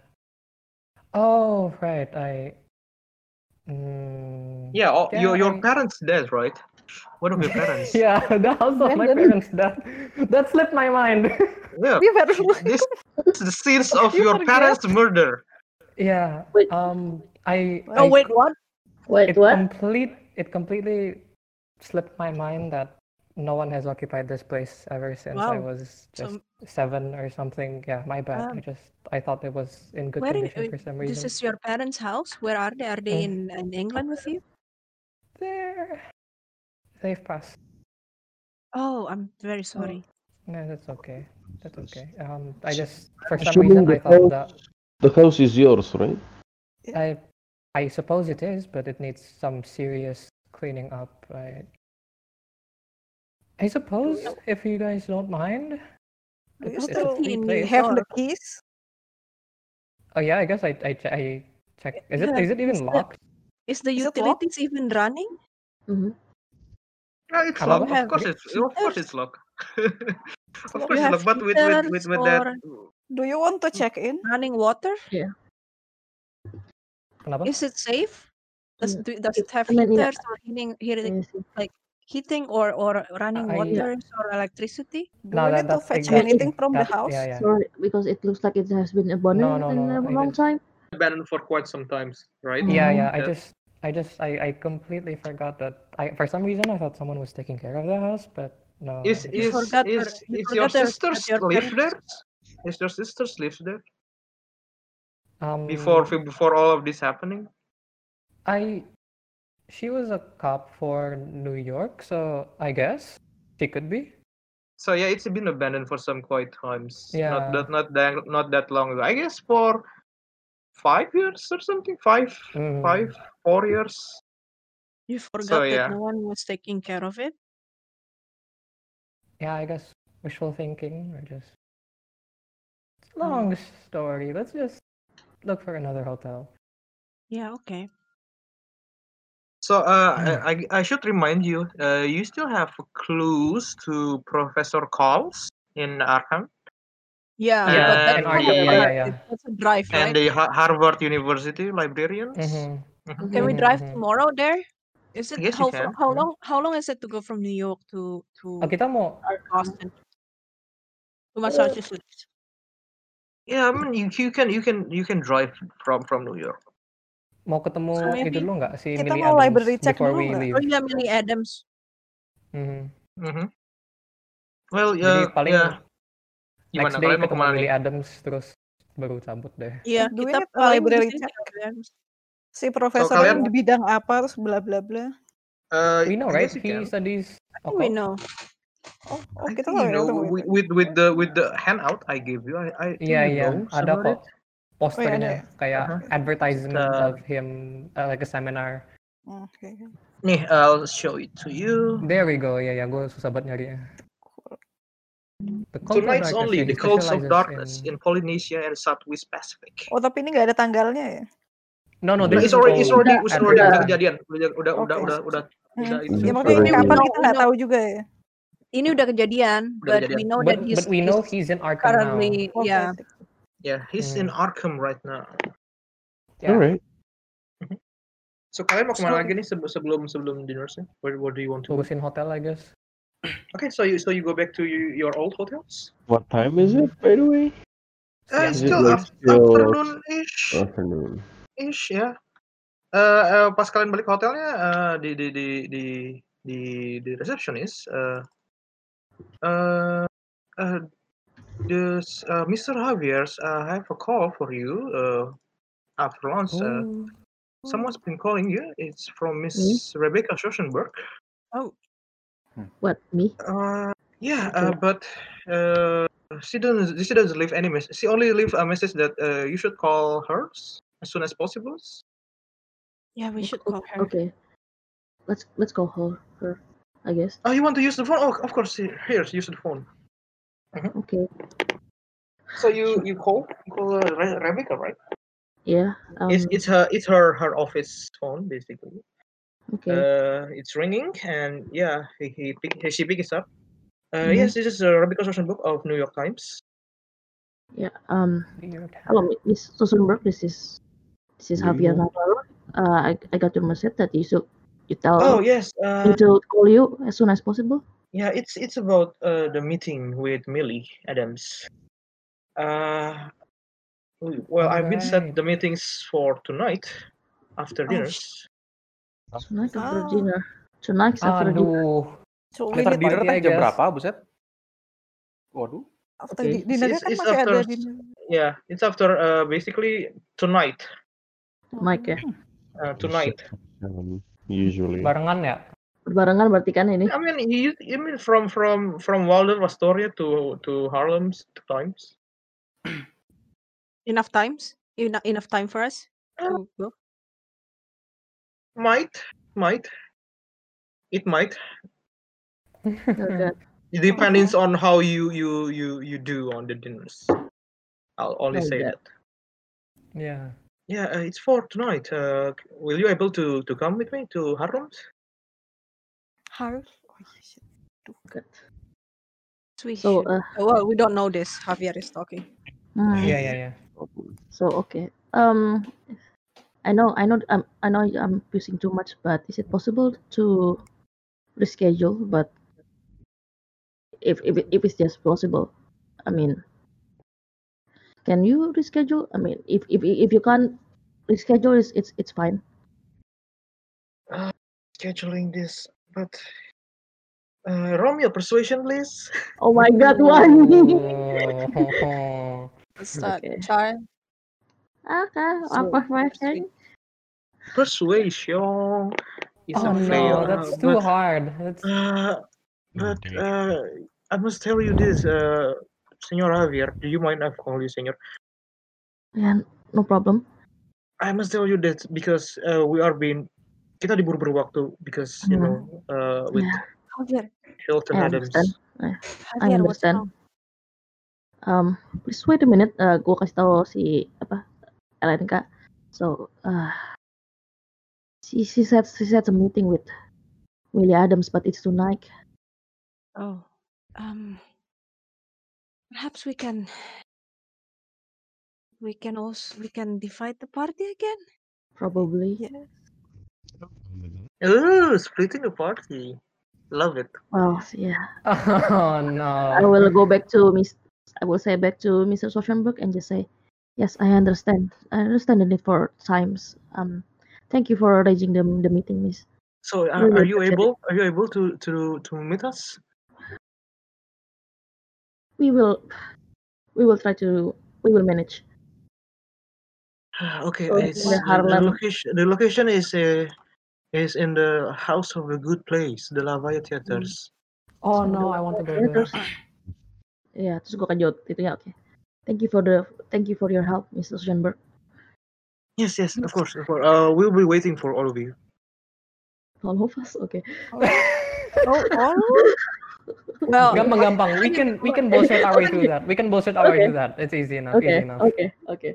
Oh, right. I. [laughs] Mm, Yeah, all, your Yeah, your I- parents dead, right? One of your parents. [laughs] Yeah, the house of my Abandoned. parents. That that slipped my mind. Yeah, We were this is the scenes of You your forget. parents' murder. yeah. Wait. Um. I. Oh I- wait, what? Wait, It what? complete. It completely slipped my mind that no one has occupied this place ever since I Wow. was So- just seven or something. Yeah, my bad. Um, I just I thought it was in good where in- condition uh, for some This reason. is your parents' house. Where are they? Are they Mm. in, in England with you? There. They've passed. Oh, I'm very sorry. Oh, No, that's okay. That's That's- okay. Um, I just for some reason Assuming I the thought house, that the house is yours, right? I I suppose it is, but it needs some serious cleaning up. I I suppose if you guys don't mind. Do you It's, it's still a free in place. here? have the keys? Oh yeah, I guess I I, che- I check. Is it Yeah, is it is even the- locked? Mm-hmm. Is the Is it locked? utilities even running? Mhm. Yeah, it's Apa, locked. apa? Of course, it's of heaters. course it's locked. of You course, it's have locked. But with with heaters with with that, Hmm. Do you want to check in? running water? Kenapa? Is it safe? Does, Mm, do, does it- it have I mean, yeah. heaters or heating, heating, I see. heating or, or running I- water or electricity? Do [laughs] No, we that need to that's fetch I mean, exactly anything from the that. house? Yeah, yeah. Sorry, because it looks like it has been No, abandoned no, in no. a I long just time. abandoned for quite some time, right? Yeah, Mhm. yeah. I Yeah. just, I just, I, I completely forgot that. I, for some reason, I thought someone was taking care of the house, but no, Is it You is was. forgot is your- you is your forgot your- sisters that your live parents- there? Is your sisters live there Um, before before all of this happening? I, she was a cop for New York, so I guess she could be. So yeah, it's been abandoned for some quite times. Not Yeah. that not that not that long ago. I guess for five years or something. Five Mm. five four years. You forgot yeah. that no one was taking care of it. Yeah, I guess wishful thinking or just. It's Hmm. a long story. Let's just look for another hotel. Yeah, okay. So uh, Mm. I, I I should remind you, uh, you still have clues to Professor Calls in Arkham Yeah, Yeah, but and that's in not Arkham, a yeah, yeah, drive. yeah. That's a drive, and right? the Ha- Harvard University librarians. Mm-hmm. Mhm. Can we Mhm, drive mhm. tomorrow there? Is it Yes, how you fa- can. how Mhm. long how long is it to go from New York to to Oh, kita mau Oh, Boston to Massachusetts? Yeah, I mean you, you can you can you can drive from from New York. mau ketemu So itu maybe- dulu nggak si Kita Millie mau Adams library check before dulu we nggak? Oh leave? yeah, Millie Adams. Mhm. Hmm. Mhm. Mm-hmm. Well, Jadi ya paling ya gimana next day kalian mau ketemu kemana Millie nih? Adams terus baru cabut deh. Iya, Do we kita need a paling di Oh, library sini check? Millie Adams. Si profesornya kalian- di bidang apa terus bla bla bla. Uh, We know I right? guess you He can. studies I think we occult. know. Oh, oh I kita think you tahu ya know tentang with itu. with, with the with the handout I gave you. I, I think Iya you iya, know ada about kok it. Oh, iya, posternya ya? kayak Aha. advertisement Uh, of him uh, like a seminar. Oh, Oke. Nih, I'll show it to you. There we go. Iya iya, gue susah banget nyarinya. The Cult of Tonight's Darkness. only, Yeah, he the Cults of specializes Darkness in. in Polynesia and Southwest Pacific. Oh tapi ini nggak ada tanggalnya ya? No no, Nah, this is it's already, it's all already, it's already udah advertisement. kejadian, udah, udah, udah, Oke. udah, udah, Hmm. udah itu Ya udah maksudnya Sorry. kapan No, kita we nggak know. tahu juga ya. Ini udah kejadian, but Udah we kejadian. know that But he's, but we know he's he's in Arkham now. currently Oke. yeah. sip. yeah, he's in Arkham right now. Mm-hmm. Yeah. Alright. So kalian mau So- kemana lagi nih sebe- sebelum sebelum dinnernya? What, what do you want to do? Urusin hotel I guess. Okay, so you so you go back to you, your old hotels? What time is it, by the way? Uh, it's Is it still like af- still- afternoon-ish, Afternoon. ish ya. Uh, uh, pas kalian balik ke hotelnya uh, di di di di di di resepsionis uh, uh, uh, this uh, eh, Mr. Javier's uh, I have a call for you uh, eh, after lunch. Uh, Oh. Someone's been calling you. It's from Miss Hmm? Rebecca Schoenberg. What me? Uh, yeah, uh, but uh, she doesn't. She doesn't leave any message. She only leave a message that uh, you should call her s- as soon as possible. Yeah, we Ok- should ok- call her. Okay, let's let's call her. Her, I guess. Oh, you want to use the phone? Oh, of course. Here, here, use the phone. Mm-hmm. Okay. So you you call you call uh, Re- Rebecca, right? Yeah. Um, it's it's her it's her her office phone basically. okay. Uh, it's ringing and yeah, he he, pick, he she picks up. Uh, Mhm. yes, this is uh, Rebecca Schoenberg of New York Times. yeah. Um. Weird. Hello, Miss Rosenberg. This is this is Do you Javier know- Navarro. Uh, I I got your message that you should you tell Oh yes, uh, me to call you as soon as possible. Yeah, it's it's about uh, the meeting with Millie Adams. Uh, w- well, I've been set Alright. the meetings for tonight after Oh, dinners. Tonight after Ah. dinner. Tonight after dinner. Aduh. So we After need dinner kan Pagi, I tadi jam guess. berapa, buset? Waduh. after di- Okay. dinnernya It's- kan it's masih ada after- dinner. Yeah, it's after uh, basically tonight. Tonight ya. Uh, Or tonight. six, Um, seven, Usually. Barengan ya? Berbarengan berarti kan ini? I mean, you you mean from from from Waldorf Astoria to to Harlem's times? Enough times? Enough enough time for us? Ah. to go? Might might it might Ya [laughs] udah. it depends on how you you you you do on the dinners. I'll only Oh, say yeah. that. Yeah. Yeah, uh, it's for tonight. Uh, c- will you able to to come with me to Harlem's? Harus. Oh, iya, shit. Good. We So, should. oh, uh, Well, we don't know this. Javier is talking. hmm, Yeah, yeah, yeah. so okay. Um, I know, I know, I'm, I know, I'm using too much, but is it possible to reschedule? But if if it- if it's just possible, I mean, can you reschedule? I mean, if if if you can't reschedule, it's it's it's fine. Uh, Scheduling this, but uh, Romeo, persuasion, please. Oh [laughs] my God, one. Oh. What's that? Okay. Ah, Char? okay, So, apa my thing? Persuasion is Oh a fail. no, that's uh, too but, hard. That's Uh, but Okay. uh, I must tell you this, uh, Senor Javier. Do you mind if I call you Senor? Yeah, no problem. I must tell you that because uh, we are being kita diburu-buru waktu because Mm-hmm. you know uh, with Javier. Hilton I Adams. understand. I Javier, what's understand. wrong? Um, please wait a minute. Uh, gue kasih tau si apa LNK. So, uh, she she said she said a meeting with Willie Adams, but it's tonight. [laughs] Oh. Um. Perhaps we can. We can also we can divide the party again. Probably. Yeah. Ooh, splitting the party. Love it. Well, yeah. I oh no. will go back to Miss. I will say back to Mr. Sochenberg and just say, yes, I understand. I understand the need for times. Um, thank you for arranging the the meeting, Miss. So uh, Mm-hmm. are, Really are you appreciate it. able? Are you able to to to meet us? We will we will try to we will manage. Ah, okay, So it's in the the, the Harlem. location. The location is uh, is in the house of a good place, the Lavaya Mm. Theaters. Oh So no, I want to go there. theaters. Ya, terus gue kejut itu ya oke. Thank you for the thank you for your help, Mr. Schoenberg. Yes, yes, Mm. of course, of course. Uh, we'll be waiting for all of you. All of us, oke. [laughs] Oh, all Well, Oh. Gampang-gampang. We can we can bullshit our way through Okay. that. We can bullshit our Okay. way through that. It's easy enough. Oke, Easy enough. oke, oke.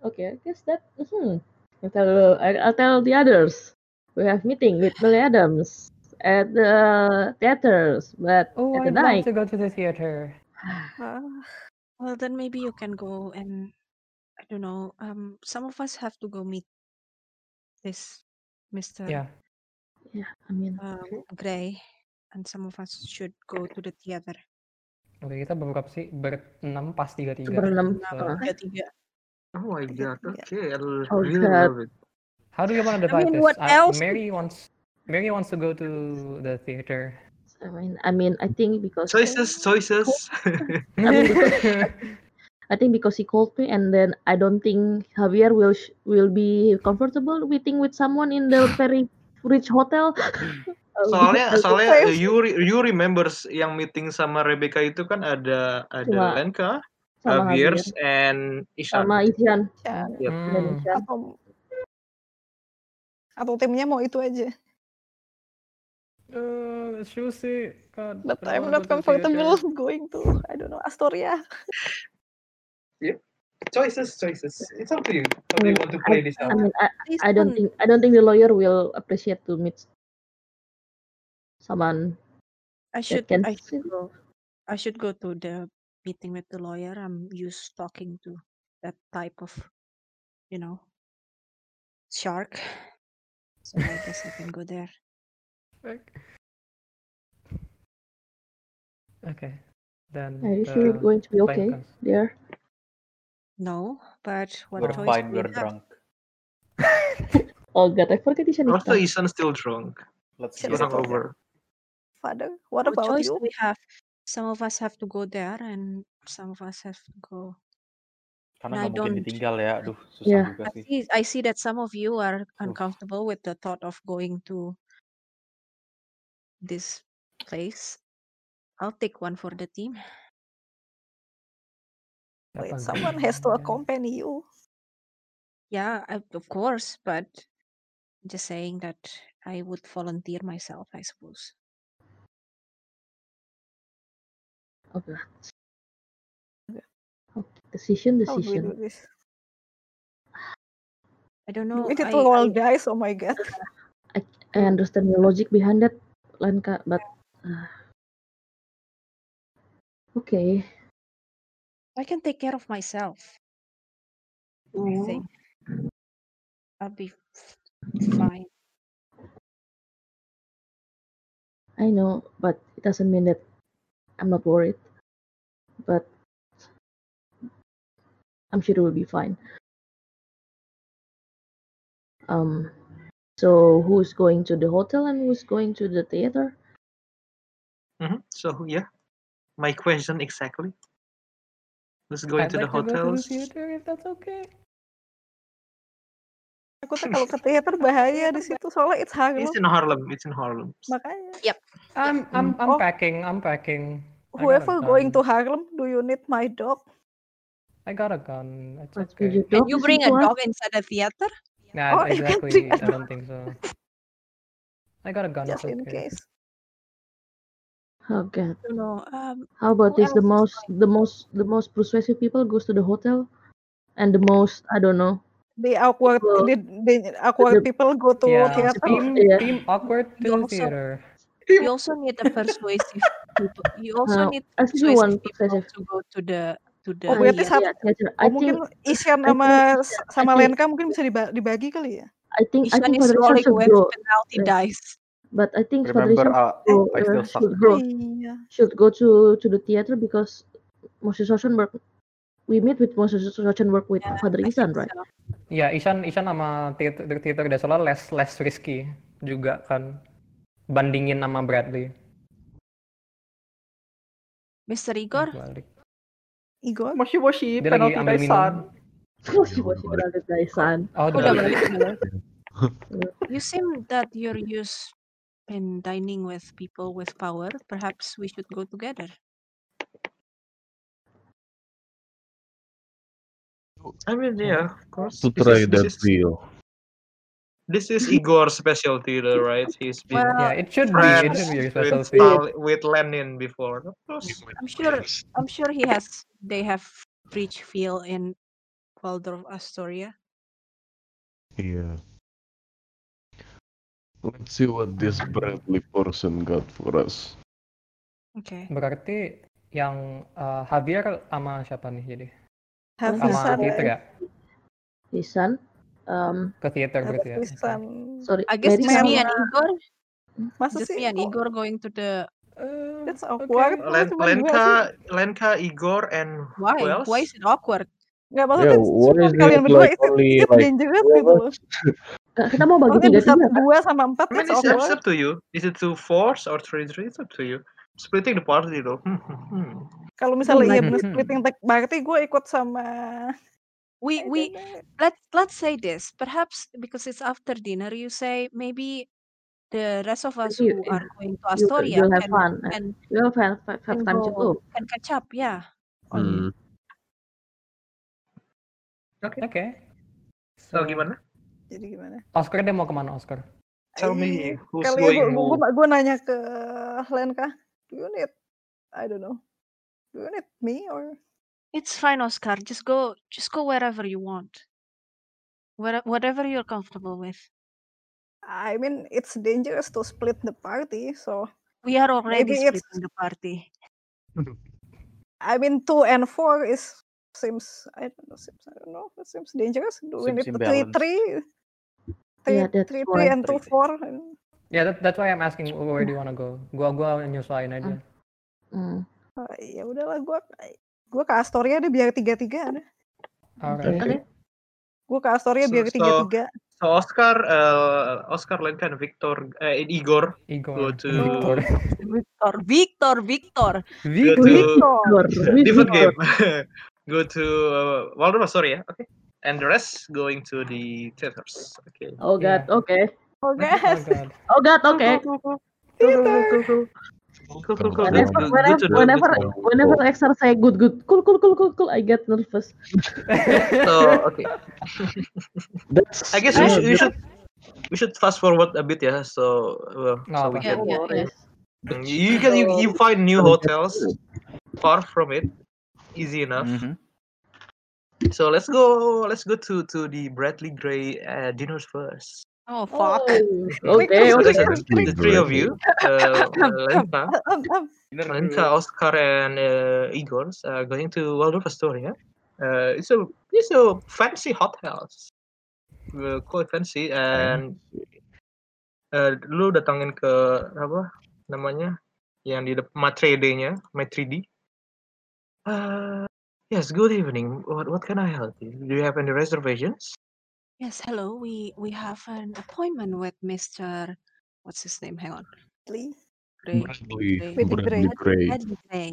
Oke, I guess that. Hmm. I'll tell, I'll tell the others. We have meeting with Billy Adams at the theaters, but Oh, at the I'd love night. to go to the [sighs] theater. [sighs] Ah, well, then maybe you can go and I don't know. Um, some of us have to go meet this Mister Yeah. Yeah, I mean, um, Gray, and some of us should go to the theater. Oke, kita berapa sih? Berenam pas tiga tiga. berenam. Ah. Nah, So, tiga tiga. Oh my Tiga, god. tiga. Okay, I l- Oh, really God. love it. how do you want I to divide mean, this? what Uh, else? Mary wants Mary wants to go to the theater. I mean, I mean, I think because [laughs] Choices, choices. I mean, I think because he called me, and then I don't think Javier will sh- will be comfortable meeting with someone in the very rich hotel. [laughs] soalnya Uh, soalnya Face. you re- you remembers yang meeting sama Rebecca itu kan ada ada Cuma Lenka, sama Javier, Javier, and Ishan. Iya. sama Ishan, Ya, Yep. dan Hmm. Ishan. atau atau timnya mau itu aja Uh, let's choose it. God, but I don't I'm wanna not go to the comfortable going to I don't know Astoria Choices, choices. It's up to you. How do you want to play this I out? mean, I, Please I don't don't. think I don't think the lawyer will appreciate to meet someone I should. can I should sit. go. I should go to the meeting with the lawyer. I'm used talking to that type of, you know, shark. So I guess I can go there. [laughs] Fuck. Okay. Then Are you the sure you're going to be blind okay cons- there? No, but what We're choice fine. do we We're have? drunk. Oh god, I forget Ishan is Also, drunk. Ishan still drunk. Let's Shit, Still get it Ishan. over. hungover. father what What about choice you do we have? Some of us have to go there, and some of us have to go. And Karena I nggak mungkin don't. ditinggal ya. Aduh, susah Yeah. juga I [laughs] sih. see. I see that some of you are Aduh. uncomfortable with the thought of going to this place. I'll take one for the team. wait Siapa someone gua? has to Jangan. accompany you Yeah, I, of course, but just saying that I would volunteer myself, I suppose. Oh god. Okay. Okay. Decision, how do we do decision. this I don't do know. we need to I, I roll dice oh my god I I understand your logic behind that, Lanka, but uh, okay. I can take care of myself. I think I'll be f- Mm-hmm. fine. I know, but it doesn't mean that I'm not worried. But I'm sure it will be fine. Um so who's going to the hotel and who's going to the theater? Mhm. So yeah, my question exactly. Who's going I'd to the like to go to the hotels? theater if that's okay. takutnya kalau ke teater bahaya di situ soalnya it's It's Harlem in Harlem. It's in Harlem. makanya Yep. I'm I'm I'm Oh. packing. I'm packing. I Mm. got a whoever going to gun. Harlem do you need my dog I got a gun. It's Must be okay. your Can dog you listen bring a to us? dog inside a theater? Nah, oh you can bring a [laughs] exactly. I dog don't think so. I got a gun. It's just in okay. case Oh god. I don't know. Um, How who about else this? The is most, the most, the most persuasive people goes to the hotel, and the most, I don't know, the awkward people, the, the awkward the, people go to Yeah, theater oh, team yeah, team awkward going? You also to the theater. you also need a persuasive people. You also uh, need persuasive everyone people persuasive. to go to the to oh the Uh, berarti theater. satu yeah, theater. I oh mungkin think, Isyan I think, sama Isha- I sama think, Lenka mungkin bisa diba- dibagi kali ya I think, Ishan I think is Father Ishan rolling should with go, penalty yeah, dice. but I think Father Ishan Remember, uh, should go, I still uh, suck. should oh go, iya should go to to the theater because Moses Rothenberg, we meet with Moses Rothenberg with Father I Ishan, think right? so. Ya, Ishan Ishan sama theater theater udah soalnya less less risky juga kan. Bandingin sama Bradley. Mr. Eh, Igor, balik. Igor Moshi moshi Dia lagi penalti ambil minum. daisan. Masih udah masih balik. kenal dari San. Oh, udah udah balik. balik, udah balik. You seem that you're used in dining with people with power. Perhaps we should go together. I mean, yeah, of course. To This try is this that is deal. this is Igor's specialty, though, right? He's been Well, Yeah, it should I'm be. It sure, should friends be your with specialty. Yes. Stal- with Lenin before. Of course. I'm sure, I'm sure he has. They have rich feel in Waldorf Astoria. Yeah. Let's see what this Hmm. Bradley person got for us. Okay. Berarti yang eh, Javier sama siapa nih jadi? Paling Hafiz Sama Hafiz, theater Sunday ya? Isan, um, Ke theater berarti ya? Hafiz Oke. sorry, I guess Mary just sama me Mel and Igor, masa just sih me and kok Igor going to the. Eh, that's oke. awkward masa Len- cuma dua sih Lenka, Lenka, Igor, and who Why? Why else? is it awkward? nggak Yeah, maksudnya what cuma is kalian it berdua like is it, is only it like dangerous three of gitu [laughs] loh us? Nggak, kita mau bagi maksudnya tiga bisa tiga kan? dua sama empat I mean, that's it's, it's awkward up to you. Is it two fours or three three? It's up to you. Splitting the party though. Hmm, hmm, hmm. Kalau misalnya iya bener like- splitting tech, berarti gue ikut sama We we let's let's say this perhaps because it's after dinner you say maybe the rest of us You- who yeah. [laughs] are going to You, astoria you'll have can, fun. uh, can, You'll have, have, can have time to go- go. can catch up yeah Hmm. Oke. Oke. So Oh, gimana? jadi gimana? Oscar dia mau kemana Oscar? Tell Ay, me who's Kali ya gue going gue who. gue nanya ke Lenka, do you need I don't know, do you need me or it's fine Oscar just go just go wherever you want Where, whatever you're comfortable with I mean it's dangerous to split the party so we are already Maybe it's- splitting the party [laughs] I mean two and four is seems I don't know seems I don't know it seems dangerous. Do we Seems need to three imbalanced. three? Three, Yeah, that's three, why. three and two Three. four. and- Ya, yeah, that, that's why I'm asking where do you wanna go. Gua gua nyusahin aja. Mm. Hmm. ah, ya udahlah gue gue ke Astoria deh biar tiga tiga ada. Iya kan Alright. ya? Okay. Gue ke Astoria So- biar so- tiga tiga. [laughs] So Oscar, uh, Oscar Lenka and Victor, uh, and Igor go Igor. to Victor. Victor Victor Victor go to Victor. Iya, [laughs] different game. [laughs] go to uh, Waldorf Astoria, okay. And the rest going to the theaters. Okay. Oh god, Yeah. okay. Oh Oh guys, god. Oh god, okay. Theater. Cool, cool, cool, cool. Good, Whenever, good, good whenever, whenever, to know. Good to know. whenever Xer say good, good, cool, cool, cool, cool, cool, I get nervous. So [laughs] okay, That's I guess we yeah, should, we that- should we should fast forward a bit, yeah. So uh, so No apa-apa. we can Mm, Yeah, yeah. Yes. you can you, you find new hotels far from it, easy enough. Mhm. Mm-hmm. So let's go. Let's go to to the Bradley Gray uh, dinners first. oh [laughs] fuck Oh, So okay, there's okay. a- Bradley the three of Gray. you, [laughs] uh, [laughs] Lenka, Um, um, Dinner Lenka, dulu. Oscar, and uh, Igor, are going to Waldorf Astoria. Uh, it's a it's a fancy hothouse, uh, quite fancy. And uh, lu datangin ke apa namanya yang di depan Matre D-nya, Matre D. Uh, yes, good evening. What what can I help you? Do you have any reservations? yes hello we we have an appointment with Mr what's his name hang on Lee. Gray Bradley Bradley, Gray. Bradley Gray. Bradley Gray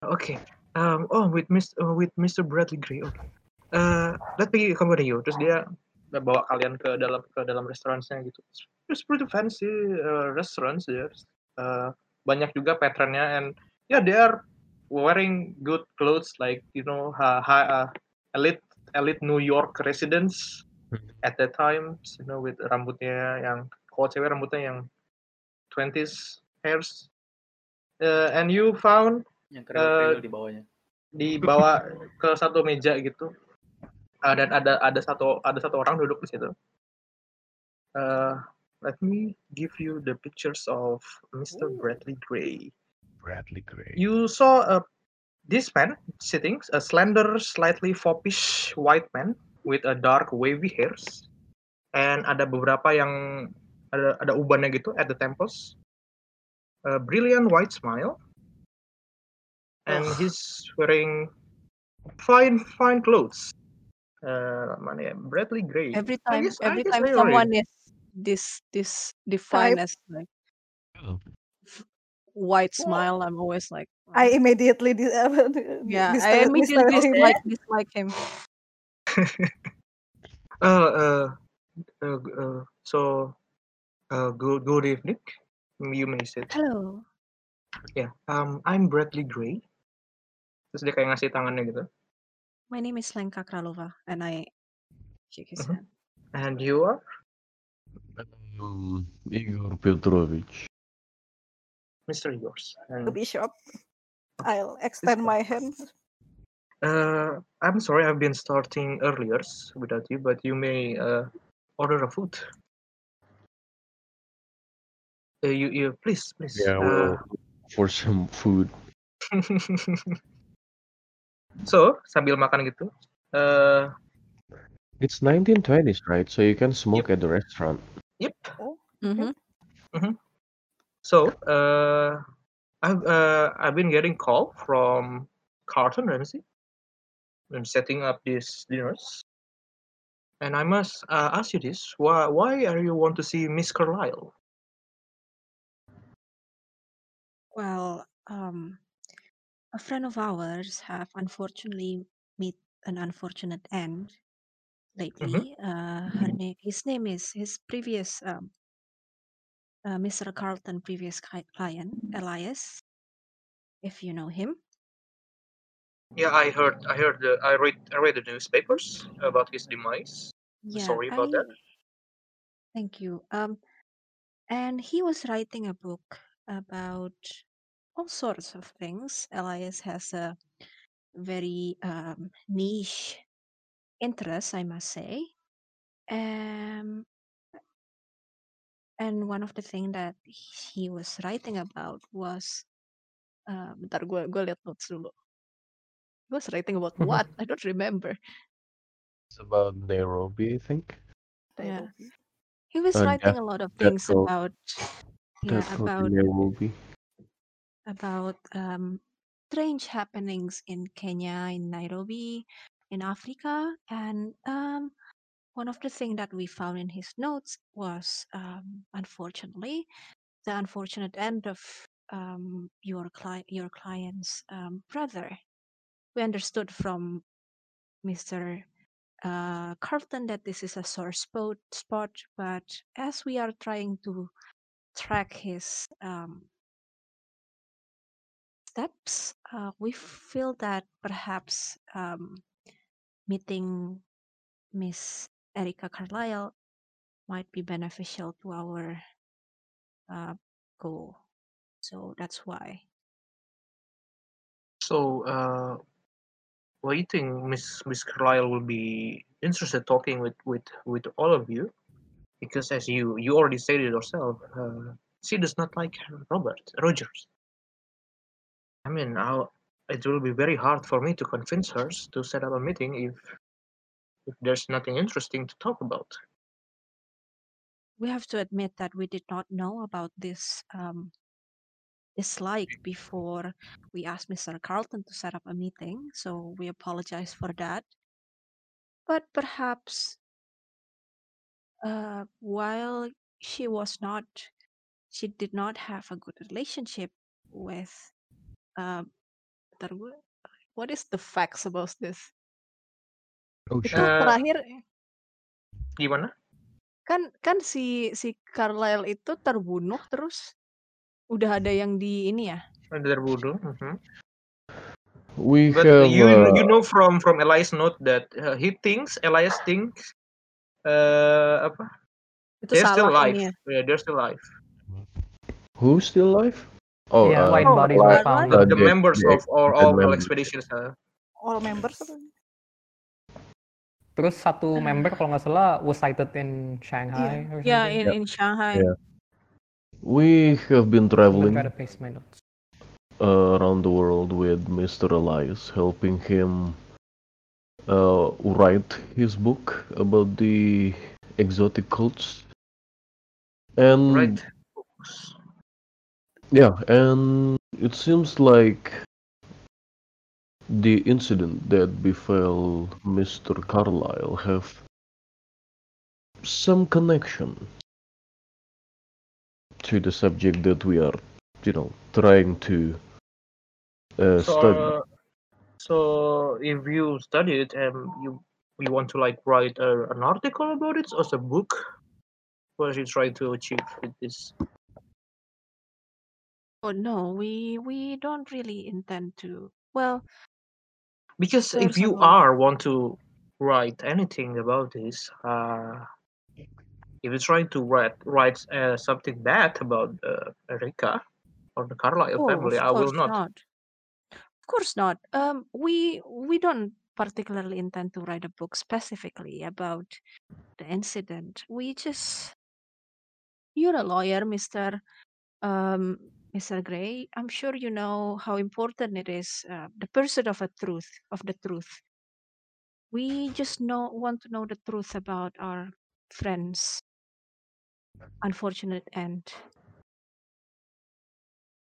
Okay. Um, oh, with Mr. oh, with Mr. Bradley Gray. Okay. Uh, let me accompany you. Terus dia bawa kalian ke dalam ke dalam restorannya gitu. It's pretty fancy uh, restaurants there. Uh, banyak juga patronnya and yeah they are wearing good clothes like you know ha- ha- uh, elite elite New York residents Hmm. at that time you know with rambutnya yang kalau cewek rambutnya yang 20s hairs Uh, and you found eh, Yang keril-keril Uh, di bawahnya. dibawa ke satu meja gitu Ah, dan ada ada satu ada satu orang duduk di situ Eh, let me give you the pictures of Mr. Bradley Gray Bradley Gray. you saw a this man sitting a slender slightly foppish white man with a dark wavy hairs and ada beberapa yang ada ada ubannya gitu at the temples a brilliant white smile and he's wearing fine fine clothes uh mana ya Bradley Gray every I time guess- I every guess time I already- someone is this this defined as like Oh. white Well, smile i'm always like I "Oh, immediately dis- uh, yeah Ya, i distar- immediately distrust him. dislike dislike [laughs] him uh, uh, uh, uh, so uh, good good evening Mm, you may sit hello yeah um I'm Bradley Gray terus dia kayak ngasih tangannya gitu my name is lenka kralova and i shake his Mhm. hand and you are Um, Igor Petrovich. Mr. Yours To and be shop. I'll extend my hand. uh I'm sorry I've been starting earlier without you but you may uh, order a food Uh, you you please please Yeah, Ah. uh, well, for some food. [laughs] so sambil makan gitu eh It's 1920s, right? So you can smoke at the restaurant. yep Oh. Mhm. Mm-hmm. so uh, I've uh, I've been getting call from Carlton Ramsey in setting up these dinners and I must uh, ask you this why why are you want to see Miss Carlyle well um a friend of ours have unfortunately met an unfortunate end Mm-hmm. lately. Uh, her name, his name is his previous um, uh, Mr. Carlton, previous cli- client Elias, if you know him. Yeah, I heard. I heard. The, I read. I read the newspapers about his demise. Yeah, Sorry about that. Thank you. Um, and he was writing a book about all sorts of things. Elias has a very um, niche interest, I must say. Um, and one of the thing that he was writing about was, uh, bentar gue gue lihat notes dulu. He was writing about what? I don't remember. It's about Nairobi, I think. Yeah. He was Uh, writing death- a lot of death things row- about [laughs] yeah Death Row about in Nairobi. about um, strange happenings in Kenya, in Nairobi, in Africa, and um, one of the things that we found in his notes was, um, unfortunately, the unfortunate end of um, your client, your client's um, brother. We understood from Mr. Uh, Carlton that this is a sore spot, spot, but as we are trying to track his um, steps, uh, we feel that perhaps um, meeting Miss Erica Carlisle might be beneficial to our uh, goal. So that's why. So, uh, well, you think Miss Miss Carlisle will be interested talking with with with all of you, because as you you already stated yourself, uh, she does not like Robert Rogers. I mean, I'll, it will be very hard for me to convince her to set up a meeting if if there's nothing interesting to talk about. We have to admit that we did not know about this um, dislike before we asked Mr. Carlton to set up a meeting. So we apologize for that. But perhaps uh, while she was not, she did not have a good relationship with. Um, bentar gue- what is the facts about this? [laughs] Oh, Itu shit. Eh, terakhir Gimana? kan kan si si Carlyle itu terbunuh terus udah ada yang di ini ya Under voodoo. mhm. We But have you uh, you know from from Elias note that uh, he thinks Elias thinks uh apa? itu They're still salah alive. ini ya Yeah, they're still alive. who's still alive? Oh, yeah, uh, white Oh, bodies white light. were found. The, uh, the the- members the- of all the all, all members. expeditions. Uh, all members apa? Terus satu member kalau nggak salah was sighted in Shanghai or ya something. in in Shanghai Yeah. We have I'm gonna been try traveling to paste my notes. uh, around the world with Mr. Elias, helping him uh, write his book about the exotic cults. And right. yeah, and it seems like the incident that befell Mr. Carlyle have some connection to the subject that we are, you know, trying to uh, So study. uh, so if you study it and you you want to like write a, an article about it or a book, what are you trying to achieve with this? oh no we we don't really intend to well because if there's a you lot are want to write anything about this uh if you're trying to write write uh, something bad about uh, Rika or the Carlisle oh family of I will course not not of course not um we we don't particularly intend to write a book specifically about the incident we just you're a lawyer Mr. um, Mr. Gray, I'm sure you know how important it is uh, the pursuit of a truth of the truth. We just know want to know the truth about our friends' unfortunate end.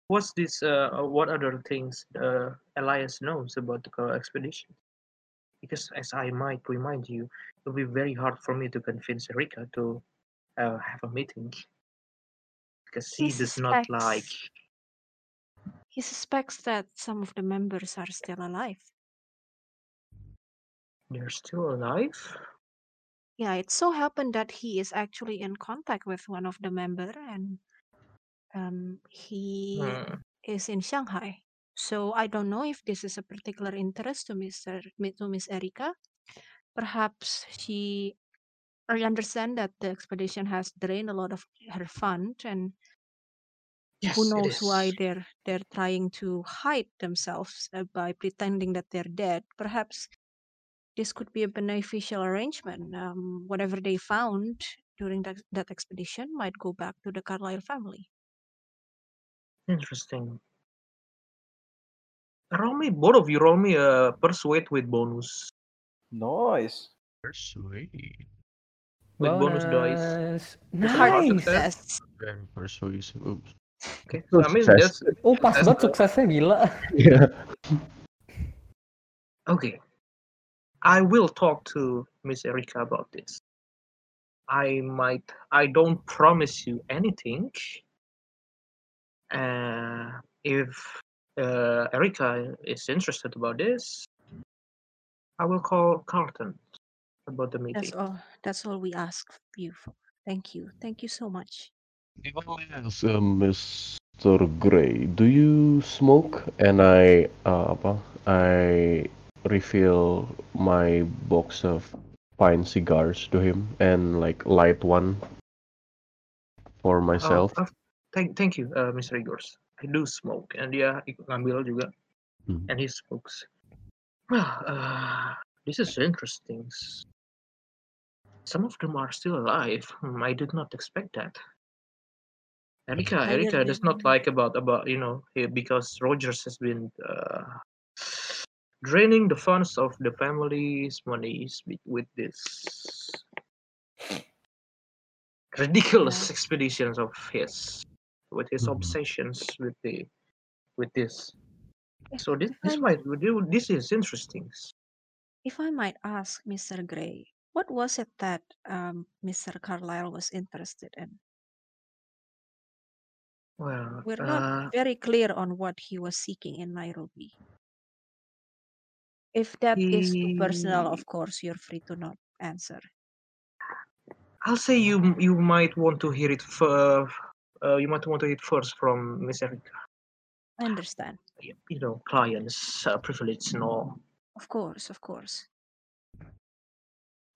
what's this uh what other things uh Elias knows about the Carlisle expedition because as I might remind you it'll be very hard for me to convince Rika to uh, have a meeting because He she does not like suspects. He suspects that some of the members are still alive. They're still alive? Yeah, it so happened that he is actually in contact with one of the member, and um, he Hmm. is in Shanghai. So I don't know if this is a particular interest to Mr. Mi- to Miss Erika. Perhaps she. I understand that the expedition has drained a lot of her fund, and who Yes, it knows why is. they're they're trying to hide themselves uh, by pretending that they're dead. Perhaps this could be a beneficial arrangement. Um, whatever they found during that, that expedition might go back to the Carlyle family. Interesting. Roll me, both of you roll me a persuade with bonus. Nice. Persuade. With uh, [laughs] bonus uh, dice. Bonus. It's a hard Nice. success. Very persuasive. Oops. Okay, so I mean Success. that's Oh, pas success, banget but- suksesnya gila. Yeah. Okay. I will talk to Miss Erika about this. I might I don't promise you anything. Uh, if uh, Erika is interested about this, I will call Carlton about the meeting. That's all. That's all we ask you for. Thank you. Thank you so much. If I ask, uh, Mr. Gray, do you smoke? And I uh, apa? I refill my box of pine cigars to him and like light one for Oh, myself. of- thank thank you, uh, Mr. Igors. I do smoke, and dia ikut ngambil juga, Hmm. and he smokes. [sighs] Well, uh, this is interesting. S- Some of them are still alive. Hmm, I did not expect that. Erika, I Erika does not didn't- like about about you know he- because Rogers has been uh, draining the funds of the family's monies with, with this ridiculous Yeah. expeditions of his, with his Mhm. obsessions with the with this. If, So this if I this might do this is interesting. if I might ask, Mr. Gray, what was it that um, Mr. Carlyle was interested in? Well, We're not uh, very clear on what he was seeking in Nairobi. If that is too personal, he, of course, you're free to not answer. I'll say you you might want to hear it. F- uh, you might want to hear it first from Miss Erika. I understand. y- you know, clients' uh, privilege and all. Of course, of course.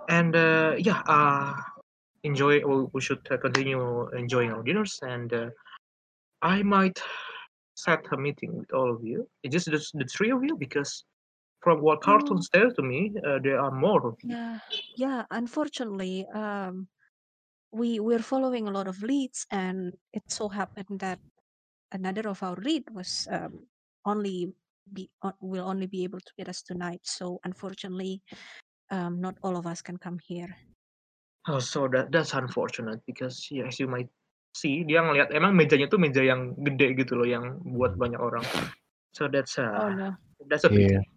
And uh, yeah, uh, enjoy. We we should uh, continue enjoying our dinners, and uh, I might set a meeting with all of you. It's just the, the three of you because from what Carlton Oh, said to me, uh, there are more of you. yeah. Yeah, unfortunately, um, we we're following a lot of leads and it so happened that another of our lead was um, only be on, will only be able to get us tonight. So unfortunately, um, not all of us can come here. Oh, so that that's unfortunate because yeah, as you might see, dia ngelihat emang mejanya tuh meja yang gede gitu loh, yang buat banyak orang. So that's Oh a no, that's a Yeah. pity.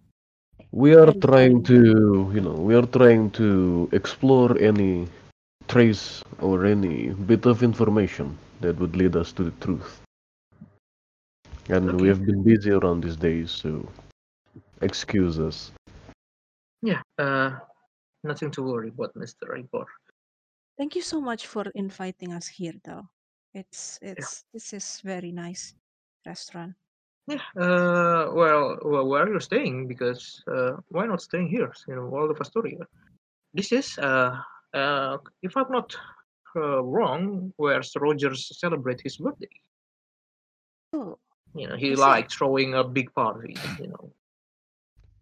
We are I'm trying sorry. to, you know, we are trying to explore any trace or any bit of information that would lead us to the truth. And we Okay. have been busy around these days, so excuse us. Yeah. Uh, nothing to worry about, Mister Igor. Thank you so much for inviting us here, though. It's Yeah. it's this is very nice restaurant. Yeah, uh, well, well, where you're staying? Because uh, why not staying here? You know, all of Astoria. This is, uh, uh, if I'm not uh, wrong, where Sir Rogers celebrate his birthday. Oh, You know, he is it? likes throwing a big party. You know,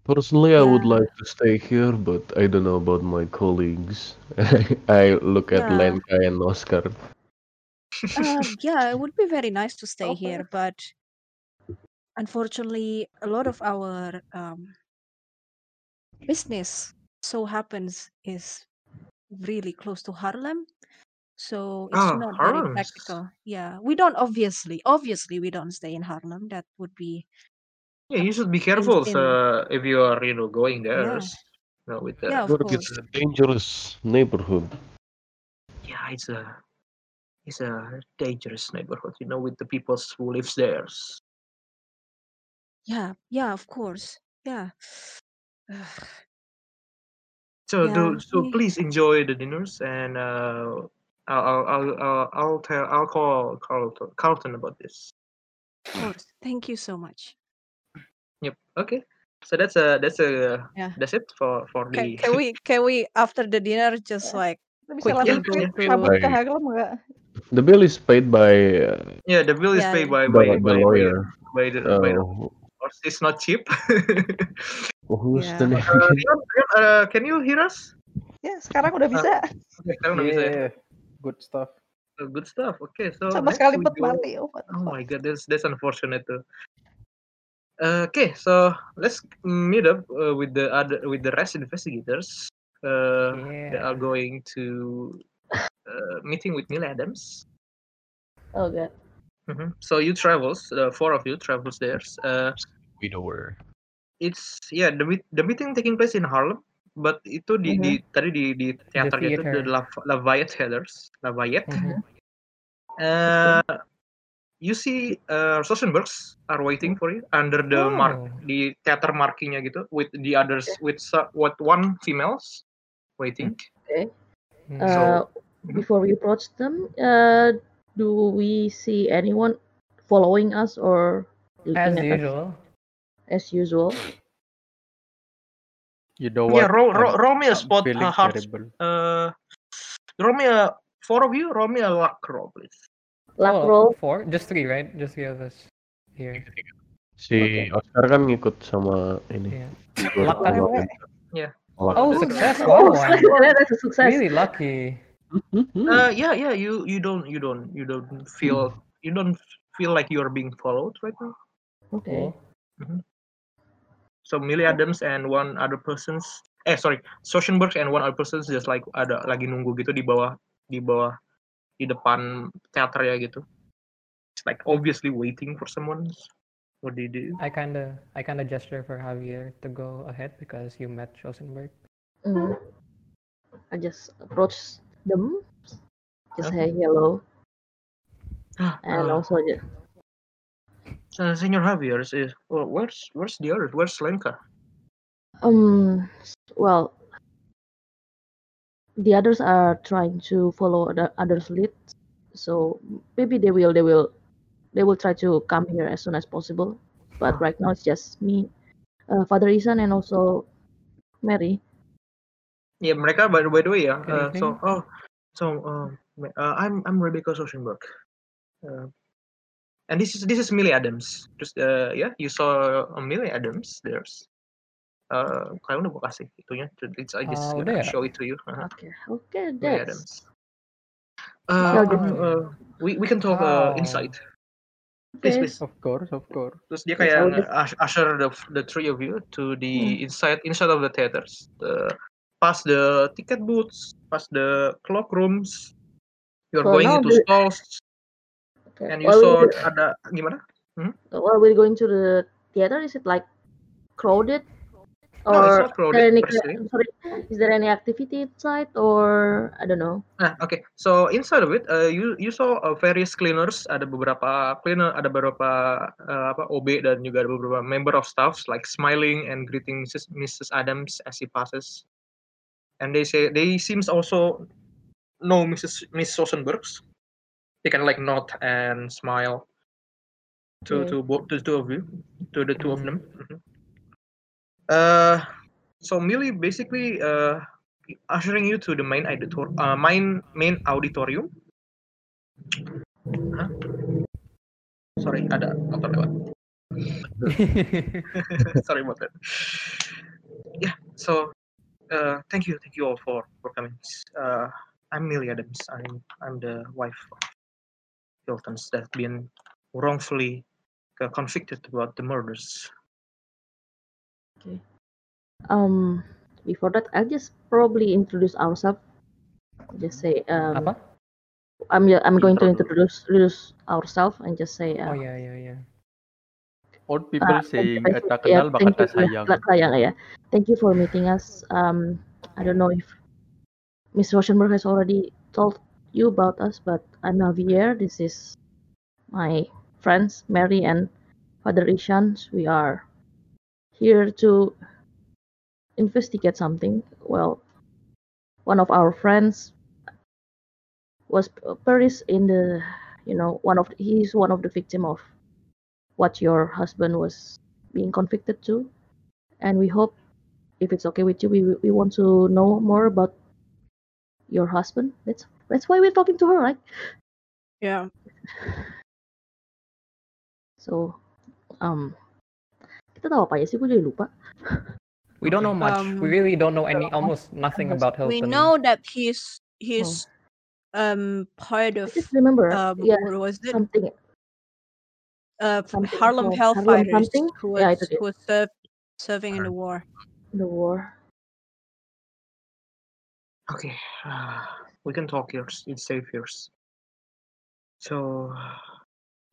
Personally, I would Yeah, like to stay here, but I don't know about my colleagues. [laughs] I look at yeah. Lenka and Oscar. [laughs] Um, yeah, it would be very nice to stay oh, here, but unfortunately, a lot of our um, business so happens is really close to Harlem, so it's oh, not very Harlem's. practical. Yeah, we don't obviously, obviously, we don't stay in Harlem. That would be Yeah, uh, you should be careful insane. uh, if you are, you know, going there. Yeah, s- You know, with yeah, the of York is course. a dangerous neighborhood. yeah, it's a it's a dangerous neighborhood. You know, with the people who lives there. yeah, yeah, of course, [sighs] yeah. So Yeah, do so ini- please enjoy the dinners and uh, I'll I'll I'll I'll, I'll tell I'll call Carlton, Carlton about this. of course. Thank you so much. Yep. Okay. So that's a that's a Yeah. that's it for for Can, the. can [laughs] we can we after the dinner just like Bisa quickly langsung go tweet through? kabut ke Baik. Hagel nggak? The bill is paid by uh, [laughs] yeah, the bill is Yeah, paid by the, by the by, by, lawyer. by the by the Oh, horse. It's not cheap. who's [laughs] the Yeah. [laughs] name? uh, Rian, Rian, uh, can you hear us? Uh, Ya sekarang udah bisa. Okay, sekarang udah bisa ya. Yeah, good stuff. Oh, Good stuff. Okay, so Sama next sekali we pot go. mati. Oh, what the Oh fuck. my god, that's that's unfortunate too. Uh, okay, so let's meet up uh, with the other with the rest investigators. Uh, They Yeah. are going to uh, meeting with Neil Adams. Oh god. Mhm. So you travels, the four of you travels there. Uh, Widower. it's yeah the meet- the meeting taking place in Harlem, but itu di, di tadi di di teaternya itu Mm-hmm. theater. the La, Lafayette Theaters, Lafayette. Mhm. Uh, you see uh, Sosenbergs are waiting for you under the mark Oh. di theater markinya gitu with the others with so- with one females waiting. Mm-hmm. Okay. Hmm. So Uh, Mhm. before we approach them, uh, do we see anyone following us or looking as at us usual. as usual? You know yeah, what? Ya, roll roll, I'm- roll me a I'm Oh, spot feeling uh, hard. terrible. Uh, roll me a four of you. Roll me a luck roll, please. Luck Oh, roll. four? Just three, right? Just three of us here. Si Oscar kan ngikut sama ini. Yeah. Igor Luck sama Lewe. Vincent. Yeah. Luck. Iya. ya? Oh, That's a- success! Oh, Wow, I'm that's a success. really lucky. Mm-hmm. Uh, yeah, yeah. You you don't you don't you don't Mm. feel you don't feel like you are being followed right now. Okay. Cool. So Millie Adams and one other persons. Eh sorry, Sosenberg and one other persons just like ada lagi nunggu gitu di bawah di bawah di depan teater ya gitu. It's like obviously waiting for someone. What did you? I kinda, I kinda gesture for Javier to go ahead because you met Rosenberg. Mm. I just approach them, just Okay. say hello, and Uh, also just, uh, Senor Javier is is- well, where's where's the others? Where's Lenka? um, s- well, the others are trying to follow the others' lead, so maybe they will, they will, they will try to come here as soon as possible. But Ah. right now it's just me, uh, Father Isan, and also Mary. Yeah, mereka by, by the way ya. Good uh, so evening. oh, so um, uh, I'm I'm Rebecca Sosenberg. Uh, and this is this is Millie Adams. Just uh, yeah, you saw uh, Millie Adams. There's uh, kalian udah gua kasih itunya. It's, I just Oh, Uh, gonna udah ya? show it to you. Uh, Okay, okay, Millie that's Adams. Uh, Well, I don't the- know. Uh, we we can talk Oh. uh, Wow. inside. Please okay. please. Of course, of course. Terus Yes, dia I kayak will nge- just. us- usher the the three of you to Hmm. the inside inside of the theaters. The past the ticket booths, past the clock rooms. You're Well, going now into the, stalls okay. and you Well, saw we ada gimana? Well, we're going to the theater. Is it like crowded No, or it's not is there crowded any? per se. I'm sorry, is there any activity inside or I don't know? Nah, Ah, oke. So inside of it, uh, you you saw uh, various cleaners. Ada beberapa cleaner, ada beberapa uh, apa OB dan juga ada beberapa member of staffs like smiling and greeting Mrs. Mrs. Adams as she passes. And they say they seems also know Mrs. Miss Sosenbergs. They can like nod and smile to Okay. to both to the two of you, to the two of Mhm. Mm-hmm. them. Mhm. Uh, so Millie basically uh, ushering you to the main auditor, uh, main main auditorium. [laughs] Hah? Sorry, ada motor [laughs] lewat. Sorry about that. Yeah. So, uh, thank you, thank you all for for coming. Uh, I'm Millie Adams. I'm I'm the wife of Hilton's that's been wrongfully uh, convicted about the murders. Um, before that, I'll just probably introduce ourselves. Just say um, Apa? I'm ju- I'm going to Introduce. introduce introduce ourselves and just say Oh uh, yeah, yeah, yeah. ya. Old uh people thank you, saying thank eh, you, tak yeah, kenal maka thank you, tak yeah, sayang. tak sayang yeah. Thank you for meeting us. Um, I don't know if Miss Rosenberg has already told you about us, but I'm Javier. This is my friends Mary and Father Ishan. We are here to investigate something. Well, one of our friends was perished in the, you know, one of he's one of the victim of what your husband was being convicted to, and we hope if it's okay with you, we we want to know more about your husband. That's that's why we're talking to her, right? Yeah. So, um, kita tahu apa aja sih? Gue jadi lupa. We don't know much. we Um, really don't know any, almost nothing about Hilton. We know that he's he's um part of Oh. Just remember, um yeah, what was it something uh something Harlem called Harlem Hellfighters something. who was Yeah, itu dia. who was served serving in the war. The war. Okay, uh, we can talk here. It's safe here. So,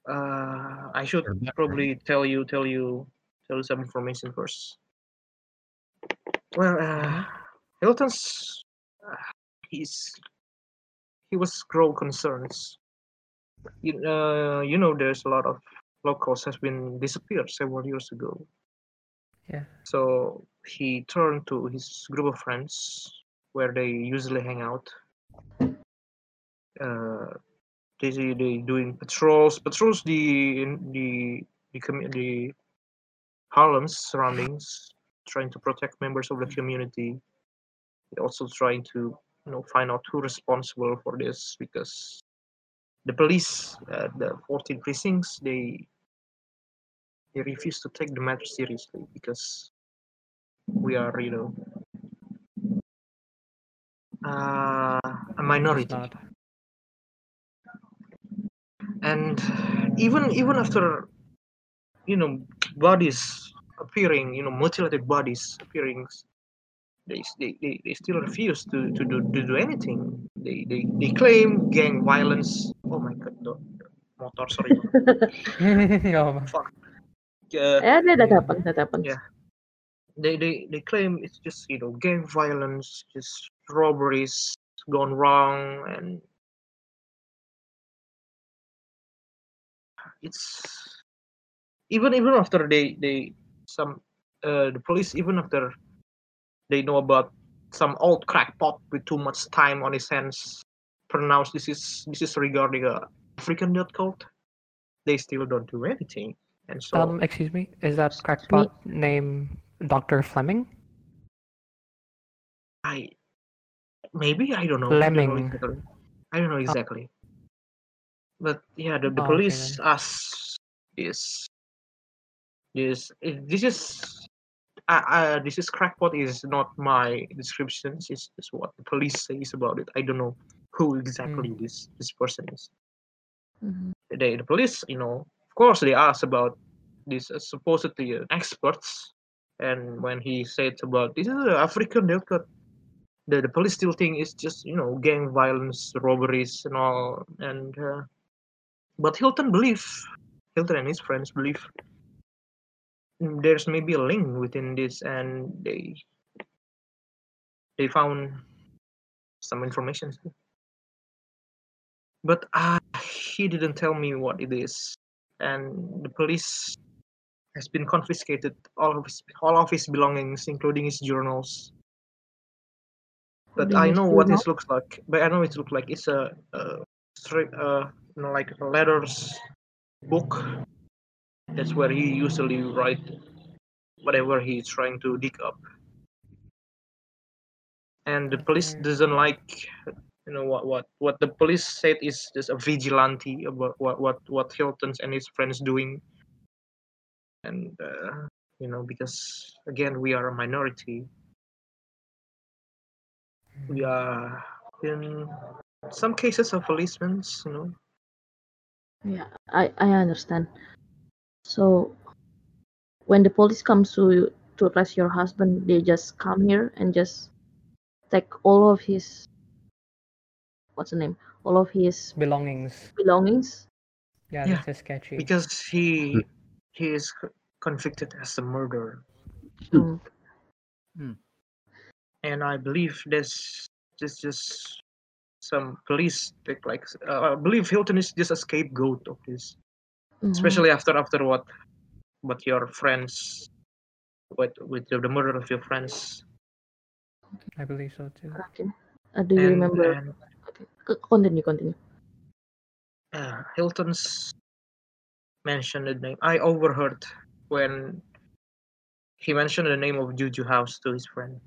uh, I should probably tell you, tell you, tell you some information first. Well, uh, Hilton's uh, he's he was grow concerns. You, uh, you know, there's a lot of locals has been disappeared several years ago. Yeah. So he turned to his group of friends where they usually hang out. Uh, they they doing patrols, patrols the in the the community, Harlem's surroundings, trying to protect members of the community. They also trying to you know find out who responsible for this because the police, uh, the 14 precincts, they they refuse to take the matter seriously because we are you know uh, a minority. And even even after you know bodies appearing, you know mutilated bodies appearing, they they, they, they still refuse to, to do to do anything. They, they they claim gang violence. Oh my god, the motor sorry. no. Fuck. Uh, Eh, that, that happens. That happens. Yeah. They, they they claim it's just you know gang violence, just robberies gone wrong, and it's even even after they they some uh, the police even after they know about some old crackpot with too much time on his hands pronounced this is this is regarding uh, a African death cult, they still don't do anything, and so Um, excuse me, is that crackpot name Dr. Fleming? I maybe I don't know. I don't know Fleming. exactly. I don't know exactly. But yeah, the, Oh, the okay police ask this. This eh, this is uh, uh, this is crackpot is not my descriptions. It's, it's what the police says about it. I don't know who Mm. exactly this this person is. Mm-hmm. They the police, you know, of course they ask about this uh, supposedly uh, experts, and when he said about this is an African delicate the, the police still think it's just you know gang violence robberies and all and uh, but hilton believe hilton and his friends believe there's maybe a link within this and they they found some information but uh, he didn't tell me what it is and the police has been confiscated all of his all of his belongings including his journals but They I used know to what know. this looks like. But I know it looks like it's a, a straight, uh, you know, like a letters book. That's where he usually write whatever he's trying to dig up. And the police doesn't like, you know, what what what the police said is just a vigilante about what what what Hilton's and his friends doing. And uh, you know, because again, we are a minority. we are in some cases of policemen, you know. Yeah, I, I understand. So when the police comes to to arrest your husband, they just come here and just take all of his what's the name? All of his Belongings. belongings. Yeah, Yeah, this is sketchy. Because he he is c- convicted as a murderer, and I believe this this just some police take like uh, I believe Hilton is just a scapegoat of this, Mhm. Mm-hmm. especially after after what with your friends, with with the murder of your friends. I believe so too. Okay. Uh, do you And- um, remember? and- okay. C- Continue, continue. uh, Hilton's mentioned the name. I overheard when he mentioned the name of Juju House to his friend.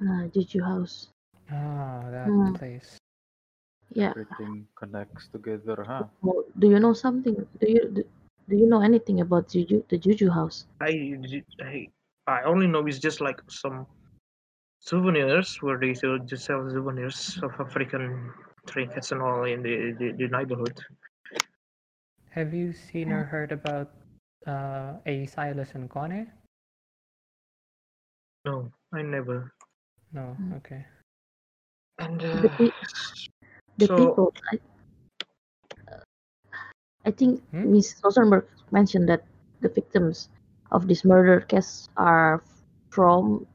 Uh, Juju House. Ah, that Hmm. place. Yeah. Everything connects together, huh? Well, do you know something? Do you do, do you know anything about Juju the Juju House? I, I I only know it's just like some souvenirs where they sell just sell souvenirs of African trinkets and all in the the, the neighborhood. Have you seen or heard about uh, A. Silas and Kone? No, I never. No. Hmm. Okay. And The, uh, pe- the so people. I, I think Hmm? Miss Rosenberg mentioned that the victims of this murder case are from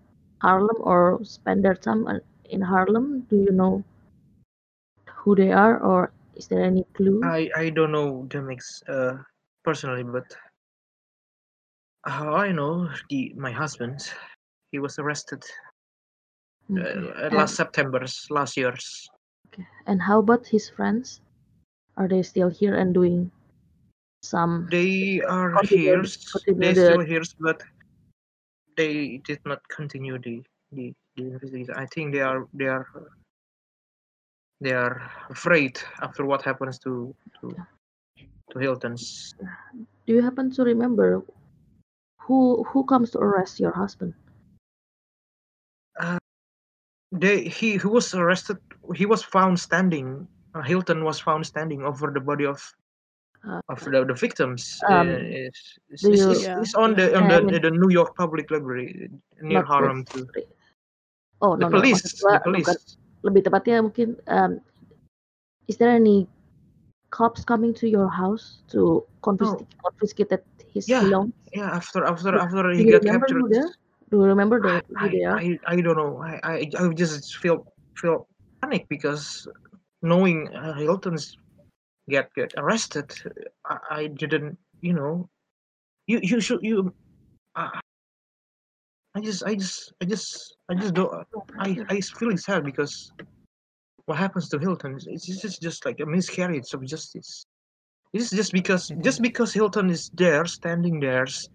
Harlem or spend their time on- in Harlem. Do you know who they are, or is there any clue? I I don't know them ex- uh, personally, but how I know the my husband, he was arrested uh, Okay. uh, last September's last year's. And how about his friends? Are they still here and doing some? They are Continue- here. continue They the- still here, but they did not continue the the, the investigation. I think they are they are they are afraid after what happens to to to Hilton's. Do you happen to remember who who comes to arrest your husband? Uh, they he, he was arrested. He was found standing. Uh, Hilton was found standing over the body of Uh, of the, the victims uh, Um, is- is- do is- you- is- Yeah, is on the yeah. I on the, mean- the New York Public Library near Not Harlem too. necessary. Oh no The no, police, maksud the gua police. bukan. Lebih tepatnya mungkin um, is there any cops coming to your house to confiscate confiscated his Yeah, belongings? yeah. After after Do- after Do he you got remember captured, who they? are? Do you remember they, who I they are? I I don't know. I I, I just feel feel panic because knowing uh, Hilton's get get arrested, I, I didn't. You know, you you should you. I I just I just I just I just don't. I I feel sad because what happens to Hilton is it's just just like a miscarriage of justice. It's just because Mm-hmm. It just is. because Hilton is there, standing there, s-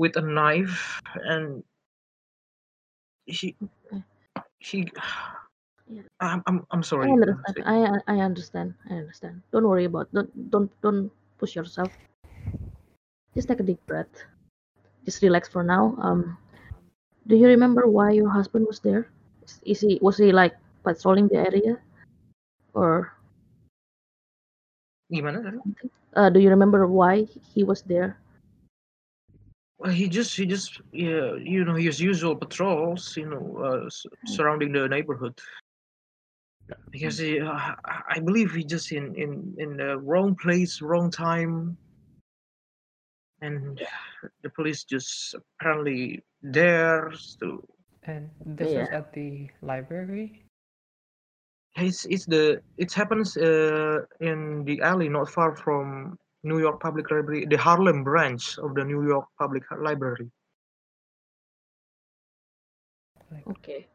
with a knife, and she [sighs] she. Mm-hmm. Yeah. I'm I'm I'm I sorry. I'm understand. sorry. I I- I understand. I understand. Don't worry about. Don't don't don't push yourself. Just take a deep breath. Just relax for now. Um, do you remember why your husband was there? Is, is he was he like patrolling the area or Gimana tadi? uh, do you remember why he was there? Well, he just he just yeah, you know his usual patrols, you know, uh, s- Mm. surrounding the neighborhood. Because he, Mm. uh, I I believe he just in in in the wrong place, wrong time, and the police just apparently there to. And this Yeah. is at the library. It's it's the it happens uh, in the alley not far from New York Public Library, the Harlem branch of the New York Public Library. Oke.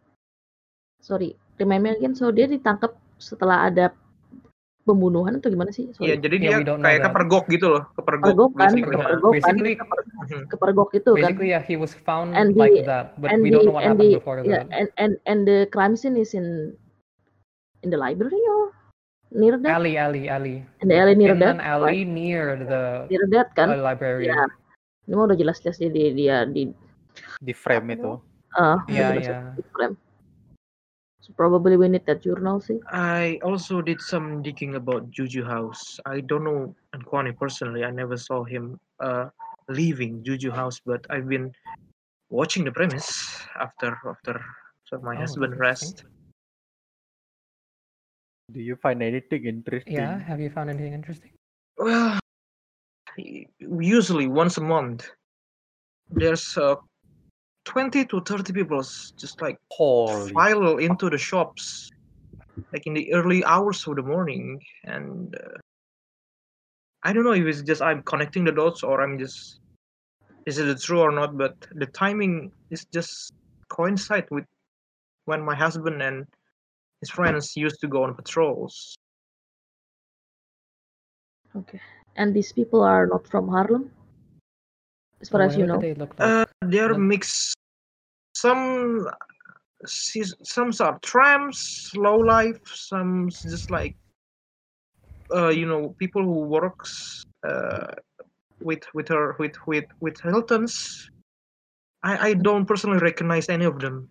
Sorry. Remind me again. So dia ditangkap setelah ada pembunuhan atau gimana sih? Iya, Sorry. jadi Yeah, dia we don't know kayak that. kepergok gitu loh, kepergok Pergok kan? basically. Kepergok. Kepergok kan? Basically, Keper- Mhm. kepergok itu kan? basically, yeah, he was And found the like that, but and we the don't know what and happened the before yeah that. and and and the crime scene is in in the library or near that? Alley, alley, alley. In the alley near In that, an right? alley near the Near that kan? uh, library. Ya. Ini mah udah jelas-jelas dia dia dia di The frame itu. ah udah Yeah, jelas yeah. di frame. So probably we need that journal sih. I also did some digging about Juju House. I don't know Anquani personally. I never saw him uh, leaving Juju House, but I've been watching the premise after after so my Oh, husband interesting. rest. Do you find anything interesting? Yeah, have you found anything interesting? Well, y- usually once a month, there's uh, twenty to thirty people just like Holy. file into the shops, like in the early hours of the morning, and uh, I don't know if it's just I'm connecting the dots or I'm just is it true or not but the timing is just coincide with when my husband and his friends used to go on patrols Okay. And these people are not from Harlem, as far as you Where do know. they look like? uh, they're mixed some seas- some are trams low life some just like uh, you know people who works uh, with with her with with with Hilton's. I I don't personally recognize any of them.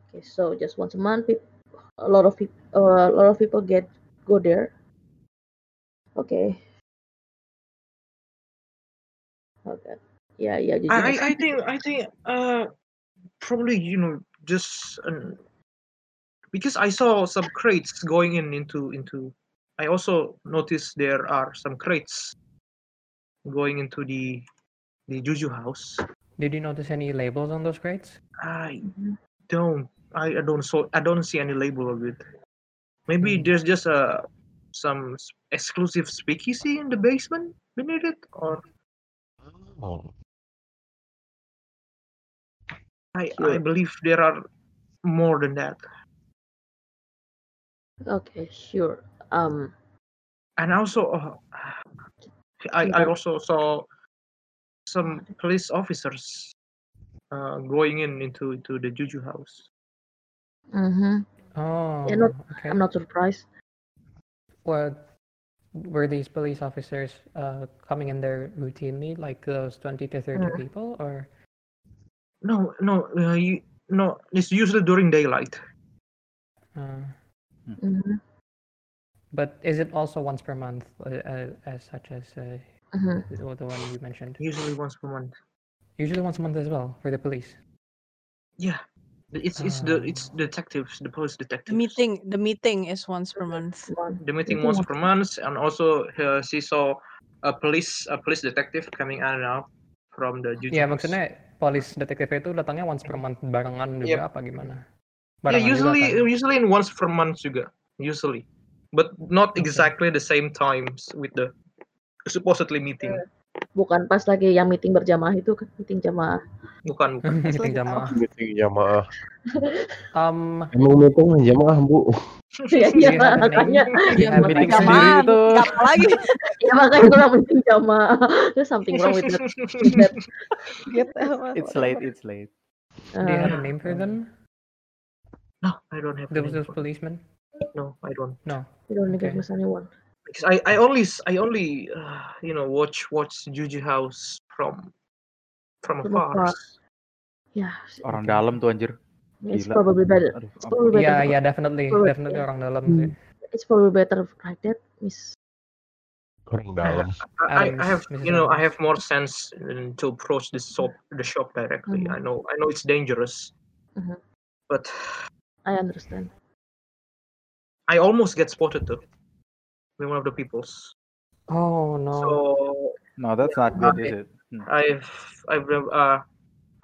Okay, so just once a month, peop- a lot of people, uh, a lot of people get go there. Okay. Okay. Yeah, yeah. you I I, just- I think I think uh probably you know just an, because I saw some crates going in into into. I also noticed there are some crates going into the the Juju house. Did you notice any labels on those crates? I don't. I, I don't so I don't see any label of it. Maybe there's just uh, some s- exclusive speakeasy in the basement beneath it, or Oh. I Sure. I believe there are more than that. Okay, sure. Um, And also, uh, I I Mm-hmm. What? also saw some police officers uh, going in into into the Juju house. mm-hmm. Oh, Yeah, not, okay. I'm not surprised. Well, were these police officers uh, coming in there routinely, like those 20 to 30 Mm. people, or? No, no, uh, you, no. It's usually during daylight. Uh, Mm-hmm. but is it also once per month, uh, uh, as such as uh, Mhm. the the one you mentioned? Usually once per month. Usually once a month as well for the police. Yeah, it's it's Ah. the it's detectives, the police The detectives. meeting, the meeting is once per month. the meeting once per month, and also uh, she saw a police a police detective coming in and out from the Iya jujitsu. maksudnya polis detektif itu datangnya once per month barengan juga Yep. apa [laughs] [laughs] gimana? yeah, Barengan juga usually kan? usually in once per month juga usually, but not Okay. exactly the same times with the supposedly meeting. Bukan pas lagi yang meeting berjamaah itu kan meeting jamaah. Bukan [laughs] bukan. Meeting jamaah. Meeting jamaah. Um, Emang meeting jamaah bu? Iya, do iya, you have a name? makanya. Do Ya, you have a meeting name? jamaah, sendiri meeting tuh. apa lagi? [laughs] Ya makanya kurang meeting jamaah. There's something wrong with that. with that. Get apa? It's late. It's late. Do you Uh, have a name for them? Um, No, I don't have. a Those name those for- policemen? No, I don't. No. you don't need Okay. miss anyone. Because I I only s- I only uh, you know watch watch Juju House from from From afar. afar. Yeah, Orang Okay. dalam tuh anjir. it's Gila. probably better. Aduh, It's ampun. probably better. um, Yeah, yeah, definitely, Probably, definitely yeah. orang dalam sih. It's probably better like that, Miss. I, Orang [laughs] dalam. I, I Adams, have Mrs. you know I Adams. have more sense than to approach the shop the shop directly. Mhm. I know I know it's dangerous, Mhm. but I understand. I almost get spotted though by one of the peoples. Oh no. So No, that's not good, is it? Hmm. I've I've uh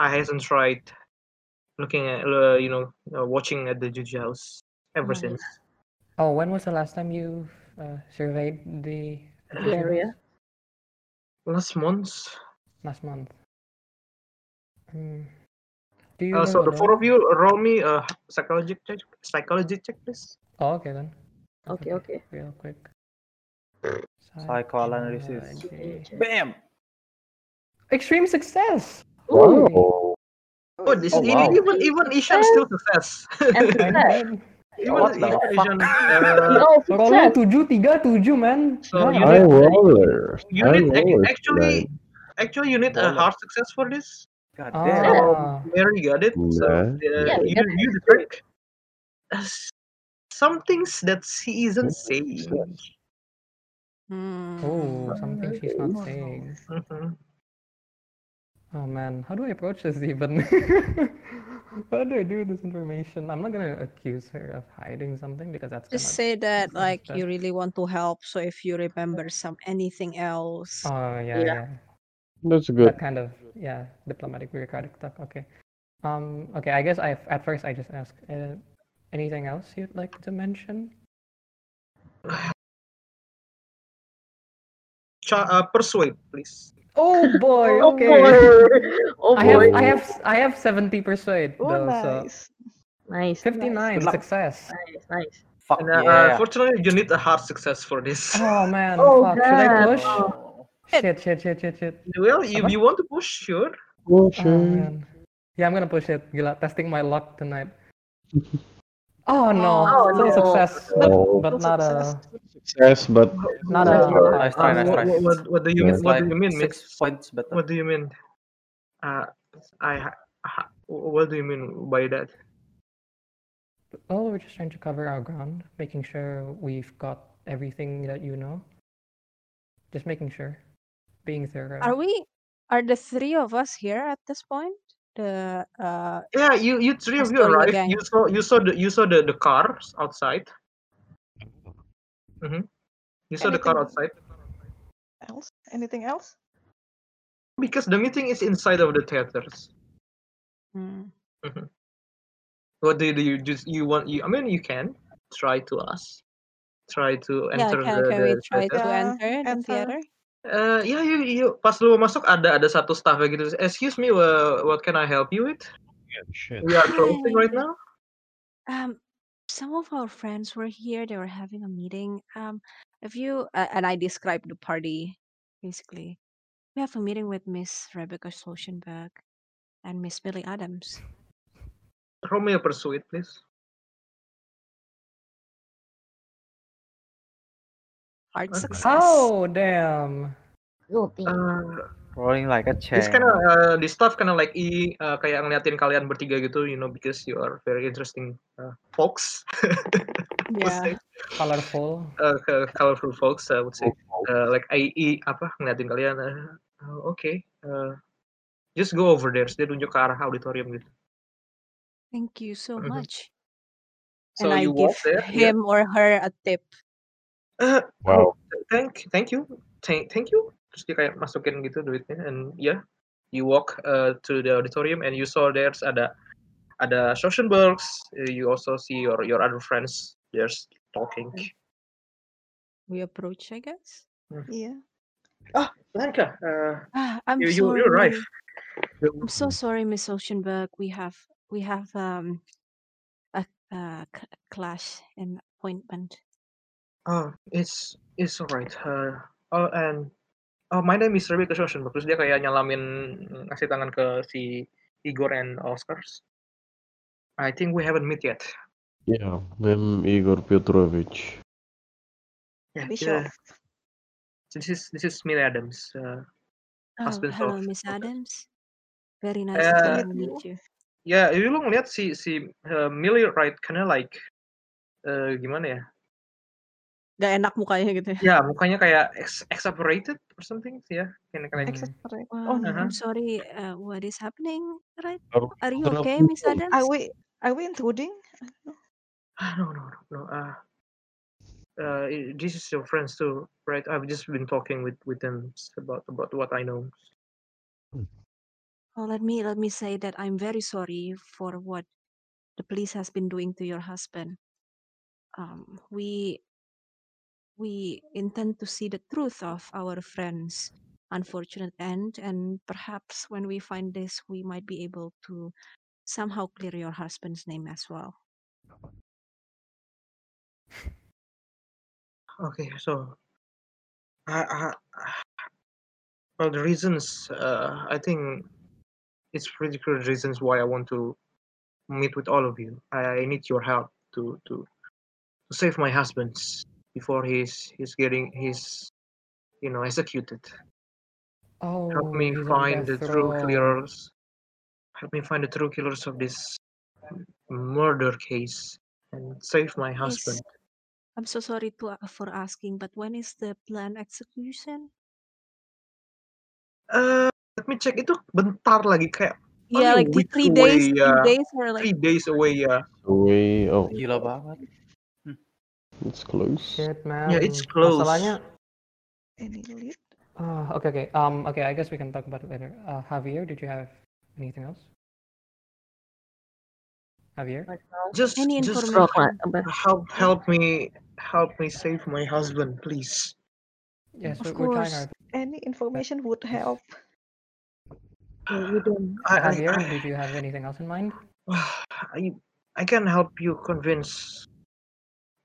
I hasn't tried looking at uh, you know uh, watching at the Juju house ever Mhm. since. Oh, when was the last time you uh, surveyed the The Juju area. House? Uh, Last month, Last month. Hmm. Do you uh, so roll the four of alone? you roll me a psychology check, psychology check, please. Oh, okay then. Okay, okay. Real quick. Psychoanalysis. Psychology. Bam. Extreme success. Ooh. Wow. Oh, this Oh, is, wow. even even Ishan still success. And [laughs] I success. know. even What the even fuck? Ishan. Uh, [laughs] We all Roll lu success. tujuh tiga tujuh man. Nah, So Gila you nggak? need High rollers. you High need ac- rollers actually tonight. actually you need a Roller. hard success for this. God damn. Yeah, Ah. Mary got it. So Nah. uh, yeah, we you can you do it. detect uh, s- some things that she isn't saying. Hmm. Oh, something she's not saying. Mhm. Oh man, how do I approach this even? [laughs] how do I do this information? I'm not gonna accuse her of hiding something because that's Just gonna say that that's gonna like you really want to help. So if you remember some anything else, Oh yeah, Yeah. yeah. That's good. That kind of yeah, diplomatic bureaucratic stuff. Okay. Um. Okay. I guess I at first I just ask. Uh, anything else you'd [sighs] Oh, like to mention? cha- uh, persuade, please. Oh boy. [laughs] Oh, Okay. [laughs] boy. Oh, I have boy. I have I have seventy persuade Oh, though. nice. So. Nice. Fifty nine Good luck. success. Nice, nice. And, uh, yeah. Unfortunately, you need a hard success for this. Oh [laughs] man. Oh, fuck. Should I God. push? Oh. Shit, shit, shit, shit, shit. Well, Apa? if you want to push, sure. Oh, man. Yeah, I'm gonna push it. Gila, testing my luck tonight. Oh no, Oh, still no. success, but, Oh. but not uh, a Yes, but not a Oh, What- hard. Nice try, uh, nice what, try. what, what, what do you Yeah. mean? What do you mean, six Mitch? points better. What do you mean? Uh, I ha- ha- what do you mean by that? Well, oh, we're just trying to cover our ground, making sure we've got everything that you know. Just making sure, being thorough. Are we? Are the three of us here at this point? The uh, Yeah, you you three Let's of you go, you arrived. gang. You saw you saw the you saw the the cars outside. hmm You saw the car Anything- outside Else? Anything else? because the meeting is inside of the theaters. hmm. What do you do? You just you want? You, I mean, you can try to us. Try to yeah, can enter the, can the we try to theater. Yeah, enter the theater? enter. Eh, ya, yuk, yuk. Pas lu mau masuk ada ada satu staff gitu. Excuse me, wha- what can I help you with? shit. We are Hi. closing right now. Um, some of our friends were here. They were having a meeting. Um, if you uh, and I described the party, basically, we have a meeting with Miss Rebecca Solchenberg and Miss Billy Adams. Roll me a persuade, please. Hard Okay. success. Oh damn! Eh, Rolling like a this champ. kind of uh, this stuff kind of like i uh, kayak ngeliatin kalian bertiga gitu, you know, because you are very interesting uh, folks. [laughs] I would Yeah. say. Colorful. Uh, co- colorful folks, I would say. Uh, like IE apa ngeliatin kalian. eh, oh, Oke, eh, just go over there. Dia nunjuk ke arah auditorium gitu. Thank you so Mhm. much. So And I you give walk there, yeah. him or her a tip. Eh, oh, Wow. thank thank you thank thank you terus dia kayak masukin gitu duitnya and yeah you walk uh, to the auditorium and you saw there's ada ada Schwarzenbergs uh, you also see your your other friends there's talking We approach, I guess. Iya. Mm. ah Blanca uh, Ah, I'm you you you arrive sorry. I'm so sorry, Miss Oceanberg. We have we have um a, a c- clash in appointment. oh it's it's alright uh, oh and oh my name is Rebecca Schwarzenberg terus dia kayak nyalamin ngasih tangan ke si Igor and Oscars I think we haven't met yet Yeah, I'm Igor Petrovich. yeah Be sure. yeah. this is this is Mila Adams uh, Oh, husband hello, of Miss of- Adams. Very nice Nice to to Eh, meet finally you. meet you. ya lu ngeliat si si uh, Millie Wright karena like eh, gimana [laughs] ya Gak enak mukanya gitu. ya. ya mukanya kayak ex exasperated or something sih ya Kinda kayak Hmm. Exasperate. Oh Wow, no. uh-huh. I'm sorry. Uh, what is happening? Right? Are we Are you okay, interrupting? Miss Are Adams? we are we intruding? Ah, no no no no ah uh, i- this is your friends too right I've just been talking with with them about about what I know Oh, let me let me say that I'm very sorry for what the police has been doing to your husband. Um, we we intend to see the truth of our friend's unfortunate end, and perhaps when we find this, we might be able to somehow clear your husband's name as well. Oh, okay so I I- well the reasons uh, I think it's pretty clear the reasons why I want to meet with all of you I, I need your help to to to save my husband before he's he's getting he's you know executed. Help Oh, me he's on find death the row. true killers. Help me find the true killers of this murder case and save my Yes, husband. I'm so sorry to a- for asking, but when is the planned execution? Uh, let me check itu bentar lagi kayak Yeah, only a like the week three days, away two ya, days or like three days away uh, ya. Away. Oh, Gila banget. it's close. Shit, Yeah, it's man. close. Masalahnya. Any lead? Uh, okay, okay. Um, okay. I guess we can talk about it later. Uh, Javier, did you have anything else? Javier. Just Any just Roll, information? but help Yeah. help me help me save my husband please. Yes, of we- we're trying course, our any information would help. Javier, did you have anything else in mind? [sighs] I I can help you convince.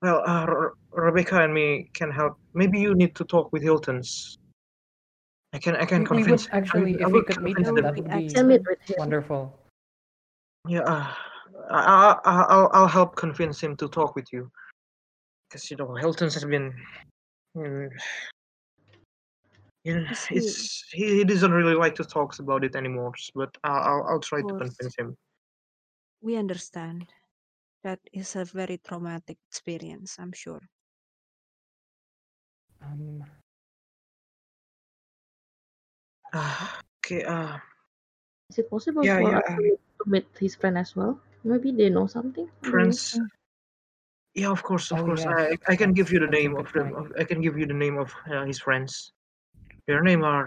Well, uh, R- Rebecca and me can help. Maybe you need to talk with Hilton's. I can I can We- we would convince. actually, if I we will could meet convince them, them. that would be Can meet with him. wonderful. Yeah, uh, I, I, I'll I'll help convince him to talk with you, because you know Hilton's has been. mm, you know, Is he- it's he, he doesn't really like to talk about it anymore. But I'll I'll, I'll try to Course. convince him. We understand. That is a very traumatic experience, I'm sure. Um, Ah, okay. Uh, Is it possible Yeah, for yeah, us to meet, to meet his friend as well? Maybe they know something. I don't know. Prince. Yeah, of course, of Oh, course. yes, I I can that's- give you the that's a name of good the. point. Of, I can give you the name of uh, his friends. Their name are.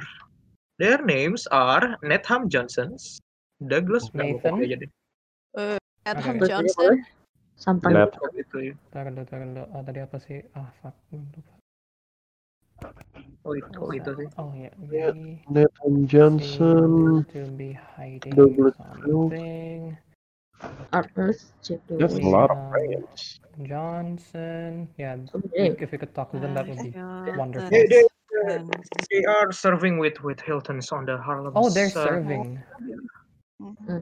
Their names are Netham Johnsons, Douglas. Nggak, gua copy Nathan? aja deh. Uh, Adham Okay. Johnson. Sometimes Gua Nat- copy itu ya. Tunggu dulu, tunggu dulu. Ah, tadi apa sih? Ah, fuck. Gua lupa. Oh itu, oh, What's itu that? sih. Oh, yeah. Yeah. We Nathan seems Johnson, to be hiding Douglas Field. something. Or let's check the That's a ways. lot of Liam friends. Johnson. Yeah, So we, many if we could talk to them, that um, would be wonderful. They, they, uh, Friends. they are serving with with Hilton's on the Harlem. Oh, they're uh, serving. Mm.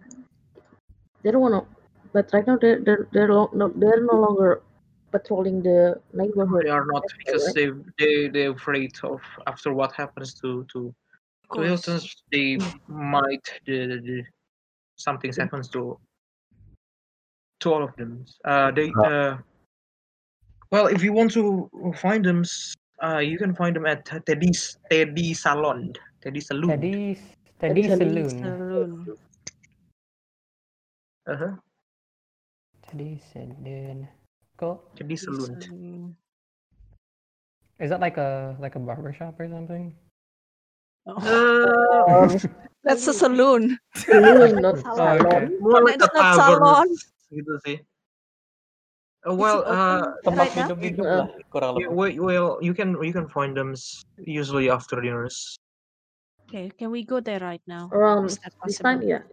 They don't wanna. But right now they're they're they're, lo- no, they're no longer patrolling the neighborhood. they are not That's all because right. they they they're afraid of after what happens to to to Of course. Hilton's. They might the, the, the something Mm. Yeah. happens to to all of them. Uh, they Ah. uh, well, if you want to find them, s- uh, you can find them at Teddy's Teddy Salon, Teddy Saloon. Teddy's Teddy Teddy Saloon. Saloon. uh, Uh-huh. Teddy Saloon. Cool. Teddy Saloon. Saloon. Is that like a like a barber shop or something? Oh, [laughs] Uh, that's a saloon. Saloon, not Oh, Salon. salon. okay. more like That's a not tavern salon. gitu sih. Uh, Is well, it uh, open Tempat right now? hidup-hidup Uh, lah kurang you, lebih. we- well, you can you can find them s- usually after dinners. Okay, can we go there right now? Around Is that this possible? time, yeah.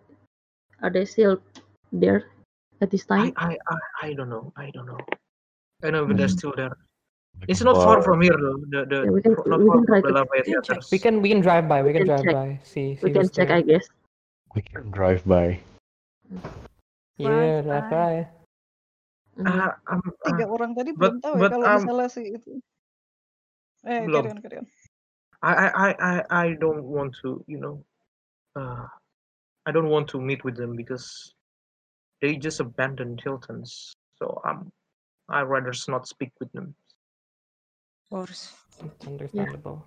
Are they still there at this I time? I I, I don't know. I don't know. I know if they're Mhm. still there. It's not far from here though. The the Yeah, we can fro- not we far can from try the to Lava We can We check. Theaters. can we can drive by. We we can can drive check by. See we see can who's check I there. guess. We can drive by. Right, Yeah, drive right. by. Mhm. Uh, um, Tiga uh, orang tadi but belum tahu ya but kalau um misalnya si itu. Eh, belum. carry on, carry on. I I I I I don't want to you know. Uh, I don't want to meet with them because they just abandoned Hilton's. So um, I rather not speak with them. Of course. It's Yeah, understandable.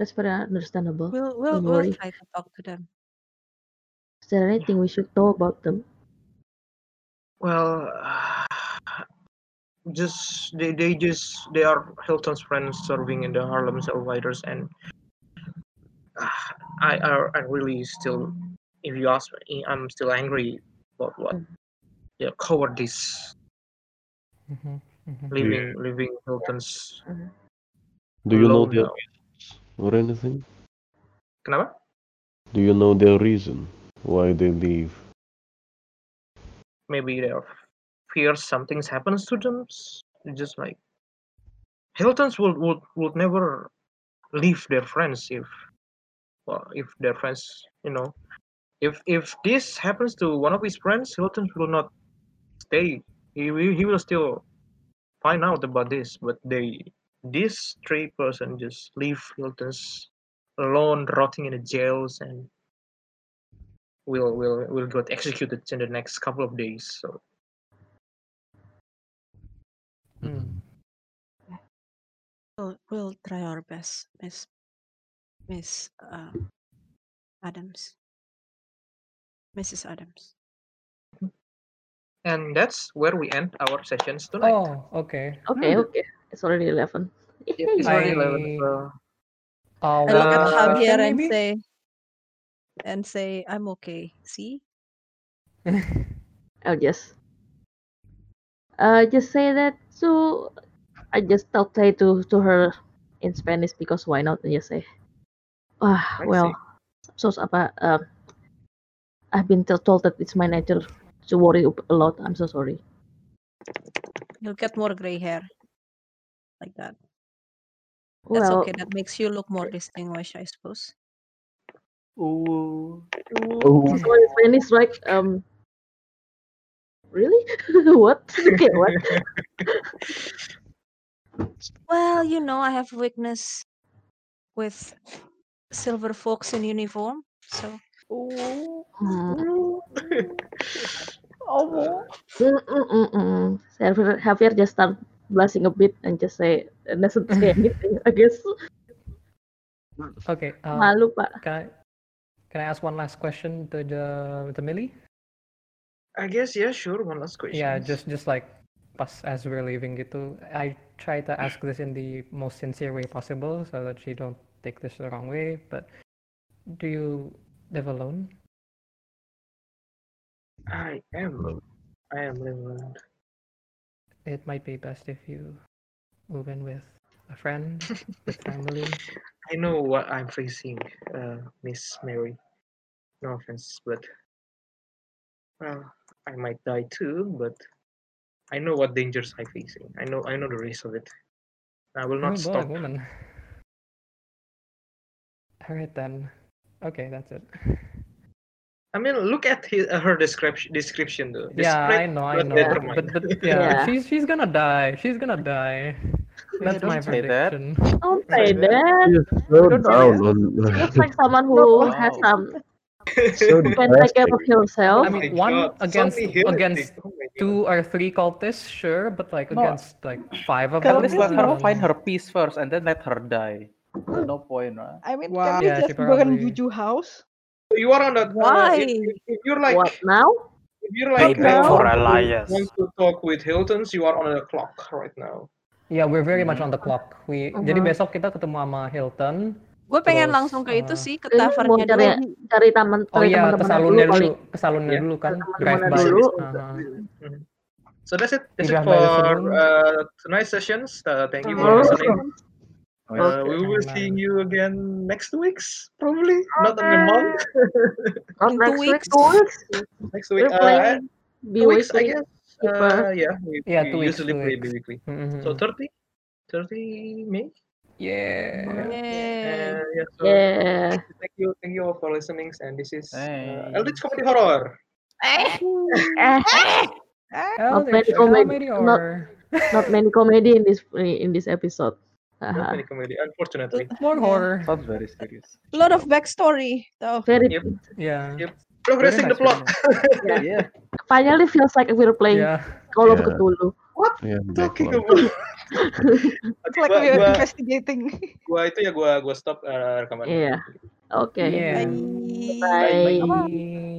that's very understandable. We'll we'll Don't we'll worry. try to talk to them. Is there anything we should know about them? Well, [sighs] just they, they just they are Hilton's friends serving in the Harlem Cellfighters, and [sighs] ah, I, I I really still, if you ask me, I'm still angry about what Mm. the cowardice hmm hmm Mm-hmm. leaving leaving Hilton's Mhm. Do you know alone their now. or anything? Kenapa? Do you know their reason why they leave? Maybe they are fears something happens to them. s- Just like Hilton's would would would never leave their friends if well if their friends you know if if this happens to one of his friends, Hilton will not stay. He will, he will still find out about this. But they these three person just leave Hilton's alone, rotting in the jails, and will will will get executed in the next couple of days. So We'll we'll try our best, Miss Miss uh, Adams. Mrs. Adams. and that's where we end our sessions tonight. Oh, okay. Okay, Hmm. okay. It's already eleven. Yep, it's already eleven. I So uh I look one at last Uh, Javier question and maybe? say and say I'm okay. See? I'll just uh just say that so I just talked to to her in Spanish because why not? And you say, ah, well, so apa? Um, I've been t- told that it's my nature to worry a lot. I'm so sorry. You'll get more gray hair. Like that. That's Well, okay. That makes you look more distinguished, I suppose. Ooh. Oh. so in Spanish, right? Um, really? [laughs] what? Okay, what? Well, you know, I have weakness with silver fox in uniform. So Oh, Mm-mm-mm-mm. Javier, Javier just start blushing a bit and just say, and doesn't say anything, gitu, I guess. Okay. Um, Malu, Pak. Can I, can I ask one last question to the to Millie? I guess yeah, sure. One last question. Yeah, just just like pas as we're leaving gitu, I try to ask this in the most sincere way possible so that she don't take this the wrong way. But do you live alone? I am. I am living alone. It might be best if you move in with a [laughs] friend, with family. I know what I'm facing, uh, Miss Mary. No offense, but well, I might die too. But I know what dangers I'm facing. I know. I know the risk of it. I will You're not both a stop. woman. All right then. Okay, that's it. I mean, look at his, uh, her description. Description though. yeah, I Describe know, I blood know. letter But, mine. but [laughs] [laughs] but Yeah. yeah, she's she's gonna die. She's gonna die. That's my don't say that. prediction. Don't say Javier. that. Yes, slow don't know down that. She looks on like someone who Wow. has some so you can take care depressing. of yourself. I Oh my mean, one God, against Sony Hill against Oh my God. two or three cultists, sure, but like No. against like five of At them, least let I her don't find know. her peace first and then let her die. No point, right? I mean, Wow. can we iya, Yeah, she just burn probably- Buju house? So you are on that. Uh, if, Why? if, if you're like, What now? if you're What like, I Payback now? for want to want alliance. to talk with Hiltons, you are on the clock right now. Yeah, we're very much Hmm. on the clock. We jadi Mhm. besok kita ketemu sama Hilton, gue pengen terus. langsung ke itu eh, sih, ke Ini mau tavernnya cari dulu. cari teman oh cari iya, ke teman-temannya dulu salonnya paling dulu, ke salonnya Iya. Yeah. dulu cari kan, drive teman-temannya by. So dulu. this is Aha. mhm. so that's it. We That's it drive by the for saloon. uh, tonight's sessions. Uh, thank you for Yeah. listening. Nice. Oke. Uh, we will Nice. be seeing you again next weeks, probably not in a month. Not In two next week, weeks. two weeks. next week, We're uh, playing two weeks, I bi-weekly guess. keeper. Uh, yeah, we, Yeah, we two weeks, usually two play weeks. bi-weekly. So Mm-hmm. 30, 30 May. Yeah. Yay. Uh, yeah. So Yeah. thank you, thank you all for listening. And this is uh, Eldritch Thanks. Comedy Horror. Eh, Eh. not many Eldritch comedy, comedy not or not many comedy in this in this episode. Not Haha. many comedy, unfortunately. more Yeah. horror. Sounds very serious. A lot of backstory, though. Very Yep, Yeah. yep. Very Progressing the nice, plot. very nice. [laughs] yeah. Yeah. Finally feels like we're playing Yeah. Call of Yeah. Cthulhu. What Yeah, talking backlog. about? It's [laughs] Oke, like gua we are gua investigating. gua itu ya gua gua stop uh, rekamannya. Yeah. Okay. [laughs] Iya. Yeah. Bye. Bye. Iya. Bye. Bye-bye. Bye.